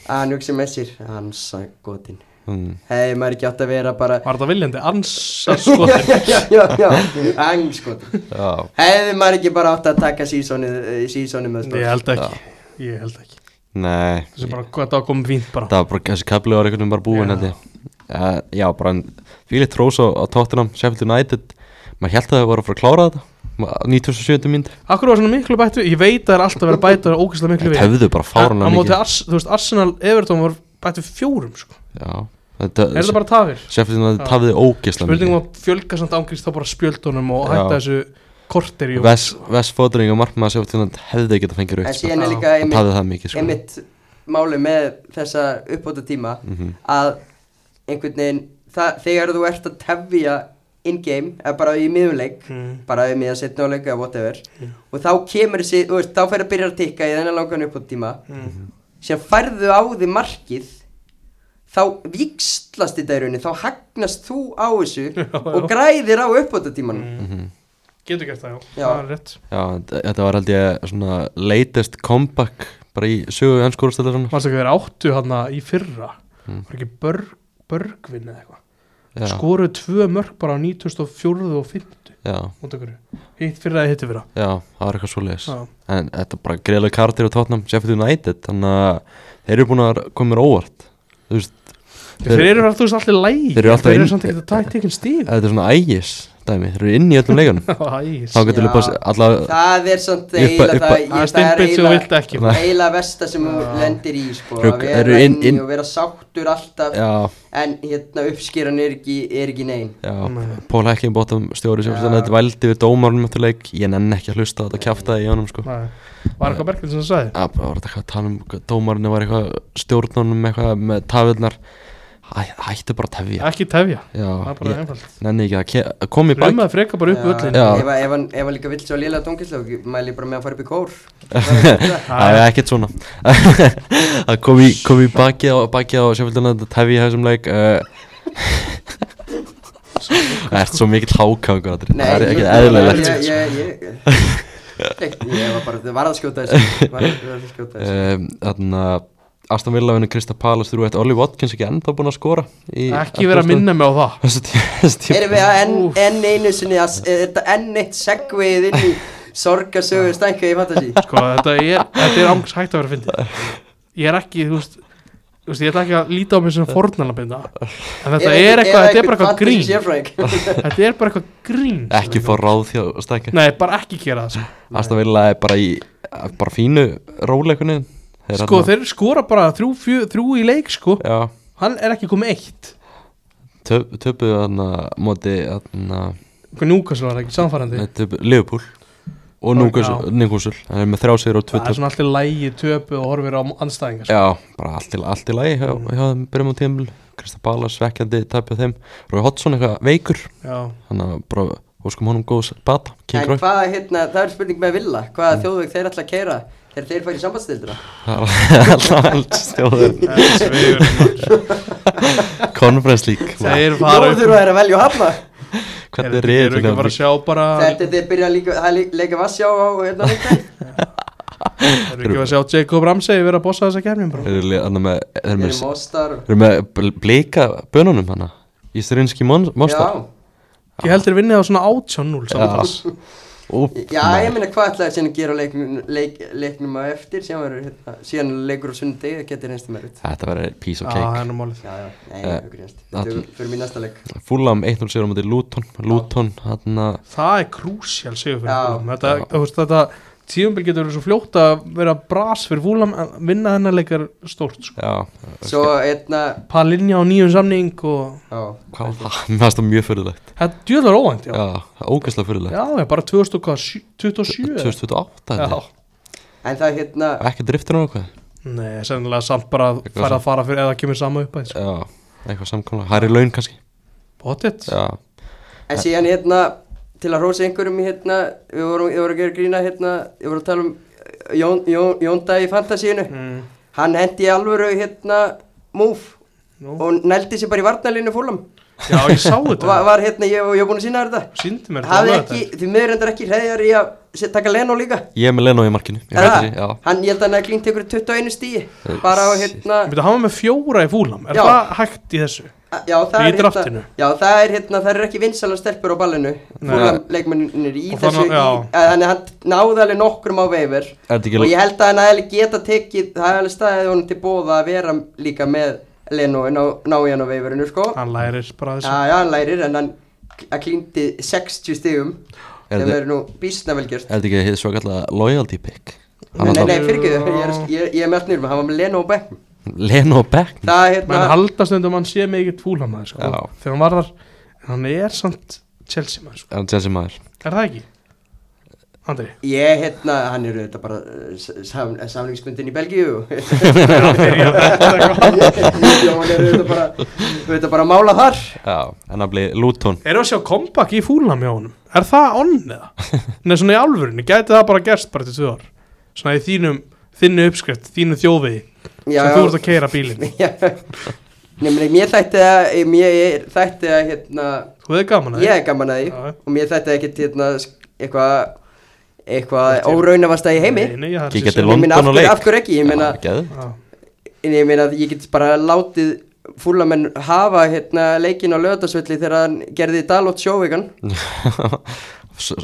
[SPEAKER 5] að hann hugsi með sér hans að gotin
[SPEAKER 3] mm.
[SPEAKER 5] hefði maður ekki átt að vera bara
[SPEAKER 4] var þetta viljandi, sko. ansarskotin
[SPEAKER 5] já, já, já, já, angskotin
[SPEAKER 3] Já,
[SPEAKER 5] hefði maður ekki bara átt að taka sísonið eh, sísonið með
[SPEAKER 4] ég
[SPEAKER 5] stór
[SPEAKER 4] held ekki, ég held ekki
[SPEAKER 3] nei
[SPEAKER 4] þessi bara, hvað þetta var komið fínt bara
[SPEAKER 3] það var bara, þessi kafli var einhvern veginn bara búin
[SPEAKER 4] Já.
[SPEAKER 3] held ég. uh, já, bara Fílið Trós á, á tóttunum, Sheffield United maður held að það voru að fara að klára þetta ma- á 97. mínútur,
[SPEAKER 4] akkur var svona miklu bætt við, ég veit að það er alltaf verið að bæta og ógæslega miklu
[SPEAKER 3] þetta
[SPEAKER 4] við
[SPEAKER 3] höfðu bara
[SPEAKER 4] en á
[SPEAKER 3] fárana
[SPEAKER 4] móti,
[SPEAKER 3] mikið
[SPEAKER 4] Ars, þú veist, Arsenal, Everton var bætt við fjórum sko
[SPEAKER 3] já, þetta,
[SPEAKER 4] er þetta bara tafir?
[SPEAKER 3] Sheffield United
[SPEAKER 4] Já. um
[SPEAKER 3] tafiði ógislega
[SPEAKER 4] spurningum að fjölga samt ángrist þá bara spjöldunum og
[SPEAKER 3] Já.
[SPEAKER 4] hætta þessu korter í
[SPEAKER 3] Vess, Vess Fodring og markmaður Sjöfnland hefði getað fengið
[SPEAKER 5] en
[SPEAKER 3] raukt sko.
[SPEAKER 5] síðan
[SPEAKER 4] Já.
[SPEAKER 5] er líka
[SPEAKER 3] hann
[SPEAKER 5] einmitt
[SPEAKER 3] tafði það mikið sko.
[SPEAKER 5] einmitt máli með þessa uppbóta tíma að einhvern veginn það, þegar þú ert að tefja in-game, eða bara í miðunleik
[SPEAKER 4] Mm.
[SPEAKER 5] bara í miðan setna og leika, whatever og þá kemur þessi, þú veist, þá fer að byrja að tikka í þennan langan uppbóta tíma
[SPEAKER 4] Mhm.
[SPEAKER 5] sem færðu á því markið þá vikslast þetta í rauninni, þá hagnast þú á þessu og græðir á uppbóta tímanum
[SPEAKER 4] Mm.
[SPEAKER 3] Mhm.
[SPEAKER 4] getur gert það, já,
[SPEAKER 5] Já.
[SPEAKER 4] það er rétt
[SPEAKER 3] Já, þetta var held ég svona latest comeback bara í sögu ennskórastæðar svona
[SPEAKER 4] mannst ekki þeir áttu hann í fyrra var ekki börg, börgvinn eða eitthvað
[SPEAKER 3] Mm. Já,
[SPEAKER 4] skoruðu tvö mörg bara á 2004 og 50
[SPEAKER 3] já,
[SPEAKER 4] mót okkur, hitt fyrra eða hitti fyrra
[SPEAKER 3] já, það var eitthvað svoleiðis
[SPEAKER 4] Já.
[SPEAKER 3] En þetta er bara greiðlega karakter á tótnum Sheffield United, þannig að þeir eru búin að koma mér óvart Þú veist,
[SPEAKER 4] þeir, þeir eru alltaf allir lægi
[SPEAKER 3] Þeir eru alltaf inn-
[SPEAKER 4] samt ekki að taka tekinn stíð
[SPEAKER 3] þetta er svona ægis dæmi, þeir eru inn í öllum leikunum
[SPEAKER 4] Æs.
[SPEAKER 3] Þá getur
[SPEAKER 5] Já.
[SPEAKER 3] við bara allavega
[SPEAKER 5] það er samt
[SPEAKER 3] Uppa-
[SPEAKER 5] eiginlega
[SPEAKER 3] uppa-
[SPEAKER 5] það
[SPEAKER 4] Það er
[SPEAKER 5] ég- það
[SPEAKER 4] stimpil sem þú vilt ekki.
[SPEAKER 5] eiginlega- eiginlega versta sem þú lendir í sko,
[SPEAKER 3] Rugg-
[SPEAKER 5] að
[SPEAKER 3] eru
[SPEAKER 5] vera
[SPEAKER 3] inn-
[SPEAKER 5] inn í
[SPEAKER 3] inn-
[SPEAKER 5] og vera sáttur alltaf
[SPEAKER 3] Já,
[SPEAKER 5] en hérna uppskýran er ekki, er ekki nein
[SPEAKER 3] já,
[SPEAKER 4] Nei.
[SPEAKER 3] Pól Heckingbottom stjóri Sheffield
[SPEAKER 5] Já.
[SPEAKER 3] United vældi við dómarunum eftir leik Ég nenni ekki að hlusta á þetta kjaftaði í honum sko
[SPEAKER 4] Nei. var eitthvað bergvinn sem það sagði
[SPEAKER 3] að bara var þetta eitthvað að tala um hvað dómarinu var eitthvað stjórnunum eitthvað með tafirnar Æ, hættu bara að tefja
[SPEAKER 4] ekki tefja,
[SPEAKER 3] já,
[SPEAKER 4] það er bara
[SPEAKER 3] ég,
[SPEAKER 4] einfalt
[SPEAKER 3] nenni ekki að ke- að koma í bak
[SPEAKER 4] Römmaði freka bara upp völlin
[SPEAKER 3] Já.
[SPEAKER 5] ef, að- ef, hann- ef hann líka vill svo lélega tónkislag mæli ég bara með að fara upp í kór
[SPEAKER 3] það er ekkert svona að koma í, kom í baki á, baki á sjöfildina að tefja í þessum leik uh, það er svo mikill hákangur Andri. það er ekki
[SPEAKER 5] ég-
[SPEAKER 3] eðlilegt
[SPEAKER 5] ég, ég, ég, ég, ég var bara, það var að skjóta þessu var var að skjóta þessu
[SPEAKER 3] um, þannig að Aston Villa vinnur Krista Palas þrjú eitt Olli Watkins ekki ennþá búin að skora í,
[SPEAKER 4] ekki vera að minna mig á það
[SPEAKER 3] þessu tí- þessu tíma
[SPEAKER 5] erum við að enn enn einu sinni að s- er þetta enn eitt segvið inn í sorgasögu stænka í fantasi
[SPEAKER 4] sko, þetta er, þetta er ángs hægt að vera fyndið ég er ekki, þú veist þú veist, ég ætla ekki að líta á mig sem fornalabinda en þetta er eitthvað, þetta er bara eitthvað grín
[SPEAKER 5] grín
[SPEAKER 4] þetta er bara eitthvað grín
[SPEAKER 3] ekki fór ráð þjá stækja
[SPEAKER 4] nei, bara ekki gera það sko.
[SPEAKER 3] Aston Villa er bara í bara fínu róleikunni
[SPEAKER 4] sko, þeir skora bara þrjú, fjö, þrjú í leik sko,
[SPEAKER 3] já,
[SPEAKER 4] hann er ekki komið eitt
[SPEAKER 3] töp, töpuðu þarna móti þarna
[SPEAKER 4] hvað núkast var það ekki, samfærandi
[SPEAKER 3] nei, töpu, Liverpool og
[SPEAKER 4] já.
[SPEAKER 3] Newcastle hann er með þrjá sigur og
[SPEAKER 4] það er
[SPEAKER 3] tvittar
[SPEAKER 4] svona allir lægi töpu og horfir á anstæðingar sko.
[SPEAKER 3] já, bara allt í, allt í lagi hjá, hjá þeim byrjum á tímul Krista Bala svekkjandi tapjað þeim Rói Hotsson eitthvað veikur
[SPEAKER 4] já,
[SPEAKER 3] þannig að bara óskum honum góðs bata King
[SPEAKER 5] en
[SPEAKER 3] Roy
[SPEAKER 5] hvað, hérna, það er spurning með Villa hvaða
[SPEAKER 3] Mm.
[SPEAKER 5] þjóðveg þeir ætla að keira þegar þeir færi sambandstildra
[SPEAKER 3] það er alltaf allt stjóður Conference League maður.
[SPEAKER 4] þeir
[SPEAKER 5] nú
[SPEAKER 4] fara upp
[SPEAKER 5] þurfa þeir að velja og hafna
[SPEAKER 3] hvernig er
[SPEAKER 4] þeir eru ekki bara að
[SPEAKER 3] reyður
[SPEAKER 4] sjá bara
[SPEAKER 5] þetta er þeir byrja að líka, það er leika vassjá á hérna leikdæð
[SPEAKER 4] þeir eru ekki bara að sjá Jacob Ramsey vera að bossa þessa kemjum bara
[SPEAKER 3] þeir eru með þeir eru
[SPEAKER 5] þeir
[SPEAKER 3] með
[SPEAKER 5] eru móstar og-
[SPEAKER 3] Við erum með bl- bleika bönunum hana Í strinski monster
[SPEAKER 5] já,
[SPEAKER 4] Ég held þeir vinnið á svona 18-0 samtals
[SPEAKER 3] Úp,
[SPEAKER 5] já, ég meina hvað ætlaði síðan að gera á leiknum, leik, leiknum að eftir síðan, verður, hérna, síðan leikur á sundi það getur reynst um erfitt
[SPEAKER 3] Þetta verður piece
[SPEAKER 4] Já,
[SPEAKER 3] of
[SPEAKER 4] það er
[SPEAKER 3] cake
[SPEAKER 4] nú málið
[SPEAKER 5] já, já, nei,
[SPEAKER 3] Eh,
[SPEAKER 5] uh, reynst þetta
[SPEAKER 3] all-
[SPEAKER 5] er fyrir mín næsta leik
[SPEAKER 3] Fulham 1-0 sigur á móti Luton Luton, hann að
[SPEAKER 4] Það er krúsjál sigur fyrir
[SPEAKER 5] Já.
[SPEAKER 4] Fulham þetta, þú veist, þetta, tíumbil getur verið svo fljótt að vera bras fyrir fúlam að vinna þennan leikar stórt sko.
[SPEAKER 3] Já,
[SPEAKER 5] Svo einna
[SPEAKER 4] Palinja á nýjum samning og
[SPEAKER 5] Já,
[SPEAKER 3] hvað var það? Mér fannst það mjög fyrirlegt
[SPEAKER 4] þetta er djöðlar óvænt já.
[SPEAKER 3] Já, það er ógæslega fyrirlegt
[SPEAKER 4] já, já, bara 2027
[SPEAKER 3] 2028
[SPEAKER 4] Já,
[SPEAKER 3] held ég.
[SPEAKER 5] en það hérna
[SPEAKER 3] Ekki driftur á eitthvað
[SPEAKER 4] nei, sennilega samt bara að
[SPEAKER 3] Eitthvað
[SPEAKER 4] fara
[SPEAKER 3] sem-
[SPEAKER 4] að fara fyrir eða kemur sama sko. upp að
[SPEAKER 3] Já, eitthvað samkvæmlega Hæri laun kannski
[SPEAKER 4] Pottet
[SPEAKER 3] Já,
[SPEAKER 5] En síðan hérna til að hrósa einhverjum hérna Við vorum, við vorum að gera grína hérna Við vorum að tala um eh, Jón, Jón, Jónda í fantasíinu
[SPEAKER 4] Mm.
[SPEAKER 5] Hann hendi í alvöru hérna Múf
[SPEAKER 4] Nú.
[SPEAKER 5] Og nældi sér bara í varnalínu fólum
[SPEAKER 4] Já, ég sá þetta
[SPEAKER 5] var, var hérna, ég, ég er búin að sína þér þetta
[SPEAKER 4] Sýndi mér
[SPEAKER 5] Hafði
[SPEAKER 4] þetta.
[SPEAKER 5] ekki, því miður endur ekki reyðar í að set- taka Leno líka
[SPEAKER 3] ég er með Leno í markinu Ég
[SPEAKER 5] Er
[SPEAKER 3] veit
[SPEAKER 5] það?
[SPEAKER 3] þessi, já
[SPEAKER 5] Hann, ég held að hann hafi glímt ykkur 21 stíi Bara á hérna
[SPEAKER 4] Við hafa með fjóra í fúlam Er
[SPEAKER 5] Já.
[SPEAKER 4] það hægt í þessu?
[SPEAKER 5] Já, það
[SPEAKER 4] Í
[SPEAKER 5] er
[SPEAKER 4] draftinu.
[SPEAKER 5] hérna Já, það er hérna, það er ekki vinsala stelpur á ballinu
[SPEAKER 4] Nei.
[SPEAKER 5] Fúlam leikmennir í
[SPEAKER 4] Og það
[SPEAKER 5] þessu
[SPEAKER 4] ná-
[SPEAKER 5] í,
[SPEAKER 4] já.
[SPEAKER 5] að, Þannig að hann náði alveg nokkrum á veifur
[SPEAKER 3] Er þetta ekki-
[SPEAKER 5] Og ég held að hann aðeins geta tekið Það er alveg staðið honum til bóða að vera líka með Leno Ná, ná í hann á veifurinu, sko Já,
[SPEAKER 4] Hann lærir bara þessu
[SPEAKER 5] já, hann lærir en hann að klíndi 60 stigum
[SPEAKER 3] Er
[SPEAKER 5] Sem
[SPEAKER 3] þið-
[SPEAKER 5] eru nú býstna velgjört
[SPEAKER 3] Er þetta ekki hið svo kallega loyalty pick Hann
[SPEAKER 5] Nei, nei,
[SPEAKER 3] alltaf-
[SPEAKER 5] nei, fyrirgeðu, ég, er- ég, ég er með allt nýrum, hann var með Leno og Beck
[SPEAKER 3] Leno Beck
[SPEAKER 5] Það er
[SPEAKER 4] menn
[SPEAKER 5] hérna,
[SPEAKER 4] halda stundum að hann sé mikið fúlam sko.
[SPEAKER 3] Já.
[SPEAKER 4] þegar hann var þar en hann er samt Chelsea maður sko.
[SPEAKER 3] En þessi maður
[SPEAKER 4] er það ekki? Andri
[SPEAKER 5] ég hérna, hann eru þetta bara uh, sam, samlingsbundin í Belgíu Jón eru þetta bara, þetta bara að mála þar
[SPEAKER 3] Já, en hann bleið Luton
[SPEAKER 4] erum við að sjá kompakk í fúlam hjá honum er það onn eða? Nei, svona í alvörinu, gæti það bara gerst bara til tvö ár svona í þínum, þínu uppskrift, þínu þjófiði sem
[SPEAKER 5] Já, já.
[SPEAKER 4] þú ert að keira bílinn
[SPEAKER 5] Já. Nei, meni, mér þætti að, mér er- þætti að, hérna,
[SPEAKER 4] þú hefði gaman að
[SPEAKER 5] ég er gaman að því
[SPEAKER 4] Já.
[SPEAKER 5] og mér þætti ekkert, hérna, sk- eitthvað, eitthvað óraunavasta í heimi.
[SPEAKER 4] Nei, nei, það er
[SPEAKER 3] Kíkja
[SPEAKER 4] sem
[SPEAKER 3] til
[SPEAKER 4] sé-
[SPEAKER 5] Ég meina, af
[SPEAKER 3] London og
[SPEAKER 5] hverju-
[SPEAKER 3] leik.
[SPEAKER 5] Af hverju ekki,
[SPEAKER 4] Ah,
[SPEAKER 5] ég meina,
[SPEAKER 3] Geðu
[SPEAKER 4] Já.
[SPEAKER 5] En ég meina að ég get bara látið fúlamenn hafa hérna leikin á löðarsvölli þegar hann gerði Dalot sjóvegan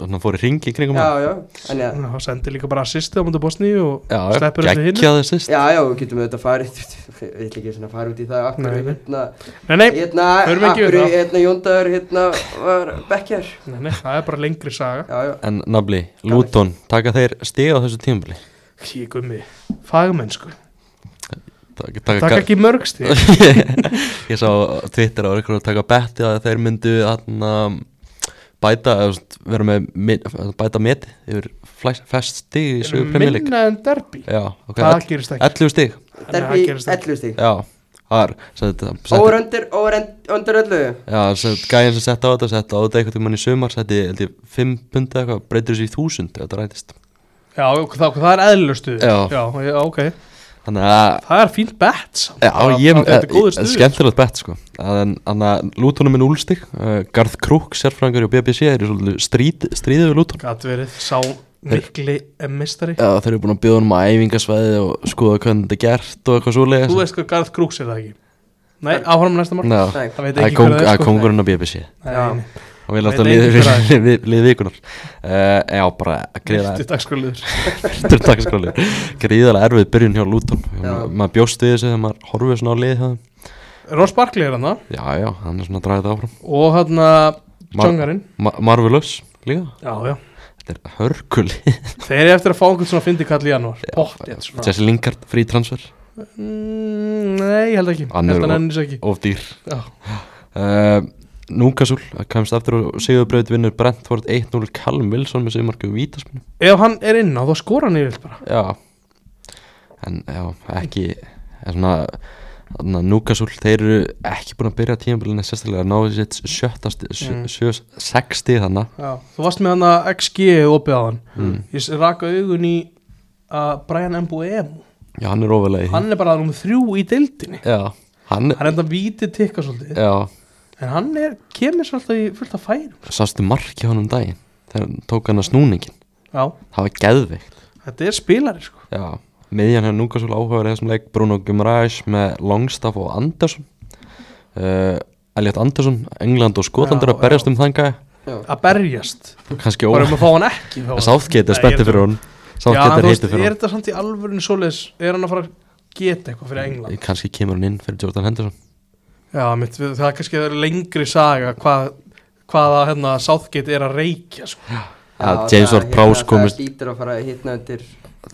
[SPEAKER 3] Hann fór í ringi kringum hann
[SPEAKER 5] já, já, en já,
[SPEAKER 4] Já, sendi líka bara assistið á mútu Bosni og
[SPEAKER 3] Já,
[SPEAKER 4] sleppur þessu hinn
[SPEAKER 3] geggjaði sýst
[SPEAKER 5] já, já, við getum auðvitað farið ég ætla ekki svona að fara út í það af hverju,
[SPEAKER 4] Nei, nei.
[SPEAKER 5] hérna,
[SPEAKER 4] Nei, nei,
[SPEAKER 5] hérna,
[SPEAKER 4] förum ekki
[SPEAKER 5] akkur,
[SPEAKER 4] yfir það.
[SPEAKER 5] hérna, Jóndagur hérna, var bekkjar
[SPEAKER 4] nei, nei, það er bara lengri saga
[SPEAKER 5] já, já,
[SPEAKER 3] En nafli, Luton, taka þeir stig á þessu tímabili
[SPEAKER 4] Ég gummi, fagmennsku
[SPEAKER 3] Taka,
[SPEAKER 4] Takk ekki mörgsti
[SPEAKER 3] Ég sá á Twitter á ykkur að taka betti að þeir myndu þarna bæta, eða þú veist, vera með mi- bæta meti yfir flæs- flest stig í sögur premjölík
[SPEAKER 4] Minna en derbi
[SPEAKER 3] Já, ok,
[SPEAKER 4] Það
[SPEAKER 3] ell-
[SPEAKER 4] gerist ekki.
[SPEAKER 3] 11 stig,
[SPEAKER 4] Þannig að
[SPEAKER 5] derbi,
[SPEAKER 4] það gerist ekki.
[SPEAKER 5] 11 stík
[SPEAKER 3] já, það er sem þetta, setti-
[SPEAKER 5] óröndir, óröndir öllu
[SPEAKER 3] Já, sem sagt, gæðin sem sett á þetta, sett á þetta einhvern tímann í sumar, setti, held ég, 5 pundi eitthvað, breytir þessu í 1000, ef þetta rætist
[SPEAKER 4] Já, ok, það, það er eðlur stuð
[SPEAKER 3] Já.
[SPEAKER 4] já, ok
[SPEAKER 3] Þannig að
[SPEAKER 4] Það er fínt bett samt.
[SPEAKER 3] Já,
[SPEAKER 4] Það-
[SPEAKER 3] ég,
[SPEAKER 4] það- Þetta er góður
[SPEAKER 3] eh,
[SPEAKER 4] stuð
[SPEAKER 3] skemmtilegt bett sko Þannig að Lútonum er núlstig uh, Garð Krúk, sérfræðingur í BBC er svolítið stríð, stríðið við Lúton
[SPEAKER 4] Gat verið sá mikli mistari
[SPEAKER 3] Já, þeir eru búin að bjóða um að æfingasvæði og skoða hvernig þetta er gert og eitthvað svoleiðis
[SPEAKER 4] Þú veist hvað Garð Krúks er það ekki Nei, áfram með næsta mál
[SPEAKER 3] Ná,
[SPEAKER 5] Nei.
[SPEAKER 4] Það veit
[SPEAKER 3] það
[SPEAKER 4] ekki
[SPEAKER 3] er
[SPEAKER 4] hver
[SPEAKER 3] kóng-
[SPEAKER 4] það
[SPEAKER 3] það
[SPEAKER 4] er
[SPEAKER 3] er
[SPEAKER 4] sko.
[SPEAKER 3] kongurinn á BBC
[SPEAKER 5] Já.
[SPEAKER 4] Nei,
[SPEAKER 3] og við
[SPEAKER 4] Veit
[SPEAKER 3] látum
[SPEAKER 4] enginn hver það
[SPEAKER 3] lið lið- lið vikunar uh, Já, bara
[SPEAKER 4] Greiða
[SPEAKER 3] gríðalega
[SPEAKER 4] dagskóliður
[SPEAKER 3] Takk Gríðalega erfið byrjun hjá Lúton
[SPEAKER 5] Já.
[SPEAKER 3] Maður bjóst við þessu þegar maður horfið svona á lið hjá þeim.
[SPEAKER 4] Ross Barkley er hann það
[SPEAKER 3] Já, já, hann er svona að draga þetta áfram
[SPEAKER 4] Og hann að
[SPEAKER 3] Mar-
[SPEAKER 4] Djongarinn
[SPEAKER 3] Ma Marvelous líka
[SPEAKER 4] Já, já
[SPEAKER 3] Þetta er hörkuli
[SPEAKER 4] Þeir eru eftir að fá einhvern svona fyndi kall í janúar Pottið svona
[SPEAKER 3] Þessi Lingard frí transfer
[SPEAKER 4] Mm, Nei, ég held ekki
[SPEAKER 3] Hann er-
[SPEAKER 4] Þetta nennis ekki
[SPEAKER 3] of dýr
[SPEAKER 4] Já.
[SPEAKER 3] uh, Núkasúl kemst aftur og Sigurbraut vinnur Brentford 1-0 Callum Wilson með sigurmarki og vítaspinu
[SPEAKER 4] Ef hann er inn á þá skora hann yfir bara
[SPEAKER 3] já en já, ekki er svona Þannig að Núkasúl, þeir eru ekki búin að byrja tímabilinu sérstaklega að ná sitt sjötta sti- sjö,
[SPEAKER 4] Mm.
[SPEAKER 3] sjö, sexti þannig
[SPEAKER 4] Já, þú varst með hann að XG opið á hann
[SPEAKER 3] mm.
[SPEAKER 4] Ég s- raka augun í að Brian Mbuemu
[SPEAKER 3] Já, hann er ofalega í
[SPEAKER 4] Hann er bara nummer þrjú í deildinni
[SPEAKER 3] Já, hann
[SPEAKER 4] Hann er enda vítið tikka svolítið
[SPEAKER 3] Já,
[SPEAKER 4] En hann er, kemur svolítið í fullt að færum
[SPEAKER 3] sástu marki á hann um daginn þegar hann tók hann að snúningin
[SPEAKER 4] Já,
[SPEAKER 3] Það var geðveikt
[SPEAKER 4] þetta er spilari sko
[SPEAKER 3] Já, miðjan hefur núka svolítið áhugaður í þessum leik Bruno Gumræs með Longstaff og Andersson uh, Elliot Andersson, England og Skotland
[SPEAKER 4] Já,
[SPEAKER 3] eru að berjast um þanga
[SPEAKER 4] Að berjast
[SPEAKER 3] kannski
[SPEAKER 4] Bara
[SPEAKER 3] ó,
[SPEAKER 4] um að fá hann ekki fá hann.
[SPEAKER 3] Southgate er
[SPEAKER 4] Nei,
[SPEAKER 3] spenntið
[SPEAKER 4] ég-
[SPEAKER 3] fyrir hún
[SPEAKER 4] Já, en
[SPEAKER 3] Southgate
[SPEAKER 4] þú
[SPEAKER 3] er
[SPEAKER 4] veist,
[SPEAKER 3] heitið fyrir
[SPEAKER 4] Er þetta samt í alvörinu svoleiðis Er hann að fara að geta eitthvað fyrir England
[SPEAKER 3] hún kannski kemur hún inn fyrir Jordan Henderson
[SPEAKER 4] Já, mitt, við- það er kannski lengri saga hvað, hvaða hérna, Southgate er að reykja sko.
[SPEAKER 3] að Eh, James Ward Prowse komist
[SPEAKER 5] Það hlýtur að fara að hitna undir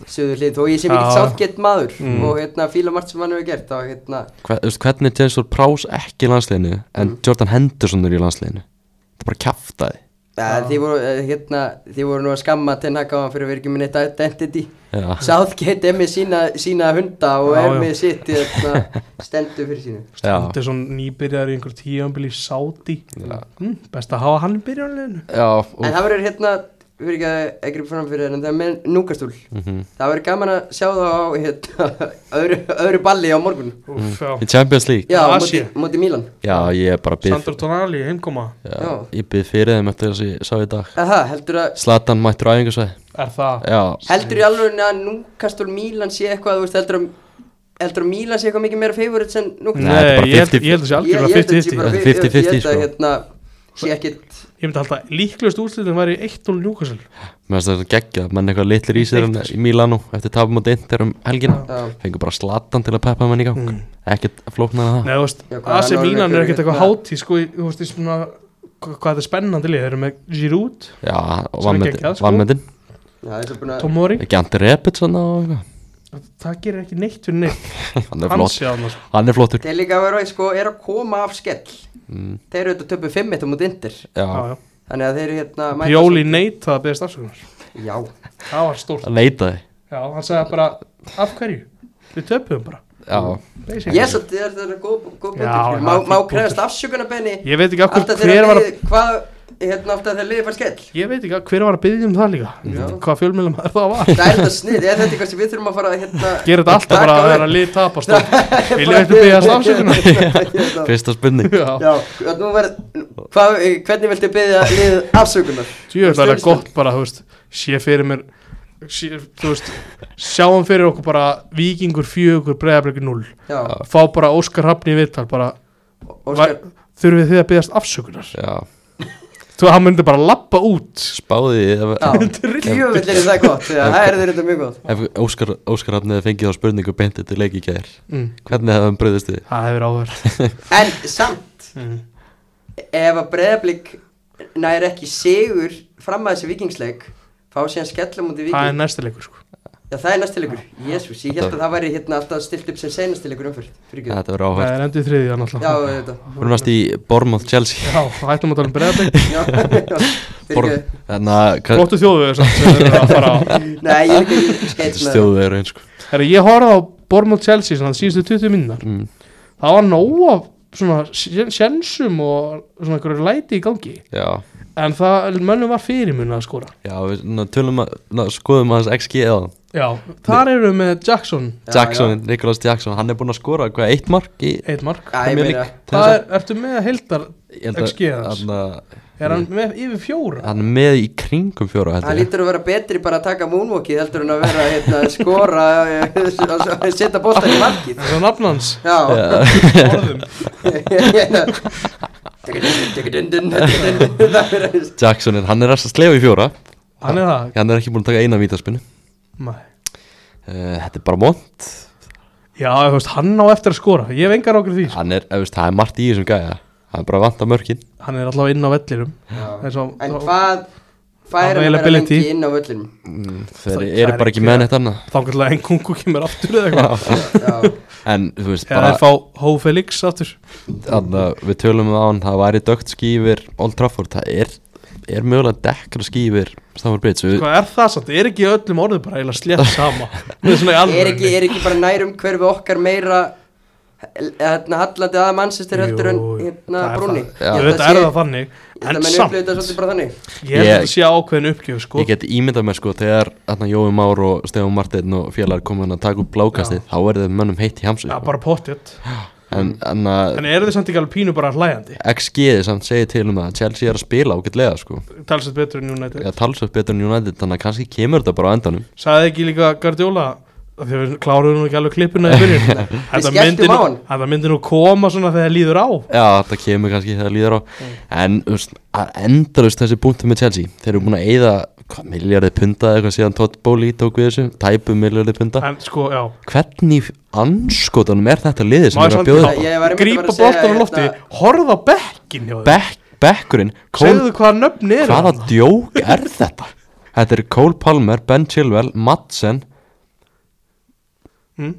[SPEAKER 5] söður hlið og ég sem
[SPEAKER 4] Já.
[SPEAKER 5] ekki sáttgett maður
[SPEAKER 4] Mm.
[SPEAKER 5] og hérna fíla margt sem hann hefur gert þá hérna,
[SPEAKER 3] hver, þú veist, hvernig James Ward Prowse ekki í landsliðinu en
[SPEAKER 4] Mm.
[SPEAKER 3] Jordan Henderson er í landsliðinu það er bara kjaftaði
[SPEAKER 5] að, þið, voru, eh, hérna þið voru nú að skamma til hann fyrir að vera ekki með neitt identity
[SPEAKER 3] Já.
[SPEAKER 5] sáttgett er með sína, sína hunda og
[SPEAKER 4] Já,
[SPEAKER 5] er
[SPEAKER 4] já.
[SPEAKER 5] með sitt hérna, stendur fyrir sínu
[SPEAKER 3] Já.
[SPEAKER 4] Þetta er svona nýbyrjar í einhver tíjambil í Saudi mm, Best að hafa hann í byrjarleginu
[SPEAKER 3] Já, og,
[SPEAKER 5] en það verður hérna við erum ekki að að grípa fram fyrir þér, en það er með núkastúl
[SPEAKER 3] Mhm.
[SPEAKER 5] það verður gaman að sjá það á hérna, öðru, öðru balli á morgun
[SPEAKER 4] Úff, já
[SPEAKER 3] í Champions League
[SPEAKER 5] já,
[SPEAKER 4] Á
[SPEAKER 5] móti,
[SPEAKER 4] Asíu.
[SPEAKER 5] móti Mílan
[SPEAKER 3] Já, ég bara byrð
[SPEAKER 4] Sandor Tonali, heimkoma
[SPEAKER 3] Já,
[SPEAKER 5] Já.
[SPEAKER 3] ég byrð fyrir þeim eftir þess að ég sá í dag
[SPEAKER 5] Aha, heldur að
[SPEAKER 3] Slatan mættur á æfingarsvæði
[SPEAKER 4] Er það
[SPEAKER 3] Já,
[SPEAKER 5] Heldur í alveg að núkastur Mílan sé eitthvað, þú veist, heldur að heldur að Mílan sé eitthvað mikið meira favorites en núkastur
[SPEAKER 3] Nei, þetta er bara
[SPEAKER 4] ég held
[SPEAKER 3] 50
[SPEAKER 4] ég held að sé
[SPEAKER 5] Ég- ég
[SPEAKER 4] algjörlega
[SPEAKER 5] held að sé
[SPEAKER 4] 50-50
[SPEAKER 5] bara
[SPEAKER 3] Þetta er 50-50,
[SPEAKER 5] 50-50 Ég held að
[SPEAKER 3] sko.
[SPEAKER 5] hérna sé ekkit
[SPEAKER 4] Ég myndi alltaf líklegust úrslitin væri 1-0 Newcastle
[SPEAKER 3] mér finnst þetta geggja menn eitthvað litlir í sér en í Milano eftir tapum á Dinter um helgina
[SPEAKER 5] Já.
[SPEAKER 3] fengur bara Slatan til að peppa menn í gang
[SPEAKER 4] Mm.
[SPEAKER 3] ekkert flóknar en það
[SPEAKER 4] Nei, þú veist,
[SPEAKER 5] Já, hvað,
[SPEAKER 4] AC
[SPEAKER 5] hann var
[SPEAKER 4] Milan
[SPEAKER 5] leikur
[SPEAKER 4] er ekkert
[SPEAKER 5] hérna-
[SPEAKER 4] eitthvað hátí sko, í- þú veist, í svona hva- hvað þetta er spennandi lið, þeir eru með Giroud
[SPEAKER 3] Já, og
[SPEAKER 4] Sem er
[SPEAKER 3] vanmetin-
[SPEAKER 4] geggjað, sko.
[SPEAKER 3] vanmetin
[SPEAKER 5] Já, það er svo búin að
[SPEAKER 4] Tomori,
[SPEAKER 3] ekki Andi Repic hann og eitthvað
[SPEAKER 4] það gerir ekki neitt fyrir neitt,
[SPEAKER 3] hann er
[SPEAKER 4] hann
[SPEAKER 3] flott
[SPEAKER 4] sé annars sko.
[SPEAKER 3] hann er flottur
[SPEAKER 5] Þeir líka að vera, sko, er að koma af skell
[SPEAKER 3] Mm.
[SPEAKER 5] Þeir eru auðvitað töpu 5 eitt á múti indir
[SPEAKER 3] Já,
[SPEAKER 4] Já, já.
[SPEAKER 5] Þannig að þeir eru hérna mæta-
[SPEAKER 4] Pjóli neitt það beðist afsökunar
[SPEAKER 5] Já,
[SPEAKER 4] það var stórt,
[SPEAKER 3] hann leitaði
[SPEAKER 4] já, hann sagði bara af hverju, við töpuðum bara
[SPEAKER 3] Já,
[SPEAKER 4] Basically.
[SPEAKER 5] ég er svolítið er þetta góð
[SPEAKER 4] Já,
[SPEAKER 5] góð punktur
[SPEAKER 4] já,
[SPEAKER 5] Má,
[SPEAKER 4] fín
[SPEAKER 5] má
[SPEAKER 4] punktur.
[SPEAKER 5] krefast afsökunarbenni
[SPEAKER 4] ég veit ekki af
[SPEAKER 5] Alltaf
[SPEAKER 4] hverju
[SPEAKER 5] þeir
[SPEAKER 4] hver var að
[SPEAKER 5] liðið, hvað, hérna alltaf þeir liðið bara skell
[SPEAKER 4] ég veit ekki að hver var að byggja um það líka Ég veit ekki hvað fjölmjölum það var
[SPEAKER 5] Það er þetta snið, ég þetta er eitthvað sem við þurfum að fara að hérna
[SPEAKER 4] gera þetta alltaf bara að vera lið tapast og vilja eitthvað byggja afsökunar
[SPEAKER 5] afsökunar
[SPEAKER 3] fyrsta spurning
[SPEAKER 4] já,
[SPEAKER 5] Já, að nú verð, hva, hvernig viltu byggja lið afsökunar?
[SPEAKER 4] Tjú, það er
[SPEAKER 5] Stuðningsmenn.
[SPEAKER 4] gott bara, þú veist, sé fyrir mér sé, þú veist, sjáum fyrir okkur bara vikingur fjögur breiðarbleiki 0
[SPEAKER 5] Já,
[SPEAKER 4] fá bara Óskar Hafni í viðtal bara,
[SPEAKER 5] Óskar,
[SPEAKER 4] "Var- þurfið þið að byggast afsökunar
[SPEAKER 3] Já,
[SPEAKER 4] þú, hann myndi bara lappa út
[SPEAKER 3] spáði því ef-
[SPEAKER 5] já, djúvill er það gott, já, það er þetta mjög gott
[SPEAKER 3] Ef Óskar, Óskar hafnið fengið á spurningu beint eftir leik í gær
[SPEAKER 4] mm,
[SPEAKER 3] Hvernig hefði hann bröðist þið?
[SPEAKER 4] það hefur áhverð
[SPEAKER 5] En samt, ef að breyðablík nær ekki sigur fram að þessi vikingsleik fá síðan skellum út
[SPEAKER 4] það
[SPEAKER 5] í
[SPEAKER 4] er
[SPEAKER 5] viking
[SPEAKER 4] næsta leikur sko.
[SPEAKER 5] Já, það er næstilegur, jésús, ég held að það væri hérna alltaf stilt upp sem senastilegur umfyrst Fyrirgjöð,
[SPEAKER 3] Þetta verður áhægt
[SPEAKER 4] það er endið þriðið
[SPEAKER 5] já,
[SPEAKER 4] náttúrulega
[SPEAKER 5] þetta
[SPEAKER 3] Við erum að í Bormóð Chelsea
[SPEAKER 4] já, það ætlum að tala um breiðarbleik
[SPEAKER 5] Já, fyrirgjöð
[SPEAKER 3] Þannig að Hérna, hvað-
[SPEAKER 4] flottu þjóðu þess
[SPEAKER 5] Nei, ég er ekki- ég er ekki skeitt
[SPEAKER 3] þetta
[SPEAKER 5] með það
[SPEAKER 3] stjóðu er eins sko
[SPEAKER 4] að ég horfði á Bormund Chelsea svona, síðustu 20 minnar
[SPEAKER 3] Mm.
[SPEAKER 4] það var nóg af svona sén- sénsum og svona einhverju læti í gangi
[SPEAKER 3] Já,
[SPEAKER 4] en það, mönnum var fyrirmunna að skora
[SPEAKER 3] já, við ná, tölum að, ná, skoðum aðeins XG eða
[SPEAKER 4] já, þar eru við með Jackson
[SPEAKER 5] Já,
[SPEAKER 3] Jackson, Nicholas Jackson, hann er búinn að skora hvað, eitt mark í
[SPEAKER 4] eitt mark
[SPEAKER 5] Já, ég
[SPEAKER 3] Premier
[SPEAKER 5] meina,
[SPEAKER 3] League til
[SPEAKER 4] það
[SPEAKER 3] þess
[SPEAKER 4] er, ertu með heildar
[SPEAKER 3] að- ég held að-
[SPEAKER 4] XG hans.
[SPEAKER 3] hann að-
[SPEAKER 4] er hann með yfir fjóra
[SPEAKER 3] Hann er með í kringum fjóra
[SPEAKER 5] Það
[SPEAKER 3] held ég
[SPEAKER 5] lítur að vera betri bara að taka moonwalkið heldur en að vera hérna, að skora og setja bóttan í markið
[SPEAKER 4] það er nafn hans
[SPEAKER 5] Já
[SPEAKER 4] orðum
[SPEAKER 5] Dun-dun-dun-dun-dun-dun. Það er-
[SPEAKER 3] Jackson, er- hann er að slefa í fjóra
[SPEAKER 4] hann er það
[SPEAKER 3] Hann er ekki búinn að taka eina vítaspinu
[SPEAKER 4] Nei.
[SPEAKER 3] uh, Þetta er bara mónt
[SPEAKER 4] já, þú veist, hann á eftir að skora ég hef engar okkur því sko.
[SPEAKER 3] Hann er, ef veist, það er margt í þessum gæja Hann er bara að vanta mörkin
[SPEAKER 4] hann er allavega inn á vellirum eins og
[SPEAKER 5] En hvað fær hann að vera
[SPEAKER 4] Availability.
[SPEAKER 5] lengi inn á völlinum?
[SPEAKER 3] Þeir
[SPEAKER 4] Það- það
[SPEAKER 3] eru
[SPEAKER 4] er
[SPEAKER 3] bara ekki
[SPEAKER 4] ekki
[SPEAKER 3] með
[SPEAKER 4] að-
[SPEAKER 3] neitt annað
[SPEAKER 4] þá kannski enn kungu kemur aftur eða eitthvað
[SPEAKER 5] Já,
[SPEAKER 3] En þú veist,
[SPEAKER 4] eða þeir
[SPEAKER 3] bara
[SPEAKER 4] fá Hó Felix aftur
[SPEAKER 3] þannig að við tölum á hann Það væri dögt skýfir Old Trafford Það er, er mögulega dekkra skýfir Stamford Bridge við,
[SPEAKER 4] Hvað er það samt? Er ekki öllum orðum bara eiginlega slétt sama? Mér er svona í
[SPEAKER 5] er ekki,
[SPEAKER 4] alveg
[SPEAKER 5] er ekki bara nærum hverfi okkar meira hérna hallandi að mannsistir heldur en hérna brúni
[SPEAKER 3] Já.
[SPEAKER 4] Ég veit er það þannig En
[SPEAKER 5] menn
[SPEAKER 4] samt,
[SPEAKER 5] upplöðu þetta svolítið bara þannig
[SPEAKER 4] ég held að
[SPEAKER 3] Ég-
[SPEAKER 4] þetta sé ákveðin uppgjöf sko
[SPEAKER 3] Ég get ímyndað mér sko Þegar þarna Jói Már og Stefán Martin og félagar komin að taka upp blákastið Þá er þeim mönnum heitt í hamsu
[SPEAKER 4] Já, bara pottjött
[SPEAKER 3] En, en að
[SPEAKER 4] En eru þið samt ekki alveg pínu bara hlæjandi?
[SPEAKER 3] XG samt segir til um að Chelsea er að spila ágætlega sko
[SPEAKER 4] Talsett betur en United
[SPEAKER 3] Já, talsvöld betur en United Þannig að kannski kemur þetta bara á endanum
[SPEAKER 4] Sagði ekki líka Guardiola af Því að við kláruðum nú ekki alveg klippuna í byrjun Þetta
[SPEAKER 5] skelltum
[SPEAKER 4] myndi
[SPEAKER 5] á
[SPEAKER 4] nú-
[SPEAKER 5] hann.
[SPEAKER 4] þetta myndi nú koma svona þegar líður á
[SPEAKER 3] Já, þetta kemur kannski þegar líður á En þú veist, að endalust þessi búntum með Chelsea Þeir eru búin að eyða hvað, miljardið punta eða eitthvað síðan Todd Bowley tók við þessu Tæpu miljardið punta
[SPEAKER 4] En sko, já
[SPEAKER 3] Hvernig í anskotanum er þetta liðið sem
[SPEAKER 4] Má ég
[SPEAKER 3] er
[SPEAKER 4] samt
[SPEAKER 3] að bjóða upp á?
[SPEAKER 5] Ég- ég var einmitt að
[SPEAKER 4] Grípa
[SPEAKER 5] fara að segja,
[SPEAKER 4] boltan á lofti
[SPEAKER 5] hérna-
[SPEAKER 4] Horða bekkin hjá þið
[SPEAKER 3] Bekk, Bekkurinn, Kól,
[SPEAKER 4] Segðu þið hvaða nöfni eru
[SPEAKER 3] hvaða djók er þetta? Þetta er Cole Palmer, Ben Chilwell, Madsen
[SPEAKER 4] mm.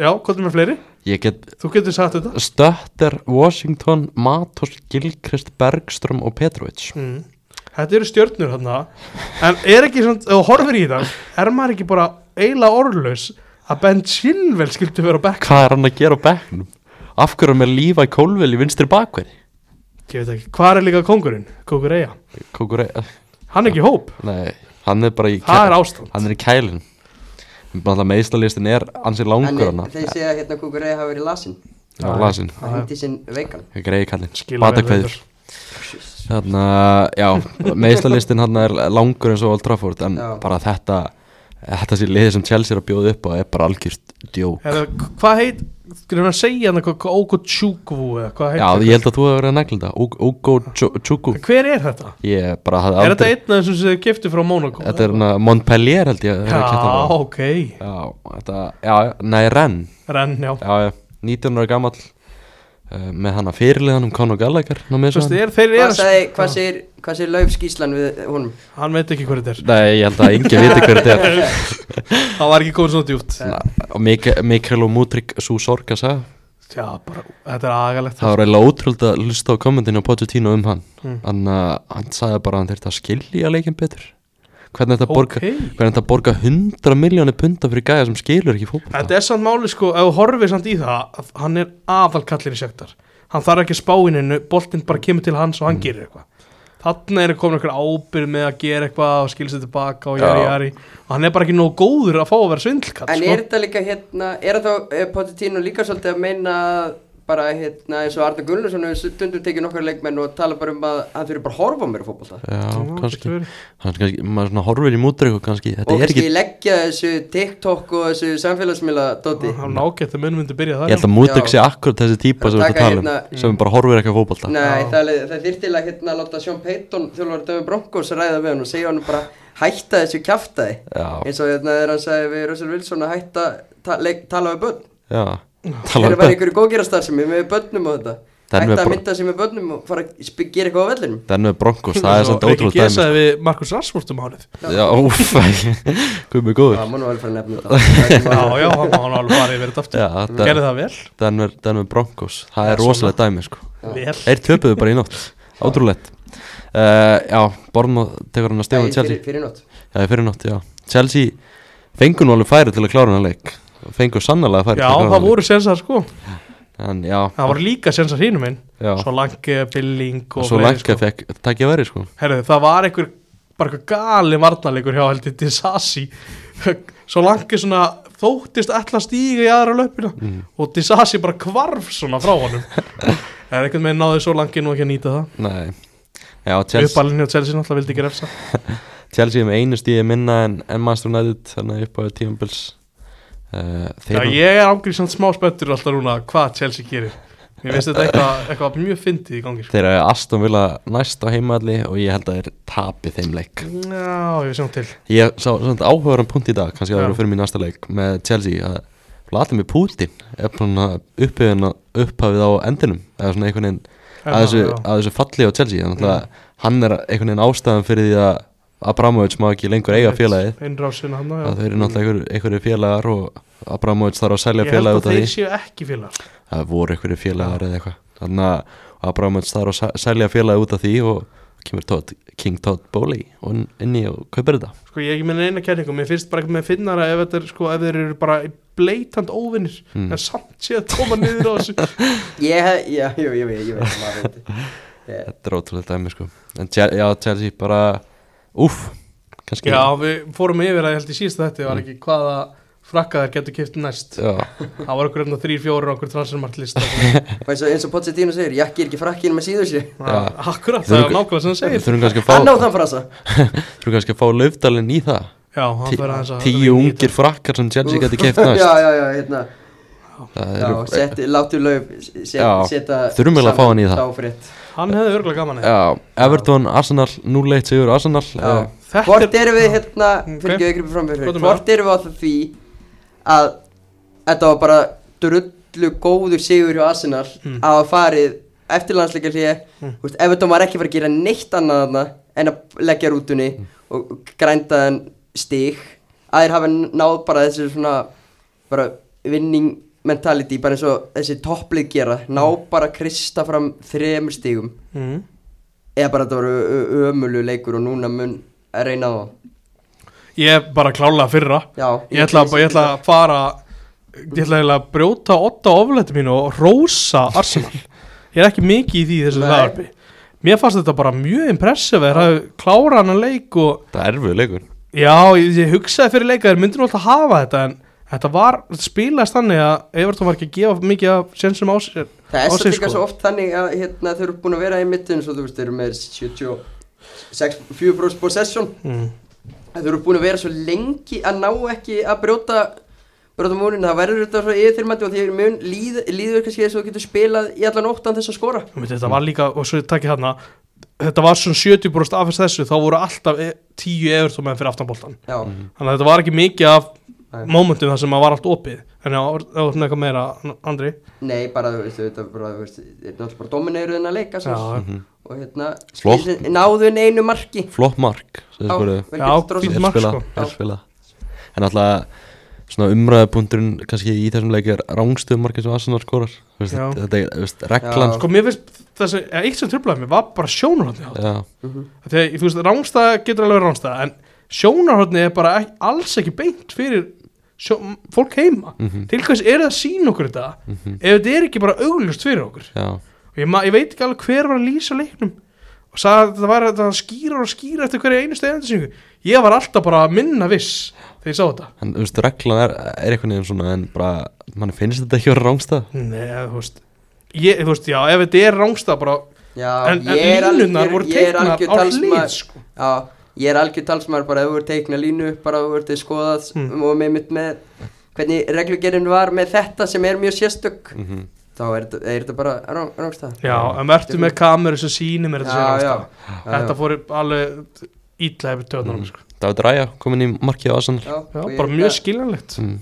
[SPEAKER 4] Já, hvað er með fleiri?
[SPEAKER 3] Ég get
[SPEAKER 4] Þú getur sagt þetta
[SPEAKER 3] Stötter, Washington, Matos, Gilchrist, Bergström og Petrovic
[SPEAKER 4] mm. Þetta eru stjörnur hérna En er ekki svona, ef þú horfir í það Er maður ekki bara eiginlega orðlaus Að Ben Chilwell skildi vera á bekk
[SPEAKER 3] Hvað er hann að gera á bekknum? Af hverju er hann með lífa í kólvel í vinstri bakverði?
[SPEAKER 4] Ég veit ekki, hvað er líka kongurinn? Kongur Eja
[SPEAKER 3] Kókur,
[SPEAKER 4] Hann er ekki í hóp,
[SPEAKER 3] nei, hann er bara í
[SPEAKER 4] það er ástand
[SPEAKER 3] Hann er í kælin Náttúrulega meðslalistin er ansið
[SPEAKER 5] En
[SPEAKER 3] langur hann
[SPEAKER 5] eh, þeir segja að hérna Kukurei hafa verið lasin
[SPEAKER 3] Það var lasin
[SPEAKER 5] Það hindi sinn veikan
[SPEAKER 3] Greiði kallinn
[SPEAKER 4] Skila vel
[SPEAKER 3] Batakveður
[SPEAKER 4] reyndar.
[SPEAKER 3] Þarna, já Meðslalistin hann er langur eins og Old Trafford En
[SPEAKER 5] Já.
[SPEAKER 3] bara þetta Þetta sé liðið sem Chelsea er að bjóða upp á Er bara algjört djók
[SPEAKER 4] Eða, Hvað heit, skulum við að segja hann eitthvað Óko Tjúkvú eða hvað
[SPEAKER 3] Já,
[SPEAKER 4] heit
[SPEAKER 3] ég held að þú hefur verið að negla þetta Ugo Chuku
[SPEAKER 4] Hver er þetta?
[SPEAKER 3] Ég bara hafði
[SPEAKER 4] Er þetta
[SPEAKER 3] aldrei
[SPEAKER 4] einn af þessum sem þið keftu frá Monaco?
[SPEAKER 3] Þetta er hann að Montpellier held ég að þeir eru að keppa
[SPEAKER 4] Já,
[SPEAKER 3] frá.
[SPEAKER 4] ok,
[SPEAKER 3] Já, þetta Já, nei, Renn
[SPEAKER 4] renn, já
[SPEAKER 3] Já, já, 19 ára gamall uh, Með hana fyrirliðan um Conor Gallagher ná með
[SPEAKER 4] Þú veist,
[SPEAKER 3] þessu hann.
[SPEAKER 4] er, þeir
[SPEAKER 5] Hvað
[SPEAKER 4] eru
[SPEAKER 5] sagði, hvað segir, hvað segir Lauf skýslan við honum?
[SPEAKER 4] Hann veit ekki hvað þetta
[SPEAKER 3] Nei, ég held að engi viti hver þetta er
[SPEAKER 4] er Það var ekki komið svona djúpt
[SPEAKER 3] Og Mik- Mikael og Mútrik Sú Sorga sagði
[SPEAKER 4] Já, bara, þetta er agalegt
[SPEAKER 3] Það var eiginlega ótrúld að hlusta á kommentinu á Pochettino um hann
[SPEAKER 4] Mm.
[SPEAKER 3] Hann, uh, hann sagði bara að hann þurfti að skilja leikin betur Hvernig þetta borga
[SPEAKER 4] Ókei.
[SPEAKER 3] Hvernig þetta borga 100 miljónir punta fyrir gæja sem skilur ekki fótbolta
[SPEAKER 4] Þetta er samt máli, sko, ef þú horfir samt í það að Hann er aðalkallir í sektar Hann þarf ekki að spá inn innu, boltinn bara kemur til hans og
[SPEAKER 3] Mm.
[SPEAKER 4] hann gerir eitthvað Þannig er komin einhver ábyrð með að gera eitthvað og skilsa tilbaka og jari
[SPEAKER 3] Já.
[SPEAKER 4] jari og hann er bara ekki nóg góður að fá að vera svindlkall
[SPEAKER 5] En
[SPEAKER 4] sko.
[SPEAKER 5] er þetta líka hérna, er þá er Pochettino líka svolítið að meina bara hérna eins og Arna Gullarsson hefur stundum tekið nokkar leikmenn og tala bara um að hann fyrir bara að horfa á mér í fótbolta
[SPEAKER 3] Já,
[SPEAKER 4] Já,
[SPEAKER 3] kannski
[SPEAKER 4] getur verið.
[SPEAKER 3] Hann kannski, maður svona horfir í mútrik og kannski Þetta er
[SPEAKER 5] og kannski
[SPEAKER 3] ekki,
[SPEAKER 5] leggja þessu TikTok og þessu samfélagsmiðla dóti
[SPEAKER 4] Hann ágætt að munum myndi byrja það
[SPEAKER 3] ég held að
[SPEAKER 5] Já.
[SPEAKER 3] mútrik sé akkurat þessi típa sem við
[SPEAKER 5] Taka
[SPEAKER 3] þetta tala um
[SPEAKER 5] hérna-
[SPEAKER 3] Sem bara horfir ekki á fótbolta
[SPEAKER 5] Nei, það, er- það þyrfti að hérna láta Sean Payton þjólfari Döfum Broncos ræða við hann og segja hann bara hætta þessu kjaftaði
[SPEAKER 3] Já.
[SPEAKER 5] eins og hérna þegar hann sagði við Russell Wilson að hætta ta leik, tala við börn
[SPEAKER 3] Já,
[SPEAKER 5] Það
[SPEAKER 3] tala
[SPEAKER 5] er
[SPEAKER 3] um
[SPEAKER 5] bara
[SPEAKER 3] þetta
[SPEAKER 5] einhverju góðgerastar sem er með börnum og þetta
[SPEAKER 3] Það er með
[SPEAKER 5] Hætta að
[SPEAKER 3] bara-
[SPEAKER 5] mynda sem er börnum og fara að sp- gera eitthvað á vellinum
[SPEAKER 3] Þannig með bronkos, það er samt
[SPEAKER 4] Ekki
[SPEAKER 3] ótrúld dæmi sko.
[SPEAKER 4] gesaði við Markus Rassmort um hálfið
[SPEAKER 3] Já, úf, hvað mjög góður
[SPEAKER 5] Já, maður var alveg fara að nefna þetta Það er
[SPEAKER 4] Já,
[SPEAKER 5] ekki
[SPEAKER 4] já, hann var hann alveg farið verið aftur
[SPEAKER 3] Já,
[SPEAKER 4] Hann Gerði það vel,
[SPEAKER 3] Denver, Denver Broncos, það
[SPEAKER 4] Já,
[SPEAKER 3] er rosalega dæmi sko.
[SPEAKER 4] vel
[SPEAKER 3] Þeir töpuðu bara í nótt, átrúlegt uh, Já, Bormóð tekur hann að
[SPEAKER 5] mál.
[SPEAKER 3] stefa
[SPEAKER 5] Nei,
[SPEAKER 3] með um Chelsea
[SPEAKER 5] fyrir- Fyrir nótt
[SPEAKER 3] Já, í fyrir nótt, já Chelsea fengur nú alveg færi til að klára hann leik Fengur sannlega færi
[SPEAKER 4] Já,
[SPEAKER 3] til að klára
[SPEAKER 4] það
[SPEAKER 3] hann leik
[SPEAKER 4] voru sensar sko
[SPEAKER 3] En já,
[SPEAKER 4] Það voru líka sensar hínum minn
[SPEAKER 3] já
[SPEAKER 4] Svo langi, billing og
[SPEAKER 3] Svo
[SPEAKER 4] fleiri,
[SPEAKER 3] langt
[SPEAKER 4] sko.
[SPEAKER 3] að fekk takja verið sko
[SPEAKER 4] Herðu, það var einhver bara einhver gali varnarleikur hjá heldur Disassi svo langi svona þóttist ætla að stíga í aðra löpina
[SPEAKER 3] Mm.
[SPEAKER 4] og Disassi bara kvarf svona frá honum en einhvern veginn náði svo langi nú ekki að nýta það
[SPEAKER 3] Nei, já,
[SPEAKER 4] Chelsea.
[SPEAKER 3] Chelsea,
[SPEAKER 4] uppalinn hjá Chelsea náttúrulega vildi ekki refsa
[SPEAKER 3] Chelsea er með einu stíði minna en, en Master United Þannig upp á tíumbils uh,
[SPEAKER 4] Já, ég er ángríðsamt smá spettur alltaf núna hvað Chelsea gerir Mér finnst þetta eitthvað, eitthvað mjög fyndið í gangi sko.
[SPEAKER 3] Þeir eru Aston Villa næst á heimalli og ég held að þeir tapi þeim leik
[SPEAKER 4] Já, ég sjáum til
[SPEAKER 3] Ég sá svona áhugaðan punkt í dag kannski að
[SPEAKER 4] Já.
[SPEAKER 3] vera fyrir mín næsta leik með Chelsea að Vladimir Putin er svona upphafið, upphafið á endinum eða svona einhvern veginn að
[SPEAKER 4] Já,
[SPEAKER 3] þessu,
[SPEAKER 4] Hérna, já. Mm.
[SPEAKER 3] að þessu falli á Chelsea þannig að hann er einhvern veginn ástæðan fyrir því að Abramovich má ekki lengur eiga félagið
[SPEAKER 4] Einrásina hann, já
[SPEAKER 3] að þau eru náttúrulega einhver, einhverju félagar og Abramovich þarf að selja
[SPEAKER 4] Ég held
[SPEAKER 3] félagið
[SPEAKER 4] að
[SPEAKER 3] út af
[SPEAKER 4] þeir
[SPEAKER 3] því
[SPEAKER 4] séu ekki félag
[SPEAKER 3] það voru einhverju félagar eða eitthvað þannig að Abramovich þarf að se- selja félagið út af því og kemur Todd, King Todd Bowley og hann inn í og kaupir þetta
[SPEAKER 4] Sko ég er ekki með neina kærlingu, mér finnst bara ekki með finnara ef, þetta er, sko, ef þeir eru bara bleitant óvinnir
[SPEAKER 3] Hmm.
[SPEAKER 4] en samt sé að koma niður á þessu
[SPEAKER 5] Ég, hef- já, jú, jú, jú, ég veit, maður veit Eh, Ég-
[SPEAKER 3] Þetta er ótrúlega dæmi sko En Chel- já, Chelsea bara Úf, kannski
[SPEAKER 4] Já, við fórum yfir að ég held í síðast þetta
[SPEAKER 3] Hmm.
[SPEAKER 4] var ekki hvaða frakka þær getur kipt næst
[SPEAKER 3] Já,
[SPEAKER 4] Það var okkur efna þrýr, fjórir og okkur transfermart lista
[SPEAKER 5] Og eins og, eins og Pochettino segir, jakki er ekki frakkinn með síður sér
[SPEAKER 4] Akkurat, það er nákvæmlega sem það
[SPEAKER 3] Við
[SPEAKER 4] segir
[SPEAKER 3] þurfum kannski að
[SPEAKER 5] Hann á
[SPEAKER 3] fá
[SPEAKER 5] þann frasa
[SPEAKER 3] Þurfum kannski að fá löfdalinn í það
[SPEAKER 4] Já, hann
[SPEAKER 3] Tí-
[SPEAKER 4] fyrir aðeins að
[SPEAKER 3] Tíu ungir frakkar sem Chelsea
[SPEAKER 5] Úff.
[SPEAKER 3] geti keift næst
[SPEAKER 5] Já, já, já, hérna
[SPEAKER 3] Það
[SPEAKER 5] Já,
[SPEAKER 3] eru-
[SPEAKER 5] setti, láttu lauf set,
[SPEAKER 3] Já,
[SPEAKER 5] Seta
[SPEAKER 3] þurfum eiginlega að fá hann í það.
[SPEAKER 5] Sáfrétt
[SPEAKER 4] Hann hefði örgulega gaman eða
[SPEAKER 3] Já, Everton, Arsenal, núleitt sigur Arsenal eh,
[SPEAKER 4] Þetta
[SPEAKER 5] Hvort erum við hérna Fyrir ekki
[SPEAKER 4] Ok.
[SPEAKER 5] að ykkur framfyrir
[SPEAKER 4] Skotum
[SPEAKER 5] Hvort erum við á það því Að Þetta var bara Drullu góður sigur hjá Arsenal mm. Að hafa farið Eftir landsleika hlýja mm. Ef þetta var ekki fara að gera neitt annað þarna En að leggja rútunni og grændaðan stig aðeir hafa náð bara þessi svona bara vinning mentality bara eins og þessi topplið gera ná bara að krista fram þremur stigum
[SPEAKER 4] mm.
[SPEAKER 5] eða bara þetta voru ömulu leikur og núna mun að reyna á það
[SPEAKER 4] Ég er bara klálega fyrra
[SPEAKER 5] Já,
[SPEAKER 4] Ég ætla, að- ég ætla að fara Ég ætla eiginlega að brjóta åtta oflætti mínu og rósa Arsenal Ég er ekki mikið í því í þessu
[SPEAKER 5] Nei.
[SPEAKER 4] lagarpi Mér fannst þetta bara mjög impressive að þeir hafi klárað hann að leik og
[SPEAKER 3] Það er erfið leikur
[SPEAKER 4] já, ég, ég hugsaði fyrir leik að þeir myndu nú alltaf hafa þetta en þetta var, þetta spilaðist þannig að Everton var ekki að gefa mikið af sensum á sér
[SPEAKER 5] Það
[SPEAKER 4] á
[SPEAKER 5] er svo
[SPEAKER 4] sig,
[SPEAKER 5] líka
[SPEAKER 4] sko.
[SPEAKER 5] svo oft þannig að hérna, þau eru búin að vera í mittun svo þú veist, þau eru með 74% possession
[SPEAKER 4] mm.
[SPEAKER 5] að þau eru búin að vera svo lengi að ná ekki að brjóta brjóta múrin, það verður þetta svo yfirþyrmandi og því mun líð, líður kannski þess að þú getur spilað í allan óttan þess að skora
[SPEAKER 4] Ég myndi, Þetta var líka, og svo takk ég þarna Þetta var svona 70% af þessu þá voru alltaf e- 10 Everton menn fyrir aftanboltan
[SPEAKER 5] Já,
[SPEAKER 4] Þannig að þetta var ekki mikið af
[SPEAKER 5] Nei.
[SPEAKER 4] mómentum þar sem að var allt opið En já, þá er þetta eitthvað meira, Andri
[SPEAKER 5] nei, bara þú veist, þetta er bara, þú veist, þetta er náttúrulega bara domineiruð en að leika
[SPEAKER 4] Já,
[SPEAKER 5] svo, og hérna,
[SPEAKER 3] Flott.
[SPEAKER 5] skilsin- náðu en einu marki
[SPEAKER 3] Flott mark sem
[SPEAKER 5] Já,
[SPEAKER 3] skoruðu.
[SPEAKER 5] vel
[SPEAKER 4] Já,
[SPEAKER 5] gert, Drossard.
[SPEAKER 4] fínt
[SPEAKER 3] Þeir
[SPEAKER 4] mark,
[SPEAKER 3] spila,
[SPEAKER 4] sko.
[SPEAKER 3] þeir spila En alltaf svona umræðapunkturinn kannski í þessum leik er rángstöðum markið sem Arsenal skorar Þú veist,
[SPEAKER 4] Já.
[SPEAKER 3] Þetta er þú veist, reglan
[SPEAKER 5] Já.
[SPEAKER 4] Sko, mér finnst þessi, eða eitt sem tröflaði mig var bara sjónarhóttni
[SPEAKER 3] sko. Já.
[SPEAKER 4] Þegar, þú veist, rángstæða getur alveg rángstæða En sjónarhóttni er bara ekki, alls ekki beint fyrir sjó, fólk heima Til hvers er það að sína okkur þetta Ef þetta er ekki bara augljóst fyrir okkur
[SPEAKER 3] Já.
[SPEAKER 4] og ég, ma- ég veit ekki alveg hver var að lýsa leiknum og sagði að þetta var að skýra og skýra eftir hverja einustu endursyngu ég var alltaf bara að minna viss þegar ég sá þetta
[SPEAKER 3] En þú veist, reglan er, er eitthvað nefn svona en bara, mann finnst þetta ekki að vera rángstöð
[SPEAKER 4] Nei, þú veist Ég, þú veist, já, ef þetta er rángstað bara
[SPEAKER 5] Já,
[SPEAKER 4] En- en
[SPEAKER 5] ég er algjör-
[SPEAKER 4] línurnar voru
[SPEAKER 5] ég er
[SPEAKER 4] teiknar
[SPEAKER 5] algjör
[SPEAKER 4] á hlið,
[SPEAKER 5] talsmaður-
[SPEAKER 4] sko.
[SPEAKER 5] Já, ég er algjör talsmaður bara ef þú ert teikna línu upp bara ef þú ert skoðað
[SPEAKER 4] Mm.
[SPEAKER 5] og með mitt með hvernig reglugerinn var með þetta sem er mjög sérstök þá er, þetta- er þetta bara rang- rangstæða
[SPEAKER 4] Já, en verður með kameru sem sýnir mér þetta
[SPEAKER 5] Já,
[SPEAKER 4] sé
[SPEAKER 5] já.
[SPEAKER 4] rángstað Þetta fór alveg ítla hefur töðnum sko.
[SPEAKER 3] David Raja komin í markið á Arsenal
[SPEAKER 5] Já,
[SPEAKER 4] Já,
[SPEAKER 5] og ég
[SPEAKER 4] bara
[SPEAKER 5] held
[SPEAKER 4] mjög
[SPEAKER 5] að-
[SPEAKER 4] skiljanlegt
[SPEAKER 3] mm.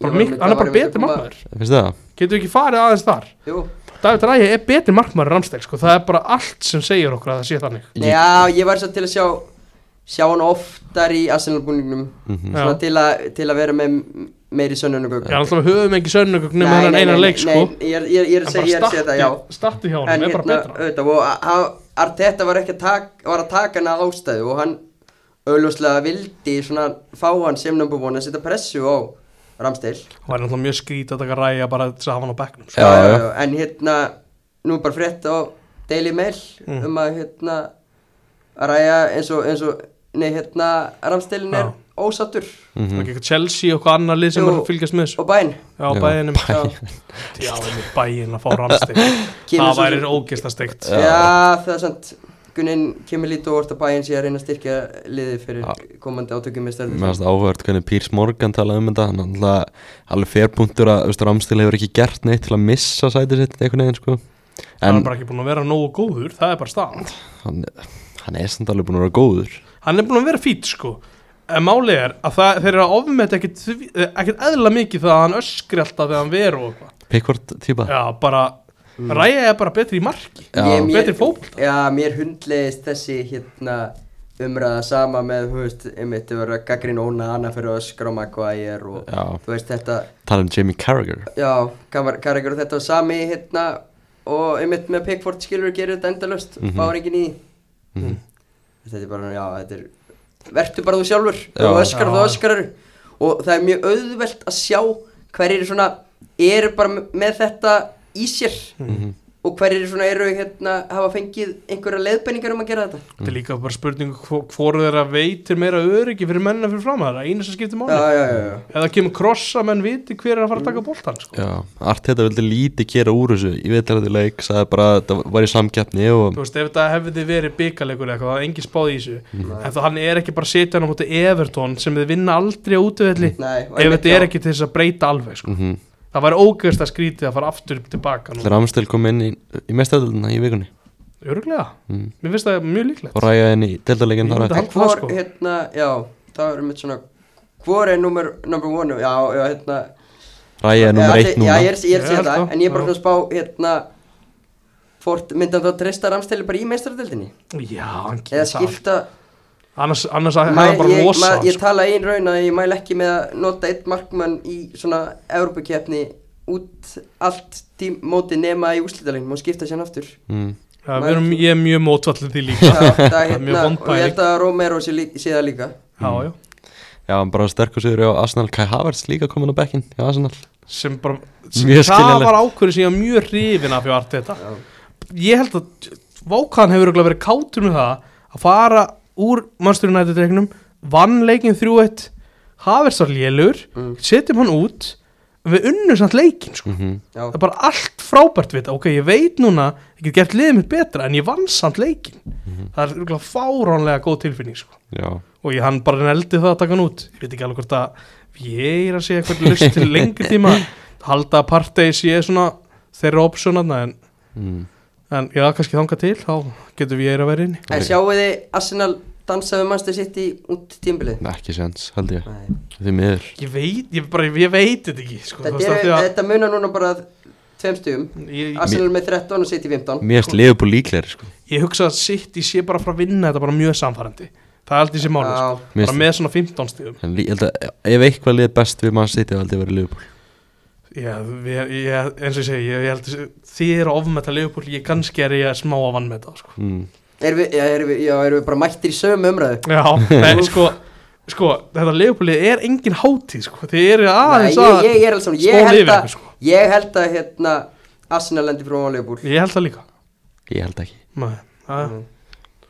[SPEAKER 4] Bara
[SPEAKER 5] ég var
[SPEAKER 4] mik- Hann
[SPEAKER 5] einmitt- það
[SPEAKER 4] er
[SPEAKER 5] var
[SPEAKER 4] bara
[SPEAKER 5] einmitt
[SPEAKER 4] betri
[SPEAKER 5] að koma-
[SPEAKER 4] markmaður
[SPEAKER 3] Finnst þið það?
[SPEAKER 4] Getur við ekki farið aðeins þar
[SPEAKER 5] Jú.
[SPEAKER 4] David Ræja er betri markmaður en Ramstein sko. Það er bara allt sem segir okkur að það sé þannig
[SPEAKER 5] Nei, Já, ég var svo til að sjá sjá hann oftar í Arsenal-búningnum
[SPEAKER 4] Já.
[SPEAKER 5] svona til að, til að vera með meiri sönnunugögn
[SPEAKER 4] Já, alltaf við höfum ekki sönnugögn nema hann eina leik sko
[SPEAKER 5] Nei, ég er- ég er- ég
[SPEAKER 4] En
[SPEAKER 5] er
[SPEAKER 4] bara
[SPEAKER 5] að segja ég er að segja þetta, já
[SPEAKER 4] startið- startið hjá
[SPEAKER 5] en
[SPEAKER 4] honum er bara
[SPEAKER 5] hérna,
[SPEAKER 4] betra
[SPEAKER 5] auðvitað, og a- a- Arteta var ekki að taka, var að taka hann að ástæðu og hann auðljóslega vildi svona fá hann sem number one að setja pressu á Ramsteil
[SPEAKER 4] Það væri náttúrulega mjög skrítið að taka ræja bara til þess að hafa hann á bekknum sko.
[SPEAKER 3] Já, já.
[SPEAKER 5] en hérna, nú er bara frétt á Daily Mail
[SPEAKER 4] Mm.
[SPEAKER 5] um að hérna að ræja eins og, eins og nei hérna, Ramsteilin er
[SPEAKER 4] Já.
[SPEAKER 5] ósattur
[SPEAKER 4] mm -hmm. ekki Chelsea og hvað annað lið sem
[SPEAKER 5] Jú.
[SPEAKER 4] er að fylgjast með þessu
[SPEAKER 5] og bæinn
[SPEAKER 4] Já,
[SPEAKER 3] Já,
[SPEAKER 4] bæðinum
[SPEAKER 5] Já,
[SPEAKER 4] Já, einmitt bæinn að fá rannsteg
[SPEAKER 5] Kemur
[SPEAKER 4] Það
[SPEAKER 5] svo-
[SPEAKER 4] væri ógist að steikt
[SPEAKER 5] já það er sant Gunnin kemur lítið og orta bæinn sé að reyna að styrkja liðið fyrir komandi átökum með stærðum
[SPEAKER 3] Mér finnst áhört hvernig Pírs Morgan talaði um þetta hann alltaf alveg férpunktur að Östur Ramstil hefur ekki gert neitt til að missa sætið sitt einhvern veginn sko
[SPEAKER 4] Það er
[SPEAKER 3] en
[SPEAKER 4] bara ekki búin að vera nógu góður, það er bara staðan
[SPEAKER 3] hann, hann er samt alveg búin að vera góður
[SPEAKER 4] Hann er búin að vera fít sko En máli er að það, þeir eru að ofmeta ekkit, því- eh, ekkit eðla mikið það að hann öskri alltaf þegar hann veru og eitthvað
[SPEAKER 3] Pickford típa
[SPEAKER 4] Já, bara, ræja er bara betri í marki
[SPEAKER 3] Já.
[SPEAKER 5] Ég- mér-
[SPEAKER 4] Betri fótbolta.
[SPEAKER 5] Já, mér hundleðist þessi hérna umræða sama með, þú veist, einmitt þau verður að gaggrín óna hana fyrir að öskra á Maguire og
[SPEAKER 3] Já.
[SPEAKER 5] þú veist þetta,
[SPEAKER 3] tala um Jamie Carragher
[SPEAKER 5] já, Karregur og þetta og sami hérna og einmitt með Pickford skilur gerir þetta endalust, mm -hmm. báður enginn í mm Þetta er bara, já, þetta er, verður bara þú sjálfur,
[SPEAKER 3] Já.
[SPEAKER 5] þú öskrar, þú
[SPEAKER 4] Já.
[SPEAKER 5] öskrar og það er mjög auðvelt að sjá hverjir svona eru bara með þetta í sér og hverjir svona eru hérna hafa fengið einhverja leiðbenningar um að gera þetta
[SPEAKER 4] Þetta er líka bara spurningu hvort þeirra veitir meira öryggi fyrir mennina fyrir fram það er einu sem skiptir máli
[SPEAKER 5] já, já, já.
[SPEAKER 4] Ef það kemur krossa menn viti hver er að fara að taka boltan sko.
[SPEAKER 3] Já, Arteta vildi lítið gera úr þessu í viðtælandi leik, sagði bara að það var í samkeppni og
[SPEAKER 4] Þú veist, ef þetta hefði verið byggarleikur eitthvað, það er engin spáð í þessu
[SPEAKER 5] Mhm.
[SPEAKER 4] En þá hann er ekki bara að setja hann á móti Everton sem þið vinna aldrei á útivelli
[SPEAKER 5] Nei, og
[SPEAKER 4] Ef
[SPEAKER 5] Mm. einmitt,
[SPEAKER 4] þetta er
[SPEAKER 5] já.
[SPEAKER 4] ekki til þess að breyta alveg sko.
[SPEAKER 3] mm -hmm.
[SPEAKER 4] Það væri ógeðst að skrítið að fara aftur tilbaka nú.
[SPEAKER 3] Ramstil kom inn í, í mestaröldina í vikunni
[SPEAKER 4] Öruglega,
[SPEAKER 5] Mm.
[SPEAKER 3] Mhm.
[SPEAKER 4] mér finnst það mjög líklegt
[SPEAKER 3] og ræja henni í deltalegin
[SPEAKER 4] Ég
[SPEAKER 3] þar að
[SPEAKER 4] myndi
[SPEAKER 5] en
[SPEAKER 4] halda það,
[SPEAKER 5] hvor,
[SPEAKER 4] sko.
[SPEAKER 5] hérna, já það er mitt svona, hvor er nummer number one, já, já, hérna
[SPEAKER 3] ræja er
[SPEAKER 5] Já,
[SPEAKER 3] nummer
[SPEAKER 5] allir-
[SPEAKER 3] eitt núna
[SPEAKER 5] já, ég er, ég er
[SPEAKER 4] Ég
[SPEAKER 5] að segja
[SPEAKER 4] held
[SPEAKER 5] það,
[SPEAKER 4] það,
[SPEAKER 5] en ég er bara
[SPEAKER 4] já.
[SPEAKER 5] svona að spá hérna, hvort myndan þá treysta ramstæli bara í meistaradeldinni
[SPEAKER 4] Já, hann
[SPEAKER 5] eða
[SPEAKER 4] gerir það
[SPEAKER 5] skipta
[SPEAKER 4] annars, annars að
[SPEAKER 5] Mæ-
[SPEAKER 4] hefða bara
[SPEAKER 5] ég,
[SPEAKER 4] rosa
[SPEAKER 5] ma-
[SPEAKER 4] hann,
[SPEAKER 5] ég
[SPEAKER 4] sko.
[SPEAKER 5] tala ein raun að ég mæl ekki með að nota eitt markmann í svona Evrópakeppni út allt tím, móti nema í úslítalinn og skipta sér hann aftur
[SPEAKER 3] mm.
[SPEAKER 4] Já, við erum, ég er mjög mótvallið því líka
[SPEAKER 5] það, það,
[SPEAKER 4] er mjög
[SPEAKER 5] hérna,
[SPEAKER 4] vond
[SPEAKER 5] og ég held að Romero sé, lí- sé það líka
[SPEAKER 4] já, já.
[SPEAKER 3] Já, hann bara sterkur sigur á Arsenal Kai Havertz líka komin á bekkinn í Arsenal
[SPEAKER 4] sem bara,
[SPEAKER 3] Mjög
[SPEAKER 4] það
[SPEAKER 3] skiljanlegt.
[SPEAKER 4] var ákvörðu sem ég var mjög hrifin af hjá allt þetta ég held að Vákan hefur örugglega verið kátur með það að fara úr Manchester United reiknum vann leikin 3-1 Havers var lélur,
[SPEAKER 5] Mm.
[SPEAKER 4] setjum hann út við unnum samt leikin sko.
[SPEAKER 3] mm
[SPEAKER 5] já,
[SPEAKER 4] það er bara allt frábært við þetta ok, ég veit núna, ég get gert liðið mitt betra en ég vann samt leikin
[SPEAKER 3] Mhm.
[SPEAKER 4] það er örugglega fáránlega góð tilfinning sko.
[SPEAKER 3] Já,
[SPEAKER 4] og ég hann bara neldi það að taka hann út ég veit ekki alveg hvort að ég er að segja eitthvað lust til lengi tíma halda að partegi sé svona þeirra opsjónarna en,
[SPEAKER 3] mm.
[SPEAKER 4] en já, kannski þanga til þá getum við að vera inni
[SPEAKER 5] en sjáu þið Arsenal dansa við Manchester City út tímbilið
[SPEAKER 3] Nei, ekki séns, held ég
[SPEAKER 5] Nei.
[SPEAKER 3] Því miður
[SPEAKER 4] ég veit, ég bara, ég veit þetta ekki sko, þú
[SPEAKER 5] þetta,
[SPEAKER 4] veist, af
[SPEAKER 5] eru,
[SPEAKER 4] því að
[SPEAKER 5] þetta munar núna bara tveim stugum
[SPEAKER 4] ég, ég,
[SPEAKER 5] Arsenal með 13 og City 15
[SPEAKER 3] Mér erst Liverpool líklegri sko
[SPEAKER 4] ég hugsa að sitt í sé bara frá að vinna þetta bara mjög samfærandi það er allt í sér máli sko.
[SPEAKER 5] já,
[SPEAKER 3] Mér
[SPEAKER 4] bara
[SPEAKER 3] finnst-
[SPEAKER 4] með svona 15 stíðum
[SPEAKER 3] En lí- ég held að ef eitthvað liðið best við mann sitja held ég að vera Liverpool
[SPEAKER 4] ég, ég, ég, eins og ég segi, ég, ég held að þið eru að ofmeta leifupúl ég kannski er ég smá að vann með það sko.
[SPEAKER 3] mm.
[SPEAKER 5] erum við, já, erum við, já, erum við bara mættir í sömu umræðu
[SPEAKER 4] Já, nei, sko, sko þetta leifupúlið er engin hátíð sko. þið eru
[SPEAKER 5] Nei,
[SPEAKER 4] aðeins
[SPEAKER 5] ég,
[SPEAKER 4] að
[SPEAKER 5] ég, ég er alveg svona,
[SPEAKER 4] smá
[SPEAKER 5] ég held
[SPEAKER 4] lifir
[SPEAKER 5] að
[SPEAKER 4] ykkur, sko.
[SPEAKER 5] ég held að hérna Arsenal lendi frá Leopold
[SPEAKER 4] ég held það líka
[SPEAKER 3] Ég held ekki
[SPEAKER 4] nei, að,
[SPEAKER 5] Mm.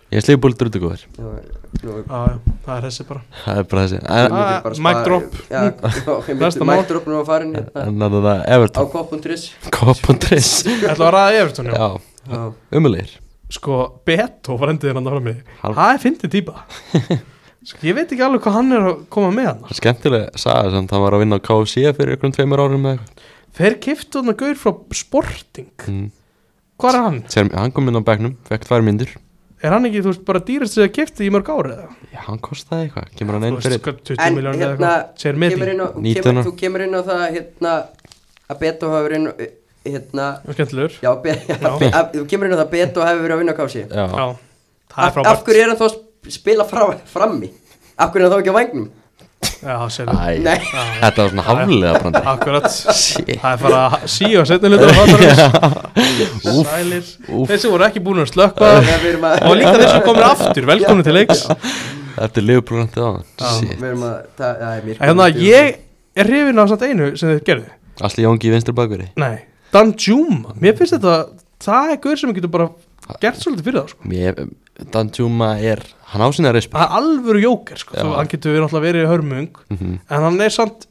[SPEAKER 3] Ég erst Liverpool dröndu góður
[SPEAKER 5] Mike
[SPEAKER 4] að, það er þessi bara
[SPEAKER 3] Það er bara þessi En,
[SPEAKER 4] Ah, mic drop.
[SPEAKER 5] Já,
[SPEAKER 4] Næsta
[SPEAKER 5] Mike
[SPEAKER 4] mál.
[SPEAKER 5] drop nú að farin hérna
[SPEAKER 3] en að það
[SPEAKER 5] á
[SPEAKER 3] Everton
[SPEAKER 5] Kopp.ris
[SPEAKER 3] Kopp og Triss
[SPEAKER 4] Ég ætla að ræða Everton, já
[SPEAKER 3] Já, umulegir
[SPEAKER 4] Sko, Beto var endið hérna frammi
[SPEAKER 3] Hann-
[SPEAKER 4] Það er fyndið típa sko, Ég veit ekki alveg hvað hann er að koma með hann
[SPEAKER 3] Skemmtilega sagði samt hann var að vinna á KFC fyrir ykkur um tveimur árum eða eitthvað
[SPEAKER 4] Þeir kiftu hann að gaur frá Sporting
[SPEAKER 3] mm.
[SPEAKER 4] Hvað er hann?
[SPEAKER 3] Sér, Hann kom inn á bekknum, fekk tvær myndir
[SPEAKER 4] Er hann ekki, þú veist, bara dýrast sem það kifti í mörg árið?
[SPEAKER 3] Já, hann kostaði eitthvað Kemur hann
[SPEAKER 4] Þú
[SPEAKER 3] einn
[SPEAKER 4] veist,
[SPEAKER 3] fyrir
[SPEAKER 4] sko, 20
[SPEAKER 5] En
[SPEAKER 4] miljónir eða
[SPEAKER 5] hérna,
[SPEAKER 4] eitthvað Sér
[SPEAKER 5] kemur
[SPEAKER 4] milli
[SPEAKER 5] inn á, þú
[SPEAKER 3] 19
[SPEAKER 5] kemur,
[SPEAKER 3] ára.
[SPEAKER 5] þú kemur inn á það hérna að Beto hafi verið inn á, hérna
[SPEAKER 4] Skemmtilegur
[SPEAKER 5] já, be, að, að, þú kemur inn á það að Beto hafi verið að vinna á kási
[SPEAKER 3] Já,
[SPEAKER 4] Já, það er
[SPEAKER 5] af, af
[SPEAKER 4] frábært
[SPEAKER 5] hverju er hann þá að sp- spila frá, frammi? af hverju er hann þá ekki á vagnum?
[SPEAKER 4] Já, sér
[SPEAKER 3] Æ,
[SPEAKER 5] Nei.
[SPEAKER 3] þetta var svona haflega brandi
[SPEAKER 4] Akkurat
[SPEAKER 3] Shit.
[SPEAKER 4] Það er bara að síu að setja hlutur á hattarins Sælir Þeir sem voru ekki búin að slökka
[SPEAKER 5] Þegar við erum að-
[SPEAKER 4] Og líka þeir sem komir aftur Velkomin til leiks
[SPEAKER 3] Þetta er Liverpool randið á hann
[SPEAKER 5] við erum að það það er mér
[SPEAKER 4] Þannig að Hérna, ég er hrifin á samt einu sem þeir gerðu
[SPEAKER 3] Asli Jóngi í vinstri bakveri
[SPEAKER 4] Nei Dan Juma Mér finnst þetta Það er gaur sem getur bara Gert svolítið fyrir það sko
[SPEAKER 3] Mér- Dan Juma er, hann á sinna resp
[SPEAKER 4] Það er alvöru jóker sko
[SPEAKER 3] Já.
[SPEAKER 4] Þú, Hann getur verið náttúrulega verið hörmung
[SPEAKER 3] Mhm.
[SPEAKER 4] En hann er samt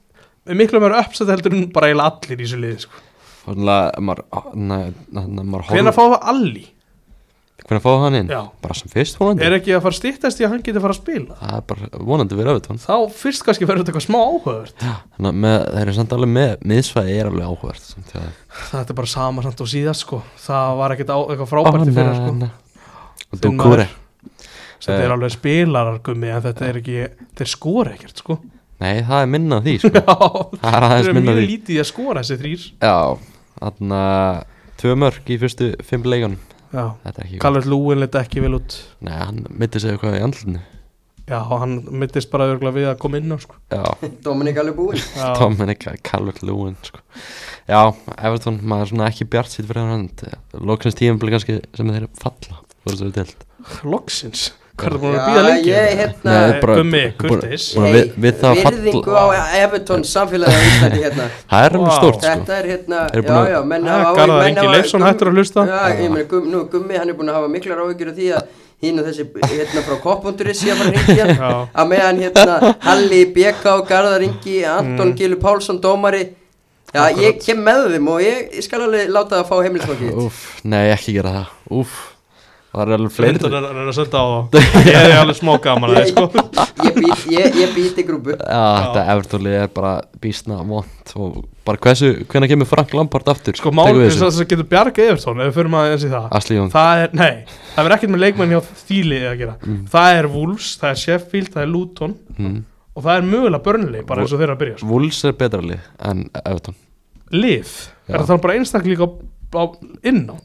[SPEAKER 4] Miklu meira uppsett heldur en bara eiginlega allir í þessu liði sko
[SPEAKER 3] Þannig maður na- na- na- maður horfir-
[SPEAKER 4] Hvenær fá það alli?
[SPEAKER 3] Hvenær fá hann inn?
[SPEAKER 4] Já.
[SPEAKER 3] Bara sem fyrst vonandi
[SPEAKER 4] Er ekki að fara að stýttast í að hann getur fara að spila?
[SPEAKER 3] Það er bara vonandi fyrir öfutón
[SPEAKER 4] þá fyrst kannski verður þetta eitthvað smá áhugavert
[SPEAKER 3] Þannig að með- þeir eru samt alveg með Miðsvæði er alveg áhugavert samt þegar-
[SPEAKER 4] þetta er bara sama samt og síðast sko það var ekkert á, eitthvað frábært í
[SPEAKER 3] Ó,
[SPEAKER 4] fyrir
[SPEAKER 3] na-
[SPEAKER 4] sko
[SPEAKER 3] na. Og
[SPEAKER 4] Þinn
[SPEAKER 3] Dukure
[SPEAKER 4] þetta er alveg spilarargummi en þetta er ekki, þeir skora ekkert sko
[SPEAKER 3] Nei, það er minna af því sko.
[SPEAKER 4] það
[SPEAKER 3] Það er aðeins minna af
[SPEAKER 4] mjög
[SPEAKER 3] því
[SPEAKER 4] lítið í að skora þessi þrýr
[SPEAKER 3] Já, þarna Tvö mörg í fyrstu fimm leikunum Þetta er ekki
[SPEAKER 4] Kallur Lúin leta ekki vel út
[SPEAKER 3] Nei, hann myndi segja eitthvað í andlunni
[SPEAKER 4] já, hann mittist bara örgulega við að koma inn á sko
[SPEAKER 3] Já,
[SPEAKER 5] Dominik alveg búinn
[SPEAKER 4] Já.
[SPEAKER 3] Dominic Calvert Lewin sko. Já, Everton, maður er svona ekki bjart sitt fyrir hann Lóksins tíðanbili kannski sem þeir falla Þú veist það er delt
[SPEAKER 4] loksins, hvað er það búin að býða
[SPEAKER 5] já,
[SPEAKER 4] lengi
[SPEAKER 5] ég hérna
[SPEAKER 4] Nei, Gummi, kurteis.
[SPEAKER 3] búin, við, við það að
[SPEAKER 5] virðingu
[SPEAKER 3] falla
[SPEAKER 5] á Everton samfélagi á Íslandi hérna
[SPEAKER 3] Það er alveg
[SPEAKER 4] Vá.
[SPEAKER 3] stórt sko.
[SPEAKER 5] Þetta er hérna,
[SPEAKER 3] Eru
[SPEAKER 5] já
[SPEAKER 3] búin að-
[SPEAKER 5] já, menn
[SPEAKER 4] Ja,
[SPEAKER 5] hafa
[SPEAKER 4] Ah, Garðar Ingi Leifsson hættur að hlusta.
[SPEAKER 5] Já, ég meina, gum, nú Gummi, hann er búin að hafa miklar áhyggjur af því að hinn og þessi hérna frá koppundurinn sé að fara að hringja
[SPEAKER 4] Já.
[SPEAKER 5] að meðan hérna Halli, BK, Garðar Ingi, Anton mm. Gilu Pálsson, dómari Já, ég kem með þeim og ég, ég skal alveg láta það að fá heimilisfólkið
[SPEAKER 3] Úff, nei ekki gera það Úff, það er alveg fleiri
[SPEAKER 4] Fleirtur er er að senda á það Ég er alveg smá gaman að það sko
[SPEAKER 5] Ég, bít, ég, ég býti grúpu
[SPEAKER 3] Já, þetta Evertóli er bara býstna vond og bara hversu, hvenær kemur Frank Lampard aftur
[SPEAKER 4] Sko málið er þess að getur bjargað Evertón ef við förum aðeins í það
[SPEAKER 3] Asli Jón,
[SPEAKER 4] það er, nei, það verður ekkert með leikmenn hjá þýlið að gera, það er Wolves það er Sheffield, það er Luton
[SPEAKER 3] Mm.
[SPEAKER 4] og það er mögulega Burnley, bara eins og þeirra að byrja sko.
[SPEAKER 3] Wolves er betra lið en Evertón
[SPEAKER 4] Lið,
[SPEAKER 3] Já.
[SPEAKER 4] er það bara einstaklega líka á, á inná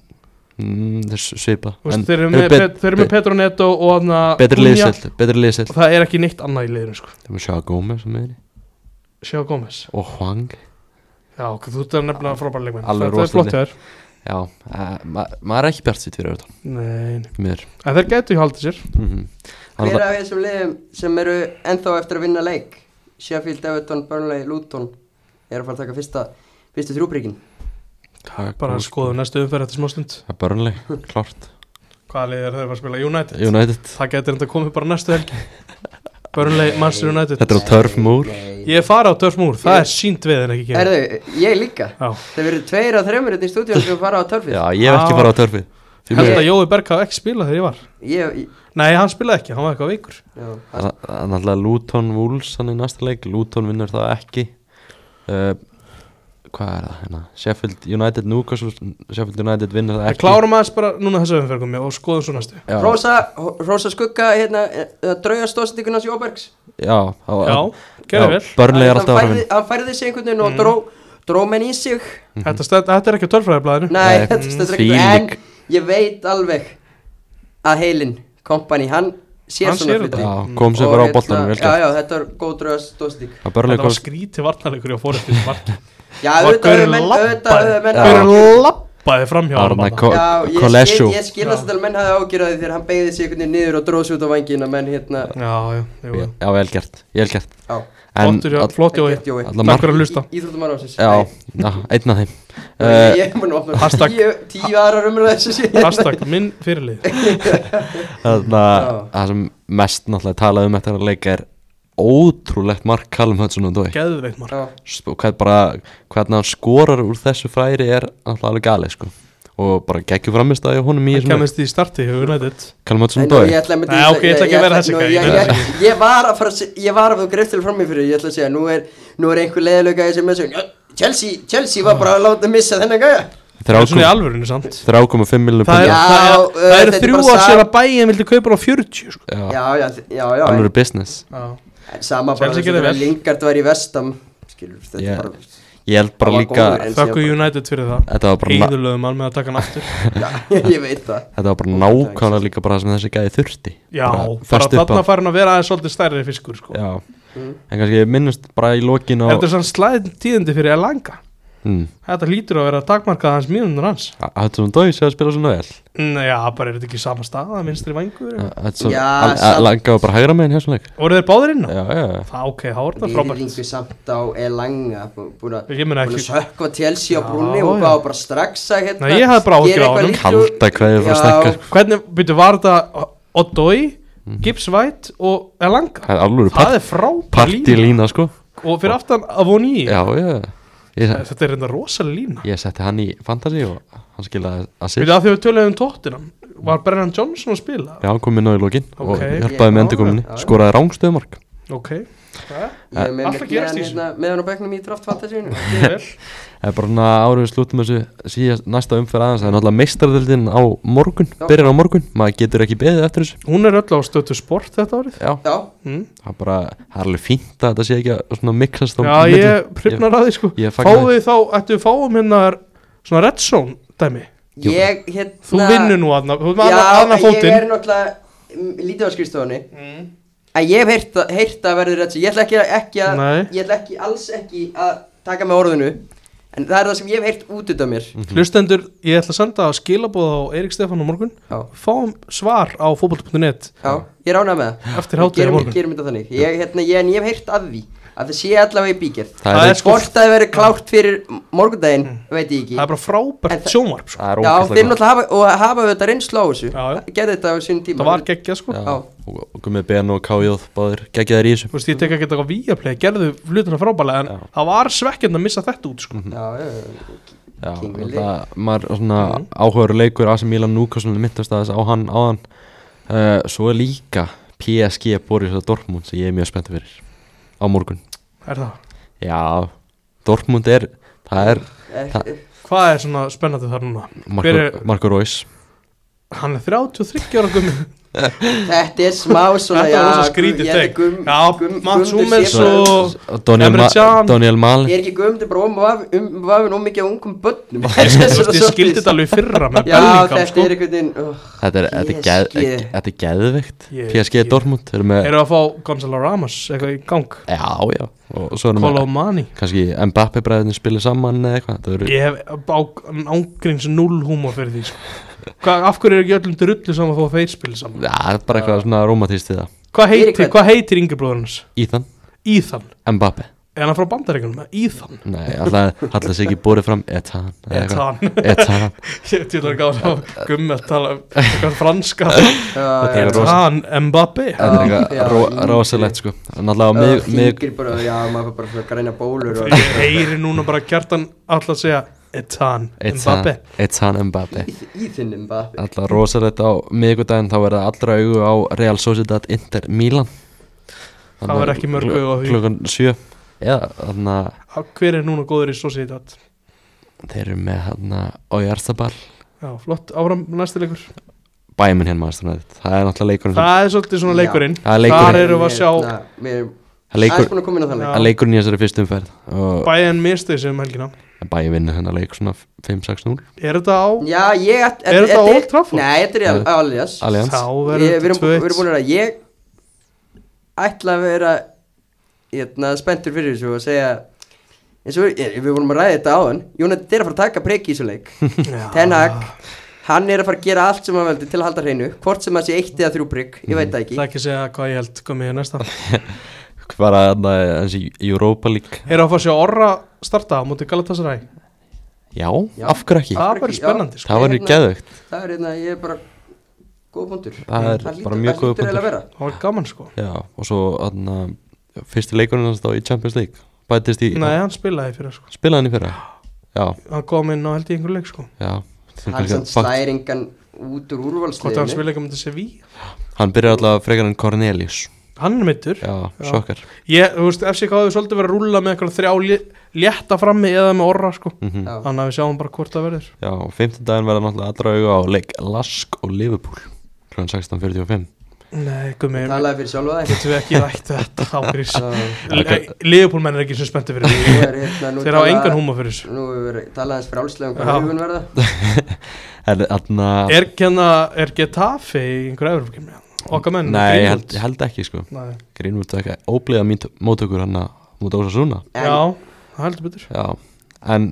[SPEAKER 3] mm, þeir svipa
[SPEAKER 4] Þú veist, Þeir eru með, bet, þeir eru með Petro Neto og þarna
[SPEAKER 3] betri
[SPEAKER 4] Cunha
[SPEAKER 3] liðseld betri liðseld
[SPEAKER 4] Og það er ekki neitt annað í liðinu sko
[SPEAKER 3] þeir eru með Sjá Gómez á miðinni
[SPEAKER 4] Sjá Gómez
[SPEAKER 3] og Hwang
[SPEAKER 4] Já, ok, þú ert að nefna frábæra leikmenn
[SPEAKER 3] Alveg
[SPEAKER 4] Það- Það er flott hjá þér
[SPEAKER 3] já, uh, ma maður er ekki bjart sitt fyrir auðvitað
[SPEAKER 4] Nei, nei.
[SPEAKER 3] mér
[SPEAKER 4] en þeir gætu hjá haldið sér
[SPEAKER 3] mm -hmm.
[SPEAKER 5] Hver af þessum liðum sem eru ennþá eftir að vinna leik Sheffield, Everton, Burnley, Luton er að fara að taka fyrsta, fyrstu þrjúbríkin
[SPEAKER 4] Bara sko- að skoða næstu umferð eftir smá stund
[SPEAKER 3] það er börnleg klart
[SPEAKER 4] Hvaða lið er þeir að fara að spila? United
[SPEAKER 3] United
[SPEAKER 4] Það gæti enda komið bara næstu helgi Burnley, Manchester United
[SPEAKER 3] þetta er á Turf Moor
[SPEAKER 4] Ég er farið á Dörfmúr, það er sínt við en ekki kemur
[SPEAKER 5] Erðu, ég líka
[SPEAKER 4] Já.
[SPEAKER 5] Það verður tveir af þreymur þetta í stúdíum sem fara á törfið
[SPEAKER 3] já, ég hef ekki
[SPEAKER 4] Á.
[SPEAKER 3] farað á Turfið Því
[SPEAKER 4] Held
[SPEAKER 3] miður.
[SPEAKER 4] að Jói Berg hafði ekki spilað þegar ég var
[SPEAKER 5] Ég, ég,
[SPEAKER 4] Nei, hann spilaði ekki, hann var eitthvað veikur
[SPEAKER 5] já,
[SPEAKER 3] Það það er náttúrulega Luton Wolves hann í næsta leik, Luton vinnur það ekki uh, hvað er það hérna, Sheffield United Newcastle, Sheffield United vinnur það
[SPEAKER 4] En
[SPEAKER 3] ekki
[SPEAKER 4] klárum aðeins bara núna þessu umferðum og skoðum svo næstu
[SPEAKER 3] já,
[SPEAKER 5] Rósa, Rósa Skugga, hérna, draugastóðsendingunas Jóbergs
[SPEAKER 3] já, á,
[SPEAKER 4] Já, gerðu vel
[SPEAKER 3] Börnlega er
[SPEAKER 5] Hann
[SPEAKER 3] alltaf að
[SPEAKER 5] færði- Hann færði sig einhvern
[SPEAKER 4] Mm.
[SPEAKER 5] veginn og dró, dró menn í sig
[SPEAKER 4] Þetta, stend, þetta er ekki á tölfræðiblaðinu
[SPEAKER 5] Nei,
[SPEAKER 3] Nei,
[SPEAKER 5] þetta
[SPEAKER 3] því
[SPEAKER 5] stendur ekki En
[SPEAKER 3] lík.
[SPEAKER 5] ég veit alveg að heilin, kompani, hann sér
[SPEAKER 4] Hann
[SPEAKER 5] svona
[SPEAKER 4] sér þetta.
[SPEAKER 5] hluti
[SPEAKER 3] já, kom sér
[SPEAKER 5] Og
[SPEAKER 3] bara á
[SPEAKER 5] hérna,
[SPEAKER 3] boltanum vel
[SPEAKER 5] Já,
[SPEAKER 3] gert
[SPEAKER 5] já, þetta er góð draugastóðsending
[SPEAKER 3] að börnlega
[SPEAKER 4] Þetta var
[SPEAKER 3] komst
[SPEAKER 4] skrítið varnarleikur hjá fórhættis marki
[SPEAKER 5] Já,
[SPEAKER 4] Og
[SPEAKER 5] auðvitað
[SPEAKER 4] gaurinn
[SPEAKER 5] höfðu menn,
[SPEAKER 4] labbaði.
[SPEAKER 5] auðvitað höfðu menn
[SPEAKER 3] Já.
[SPEAKER 4] Hver er lappaði framhjá
[SPEAKER 3] Arna
[SPEAKER 4] honum
[SPEAKER 3] Ko-
[SPEAKER 5] Já, ég
[SPEAKER 3] Kolesjú
[SPEAKER 5] skil, ég skil að þetta menn hafði ágjörði þegar hann beigði sig einhvern veginn niður og dróðs út á vangina menn hérna,
[SPEAKER 4] þarna. Já, já, jú, jú.
[SPEAKER 3] já, vel gert, vel gert
[SPEAKER 5] á,
[SPEAKER 3] en,
[SPEAKER 4] Flottur hjá-
[SPEAKER 3] all-
[SPEAKER 4] Flott Jói
[SPEAKER 5] ekkert Jói
[SPEAKER 3] alla
[SPEAKER 4] Takk
[SPEAKER 3] mark
[SPEAKER 4] fyrir að hlusta
[SPEAKER 5] Íþróttum árásins
[SPEAKER 3] já, já, einn af þeim
[SPEAKER 5] Nei,
[SPEAKER 3] uh,
[SPEAKER 5] Ég er búin að opna
[SPEAKER 4] Hashtag-
[SPEAKER 5] tíu, tíu aðrar umræðu þessu síðan
[SPEAKER 4] Hashtag minn fyrirlið
[SPEAKER 3] Þannig að
[SPEAKER 5] Já.
[SPEAKER 3] Eh, það sem mest náttúrulega talað um eftir að leika er ótrúlegt mark Callum Hudson og Dói
[SPEAKER 4] Geðveikt mark
[SPEAKER 5] Já,
[SPEAKER 3] hvað bara, hvernig hann skorar úr þessu færi er náttúrulega alveg gali sko. og bara geggjum framist að honum í
[SPEAKER 4] Ég
[SPEAKER 3] þessum leik.
[SPEAKER 4] kemist í starti hjá United
[SPEAKER 3] Callum Hudson
[SPEAKER 5] en
[SPEAKER 3] og
[SPEAKER 5] nú, ég
[SPEAKER 3] Dói
[SPEAKER 5] ætla að myndi
[SPEAKER 4] Nei, ok, ég ætla ekki að vera þessi
[SPEAKER 5] nú,
[SPEAKER 4] gæi,
[SPEAKER 5] ég,
[SPEAKER 4] nei,
[SPEAKER 5] ég, ég var að fara að se- Ég var að þú greifst til fram í fyrir Ég ætla að segja, nú er, nú er einhver leiðilega gæði sem er svo Chelsea, Chelsea var bara að láta missa þennan gæja
[SPEAKER 4] Það er svona
[SPEAKER 3] 3,5
[SPEAKER 4] í alvörinu samt
[SPEAKER 3] miljonum
[SPEAKER 4] Það er,
[SPEAKER 5] Já,
[SPEAKER 4] það er,
[SPEAKER 3] eh,
[SPEAKER 5] uh,
[SPEAKER 4] það
[SPEAKER 5] þetta
[SPEAKER 4] er
[SPEAKER 5] er
[SPEAKER 4] þrjú
[SPEAKER 5] bara
[SPEAKER 4] ár
[SPEAKER 5] sam-
[SPEAKER 4] sér að bæin vildi kaupa á 40 sko.
[SPEAKER 5] Já, já, já, já en-
[SPEAKER 3] alveg business
[SPEAKER 4] Já.
[SPEAKER 5] en Sama bara
[SPEAKER 4] Chelsea
[SPEAKER 5] þess
[SPEAKER 4] gerði
[SPEAKER 5] að
[SPEAKER 4] vel.
[SPEAKER 5] Lingard var í vestam Skilur, þetta
[SPEAKER 3] Já.
[SPEAKER 5] er bara
[SPEAKER 3] ég held
[SPEAKER 5] Það
[SPEAKER 3] bara
[SPEAKER 5] var
[SPEAKER 3] líka
[SPEAKER 5] góður.
[SPEAKER 4] Þakku United fyrir það
[SPEAKER 3] þetta var bara, na-
[SPEAKER 4] Íðurlöðum alveg að taka hann aftur
[SPEAKER 5] Já, ég veit það
[SPEAKER 3] þetta var bara nákvæmlega líka bara það sem þessi gæði þurfti
[SPEAKER 4] Já, bara
[SPEAKER 3] fast upp
[SPEAKER 4] þarna
[SPEAKER 3] á
[SPEAKER 4] farin að vera aðeins svolítið stærri fiskur sko.
[SPEAKER 3] Já.
[SPEAKER 5] Mm.
[SPEAKER 3] en kannski ég minnust bara í lokin á
[SPEAKER 4] Er þetta sann slæðin tíðindi fyrir Elanga?
[SPEAKER 3] Mm.
[SPEAKER 4] Þetta lítur að vera takmarkað hans mínundur hans
[SPEAKER 3] Hudson og Dói sé að spila svona vel
[SPEAKER 4] Nei, Mm, já, bara er þetta ekki sama staða, vinstri vangur ja.
[SPEAKER 3] Hudson,
[SPEAKER 5] Já,
[SPEAKER 3] al-
[SPEAKER 5] samt-
[SPEAKER 3] al- langa var bara hægra meginn hér svona leik
[SPEAKER 4] Voru þeir báðir inn á?
[SPEAKER 3] já, já, já.
[SPEAKER 4] Það ok, þá er þetta frábært
[SPEAKER 5] Lýringu samt á Elanga Búin að
[SPEAKER 4] Ég meina
[SPEAKER 5] búin að
[SPEAKER 4] ekki
[SPEAKER 5] sökva Chelsea á
[SPEAKER 4] Já,
[SPEAKER 5] brúnni og
[SPEAKER 4] já.
[SPEAKER 5] bá bara strax að hérna
[SPEAKER 4] Nei, ég hafði bara áhyggjur
[SPEAKER 5] gera
[SPEAKER 4] af
[SPEAKER 5] eitthvað
[SPEAKER 4] honum.
[SPEAKER 5] lítið úr-
[SPEAKER 3] Kalda kveðið frá
[SPEAKER 5] Já,
[SPEAKER 3] stekkar
[SPEAKER 4] Hvernig, byrju, var þetta Odoi, Gibbs White og Elanga?
[SPEAKER 3] Það er alveg
[SPEAKER 4] Það
[SPEAKER 3] Mhm. part,
[SPEAKER 4] er frábært
[SPEAKER 3] part í lína sko
[SPEAKER 4] Og fyrir aftan Avoni
[SPEAKER 3] Já, já Ég,
[SPEAKER 4] Eh, Þetta er reynda rosalega lína
[SPEAKER 3] ég setti hann í fantasy og hann skilaði að sér
[SPEAKER 4] Við það því við töluðum um tóttinam Var Brennan Johnson að spila?
[SPEAKER 3] Já, hann kom inn á í lokin og
[SPEAKER 4] Ok.
[SPEAKER 3] hjálpaði með
[SPEAKER 5] Já,
[SPEAKER 3] endurkominni
[SPEAKER 5] já, já.
[SPEAKER 3] Skoraði rángstöðumark
[SPEAKER 4] Ok Eh,
[SPEAKER 5] Ég er með
[SPEAKER 4] Allt að gerast í
[SPEAKER 5] með-
[SPEAKER 4] þessu.
[SPEAKER 5] hérna, með hann á bekknum í draft fantasíunum
[SPEAKER 4] Ég vel
[SPEAKER 3] Það er bara svona árið við slútum þessu síðast næsta umferð aðeins Það er náttúrulega meistardöldin á morgun
[SPEAKER 5] Já.
[SPEAKER 3] Byrjar á morgun, maður getur ekki beðið eftir þessu
[SPEAKER 4] Hún er öll á stötu sport þetta árið
[SPEAKER 3] Já,
[SPEAKER 5] Já,
[SPEAKER 4] mm.
[SPEAKER 3] það er bara, það er alveg fínt að þetta sé ekki að svona miklast á
[SPEAKER 4] Já,
[SPEAKER 3] milli.
[SPEAKER 4] ég prifnar að því sko
[SPEAKER 3] ég fagna
[SPEAKER 4] Fáðu því þá, ættu við fáum hérna Svona red zone dæmi
[SPEAKER 5] ég hérna
[SPEAKER 4] Þú vinnur nú aðna, þú
[SPEAKER 5] Já,
[SPEAKER 4] vinnur aðna
[SPEAKER 5] ég er
[SPEAKER 4] fótinn
[SPEAKER 5] náttúrulega mm, lítið á skrifstofunni En ég hef heyrt að- heyrt að verður rétt Ég ætla ekki, að- ekki að
[SPEAKER 4] Nei.
[SPEAKER 5] Ég ætla ekki, alls ekki að taka með orðinu En það er það sem ég hef heyrt út út af mér
[SPEAKER 4] Mm. Hlustendur, ég ætla að senda að skilabóða á Eirik Stefán á morgun
[SPEAKER 5] Já,
[SPEAKER 4] Fáum svar á fótboll.net
[SPEAKER 5] já, ég rána með það
[SPEAKER 4] Eftir hátíð á
[SPEAKER 5] Gerum-
[SPEAKER 4] morgun.
[SPEAKER 5] Gerum þetta þannig Ég, hérna, ég, en ég hef heyrt að því Að það sé allavega í bíkjörð
[SPEAKER 3] Það
[SPEAKER 4] Það
[SPEAKER 3] er,
[SPEAKER 4] er sko-
[SPEAKER 5] Hvort að það verður klárt fyrir morgundaginn Veit ég ekki
[SPEAKER 4] Það er bara
[SPEAKER 5] En
[SPEAKER 4] frábært
[SPEAKER 5] það-
[SPEAKER 4] sjónvarp sko.
[SPEAKER 3] það er
[SPEAKER 5] Já, þeir
[SPEAKER 3] ókvæmst
[SPEAKER 5] náttúrulega hafa, og hafa þetta reynslu á þessu
[SPEAKER 4] Já, já.
[SPEAKER 5] Gerði þetta á sín tíma
[SPEAKER 4] Það var geggja sko
[SPEAKER 5] Já.
[SPEAKER 3] Og og Gummi Ben og Kájóð báðir geggjaðir í þessu
[SPEAKER 4] Þú veist, ég tek ekki eitthvað víaplay, gerðu hlutina frábælega en
[SPEAKER 3] Já.
[SPEAKER 4] það var svekkjand að missa þetta út sko.
[SPEAKER 5] Já, já, já.
[SPEAKER 3] Já,
[SPEAKER 5] King
[SPEAKER 3] það,
[SPEAKER 5] Willy.
[SPEAKER 3] maður er svona mm. áhugaður leikur AC Milan Newcastle mittast aðeins á hann áðan uh, svo er líka PSG Boris og Dortmund sem ég er mjög spennt fyrir á morgun
[SPEAKER 4] Er það?
[SPEAKER 3] Já, Dortmund er það er
[SPEAKER 5] Eh,
[SPEAKER 4] Hvað er svona spennandi þar núna? Hver
[SPEAKER 3] Marco,
[SPEAKER 4] er-
[SPEAKER 3] Marco Reus
[SPEAKER 4] Hann er 33 ára gummi
[SPEAKER 5] Þetta er smá svona
[SPEAKER 4] Þetta var svo skrítið take. Já, Mats Hummels
[SPEAKER 5] og
[SPEAKER 4] og-
[SPEAKER 3] Daniel, Ma
[SPEAKER 4] Emre Can.
[SPEAKER 3] Daniel
[SPEAKER 5] Ég
[SPEAKER 3] Malin
[SPEAKER 5] er ekki guðmundur bara um vafin um, vafin of mikið á ungum börnum
[SPEAKER 4] Þú veist, ég skildi þetta alveg í fyrra með
[SPEAKER 5] Já,
[SPEAKER 4] Bellingham,
[SPEAKER 5] þetta
[SPEAKER 4] sko
[SPEAKER 5] er einhvern veginn oh,
[SPEAKER 3] Þetta er, þetta er, geð,
[SPEAKER 5] PSG.
[SPEAKER 3] þetta er geðveikt
[SPEAKER 4] Ég-
[SPEAKER 3] PSG
[SPEAKER 4] ég-
[SPEAKER 3] Dortmund eru með,
[SPEAKER 4] Eru að fá Gonzalo Ramos eitthvað í gang
[SPEAKER 3] Já, já Og svo erum
[SPEAKER 4] Kolo
[SPEAKER 3] við
[SPEAKER 4] Mani
[SPEAKER 3] kannski Mbappe bræðin spilið saman eða eitthvað Það eru
[SPEAKER 4] Ég hef á ángríns null húmor fyrir því, sko Hva, Af hverju er ekki öllum drullu saman þó að þeir spila saman?
[SPEAKER 3] Já, það er bara eitthvað svona romantíst í það
[SPEAKER 4] Hvað
[SPEAKER 5] Fyrir
[SPEAKER 4] heitir,
[SPEAKER 5] hvern?
[SPEAKER 4] hvað heitir yngirbróður hans?
[SPEAKER 3] Íþan,
[SPEAKER 4] Íþan
[SPEAKER 3] Mbappe
[SPEAKER 4] Er hann frá bandaríkunum? Íþan
[SPEAKER 3] Nei, alltaf, alltaf sé ekki bórið fram Etan eða eitthvað.
[SPEAKER 4] Etan
[SPEAKER 3] Etan
[SPEAKER 4] Ég veit að gáða á gummi að tala um eitthvað franska
[SPEAKER 5] Þetta
[SPEAKER 3] er rosa-
[SPEAKER 4] Etan Mbappé
[SPEAKER 3] Þetta er
[SPEAKER 5] Já, já,
[SPEAKER 3] eitthvað ro-
[SPEAKER 5] ég-
[SPEAKER 3] rosalegt sko Náttúrulega á mig, mig
[SPEAKER 5] Hingir bara, já, maður fær bara svona græna bólur og
[SPEAKER 4] Ég heyri núna bara kjartan alltaf segja Etan
[SPEAKER 3] Etan,
[SPEAKER 4] Mbappé
[SPEAKER 3] Etan Mbappe
[SPEAKER 5] Í- Í þinnum bafin
[SPEAKER 3] Alltaf rosalegt á miðgudaginn þá verða allra augu á Real Sociedad Inter Milan
[SPEAKER 4] Það verða ekki mörg augu á því.
[SPEAKER 3] Klukkan sjö Eða þannig að
[SPEAKER 4] Á, Hver er núna góður í Sociedad?
[SPEAKER 3] þeir eru með hann að Ójarstabal
[SPEAKER 4] Já, flott, áfram næsti leikur
[SPEAKER 3] Bæminn hérna maður stundið Það er náttúrulega leikurinn sem-
[SPEAKER 4] Það er svolítið svona
[SPEAKER 5] Já.
[SPEAKER 4] leikurinn
[SPEAKER 3] Það er leikurinn.
[SPEAKER 4] Þar erum við að sjá
[SPEAKER 5] Mér
[SPEAKER 3] Það er
[SPEAKER 5] er aðeins
[SPEAKER 3] leikur,
[SPEAKER 5] búin að koma inn á þannig
[SPEAKER 4] Já.
[SPEAKER 3] það er leikurinn í þessari fyrstu umferð og
[SPEAKER 4] Bayern mistu þessu um helgina
[SPEAKER 3] Bæminn vinnur hennar leik svona 5-6-0
[SPEAKER 4] Er þetta á?
[SPEAKER 5] Já, ég æt-
[SPEAKER 4] Er þetta Old Trafford?
[SPEAKER 5] Nei, þetta er al- Allianz
[SPEAKER 3] Allianz.
[SPEAKER 4] Þá
[SPEAKER 5] Ég- Við
[SPEAKER 4] verður þetta
[SPEAKER 5] erum bú- við
[SPEAKER 4] 2-1
[SPEAKER 5] erum búin að vera Ég ætla að vera Hérna, spenntur fyrir þessu og segja eins og við við vorum að ræða þetta á hann Jónat er að fara að taka preki í þessu leik
[SPEAKER 4] Já.
[SPEAKER 5] Ten Hag Hann er að fara að gera allt sem hann veldi til að halda hreinu Hvort sem hann sé eitt eða þrjú prigg, ég veit það ekki
[SPEAKER 4] Það er ekki að segja hvað ég held komið í næsta
[SPEAKER 3] Bara þarna þessi Europa League
[SPEAKER 4] Er að fá að sjá orra starta á móti Galatasaray
[SPEAKER 3] Já,
[SPEAKER 5] Já.
[SPEAKER 3] af hverju ekki?
[SPEAKER 4] Það verður
[SPEAKER 5] Já.
[SPEAKER 4] spennandi sko.
[SPEAKER 3] Það var
[SPEAKER 5] Hérna-
[SPEAKER 3] geðvögt
[SPEAKER 5] Það er hérna, ég er bara góð punktur
[SPEAKER 3] Það er bara mjög góður punktur.
[SPEAKER 5] Það hlýtur eiginlega að vera
[SPEAKER 4] Það var gaman sko
[SPEAKER 3] Já, og svo þarna fyrsti leikurinn hans þá í Champions League Bætist í,
[SPEAKER 4] Nei, hann spilaði fyrir sko
[SPEAKER 3] spilaði hann í fyrra Já,
[SPEAKER 4] Hann kom inn á held í einhver leik sko
[SPEAKER 3] já
[SPEAKER 5] Hann samt
[SPEAKER 3] Fakt-
[SPEAKER 5] slæðir engan út úr
[SPEAKER 4] Hvort hann
[SPEAKER 5] úrvalsliðinu
[SPEAKER 4] spilaði ekki mútið Sevilla
[SPEAKER 3] Hann byrjar alltaf frekar en Cornelius
[SPEAKER 4] Hann er mittur
[SPEAKER 3] Já, sjokkar
[SPEAKER 4] Ég, þú veist, FCK hafði svolítið verið að rúlla með eitthvað þrjá lé- létta frammi eða með orra sko
[SPEAKER 3] Mhm.
[SPEAKER 5] Já.
[SPEAKER 4] Þannig að við sjáum bara hvort það verður
[SPEAKER 3] Já, og fimmtudaginn verða náttúrulega allra auga á leik Lask og Liverpool kl. 16.45
[SPEAKER 4] Nei, gumi,
[SPEAKER 5] Talaði fyrir sjálfa það
[SPEAKER 4] getum við ekki rætt þetta ágrís
[SPEAKER 3] Ok.
[SPEAKER 4] Leifupólmenn er ekki sem spennti fyrir því
[SPEAKER 5] hérna-
[SPEAKER 4] Þeir hafa engan húma fyrir þessu
[SPEAKER 5] Nú hefur verið- talað hans frálslega um
[SPEAKER 4] Já.
[SPEAKER 5] hvað hugun verða
[SPEAKER 3] Er þarna
[SPEAKER 4] Er, kenna, er Getafe í einhverja Evropakefni? Okkar menn,
[SPEAKER 3] Nei, ég held,
[SPEAKER 4] Greenwood.
[SPEAKER 3] ég held ekki sko
[SPEAKER 4] Nei.
[SPEAKER 3] Grínvult ekki óbliða mít- móttökur hann að múta ósa svona
[SPEAKER 5] En-
[SPEAKER 4] Já, það heldur betur
[SPEAKER 3] Já, en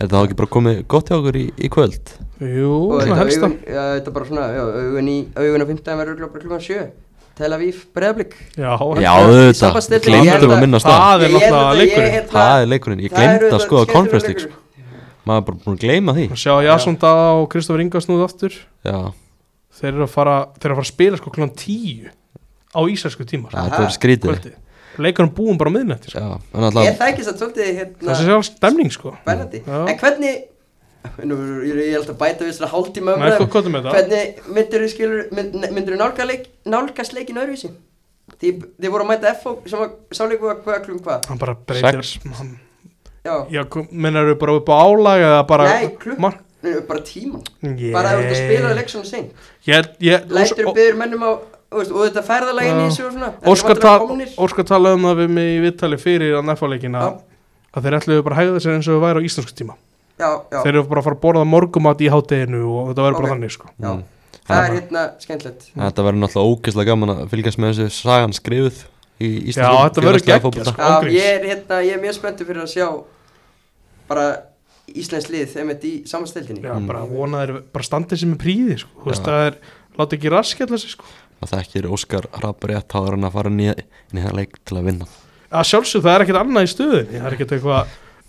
[SPEAKER 3] er það þá ekki bara komið gott hjá okkur í, í kvöld?
[SPEAKER 4] Jú,
[SPEAKER 5] Og
[SPEAKER 4] svona
[SPEAKER 5] þetta
[SPEAKER 4] helst það
[SPEAKER 5] augun- já, þetta er bara svona já, augun í augun á 15 verður örugglega bara klukkan 7 Tel Aviv, Breiðablík
[SPEAKER 4] Já,
[SPEAKER 3] Já,
[SPEAKER 5] það-
[SPEAKER 3] auðvitað,
[SPEAKER 5] sambandsslitin, ég held
[SPEAKER 3] glemtum
[SPEAKER 5] að-
[SPEAKER 3] að minnast hérna. það
[SPEAKER 4] það er náttúrulega leikurinn
[SPEAKER 5] hérna-
[SPEAKER 3] Það er leikurinn, ég glemt að skoða Conference League sko. Maður er bara búin að gleyma því
[SPEAKER 4] Sjá Jason Dada og Kristofur Inga snúð aftur
[SPEAKER 3] Já,
[SPEAKER 4] Þeir eru að fara, þeir eru að, fara að spila sko klán 10 á íslensku tímar
[SPEAKER 3] þetta
[SPEAKER 5] Aha.
[SPEAKER 3] er skrítið
[SPEAKER 4] kvöldi Leikurum búum bara á miðnætti sko.
[SPEAKER 3] Já, en
[SPEAKER 5] Ég
[SPEAKER 3] alltaf
[SPEAKER 5] þækist að svolítið hérna
[SPEAKER 4] Það sé sjálf stemning sko
[SPEAKER 5] Spennandi
[SPEAKER 4] Já.
[SPEAKER 5] En hvernig Nú, ég ég held að bæta við svona hálftíma
[SPEAKER 4] Nei,
[SPEAKER 5] umræðum.
[SPEAKER 4] hvað- hvað er með það?
[SPEAKER 5] Hvernig myndir þú skilur mynd, Myndir þú nálga leik, nálgast leikin öðruvísi? Þið, þið voru að mæta FO sem var sáleiku að hvað klum hvað
[SPEAKER 4] Hann bara breytir
[SPEAKER 3] Sex.
[SPEAKER 4] hann,
[SPEAKER 5] Já,
[SPEAKER 4] Já, mennar þau bara upp á álag eða bara
[SPEAKER 5] nei, klum
[SPEAKER 4] Mar-
[SPEAKER 5] Bara tíman
[SPEAKER 4] Yeah.
[SPEAKER 5] Bara ef þú ert að spila leik svona seint
[SPEAKER 4] Ég held- ég-
[SPEAKER 5] Lætur
[SPEAKER 4] Ó-
[SPEAKER 5] og byður mennum á þú veist, Og þetta ferðalagin í
[SPEAKER 4] Já.
[SPEAKER 5] þessu og svona Þetta er
[SPEAKER 4] Óskar,
[SPEAKER 5] vantilega
[SPEAKER 4] tal,
[SPEAKER 5] komnir.
[SPEAKER 4] Óskar talaði um það við mig í viðtali fyrir að nefnfáleikin að, að þeir ætluðu bara að hægða sér eins og við væri á íslensku tíma
[SPEAKER 5] Já, já,
[SPEAKER 4] Þeir eru bara að fara að borða morgumat í hátteginu og þetta verður bara
[SPEAKER 5] Ok.
[SPEAKER 4] þannig sko
[SPEAKER 5] já.
[SPEAKER 3] Mm.
[SPEAKER 5] Það er hérna skemmtilegt
[SPEAKER 3] Þetta verður náttúrulega ógeðslega gaman að fylgjast með þessu sagan skrifuð í
[SPEAKER 4] Já,
[SPEAKER 3] Íslandsku
[SPEAKER 4] þetta verður
[SPEAKER 3] félagslega
[SPEAKER 4] geggjað,
[SPEAKER 3] fótbolta.
[SPEAKER 4] sko.
[SPEAKER 5] Já,
[SPEAKER 4] Ángríns.
[SPEAKER 5] ég er hérna, ég er mjög spenntur fyrir að sjá bara Íslands lið þeim þetta í samanstildinni
[SPEAKER 4] Já, bara vona þeir bara standið sem er príði sko Þú veist, það er, láta ekki raskjalla sig sko
[SPEAKER 3] Maður þekkir Óskar Rapp rétt þá er hann að fara nýja, nýja leik til að vinna
[SPEAKER 4] Að sjálfsög það er ekkert annað í stöðinni Það er ekkert eitthvað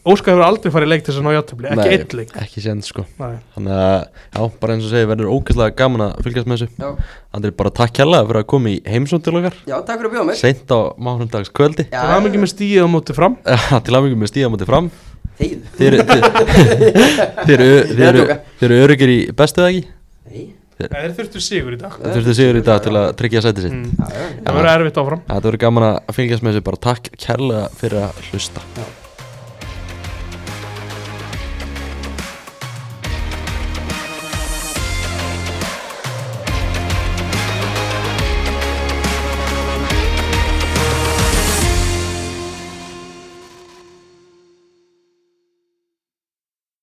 [SPEAKER 4] Óskar hefur aldrei farið í leik til þess að ná játtöfli Ekki
[SPEAKER 3] Nei,
[SPEAKER 4] eitt leik
[SPEAKER 3] Ekki sénd sko
[SPEAKER 4] Nei.
[SPEAKER 3] Þannig að, já, bara eins og segi, verður ógeðslega gaman að fylgjast með þessu
[SPEAKER 5] Já,
[SPEAKER 3] Andri, bara takk kærlega fyrir að koma í heimsónd til okkar
[SPEAKER 5] já takk fyrir að bjóða mig
[SPEAKER 3] Seint á mánundags kvöldi
[SPEAKER 5] Já,
[SPEAKER 4] Það er mikið með stíð á móti fram
[SPEAKER 3] Til aðmyggum með stíða móti fram
[SPEAKER 5] þeir
[SPEAKER 3] Þeir eru- þeir-
[SPEAKER 5] Ég er
[SPEAKER 3] þeir
[SPEAKER 5] að
[SPEAKER 3] eru
[SPEAKER 5] djóka.
[SPEAKER 3] þeir eru öryggir í bestu eða ekki
[SPEAKER 5] Nei,
[SPEAKER 4] Nei, þeir þurftu sigur í dag
[SPEAKER 3] Það þurftu sigur í dag til að tryggja sæti sitt
[SPEAKER 4] Mm. Það verður erfitt áfram
[SPEAKER 3] Þetta verður gaman að fylgjast með þessu bara takk kærlega fyrir að hlusta
[SPEAKER 5] já,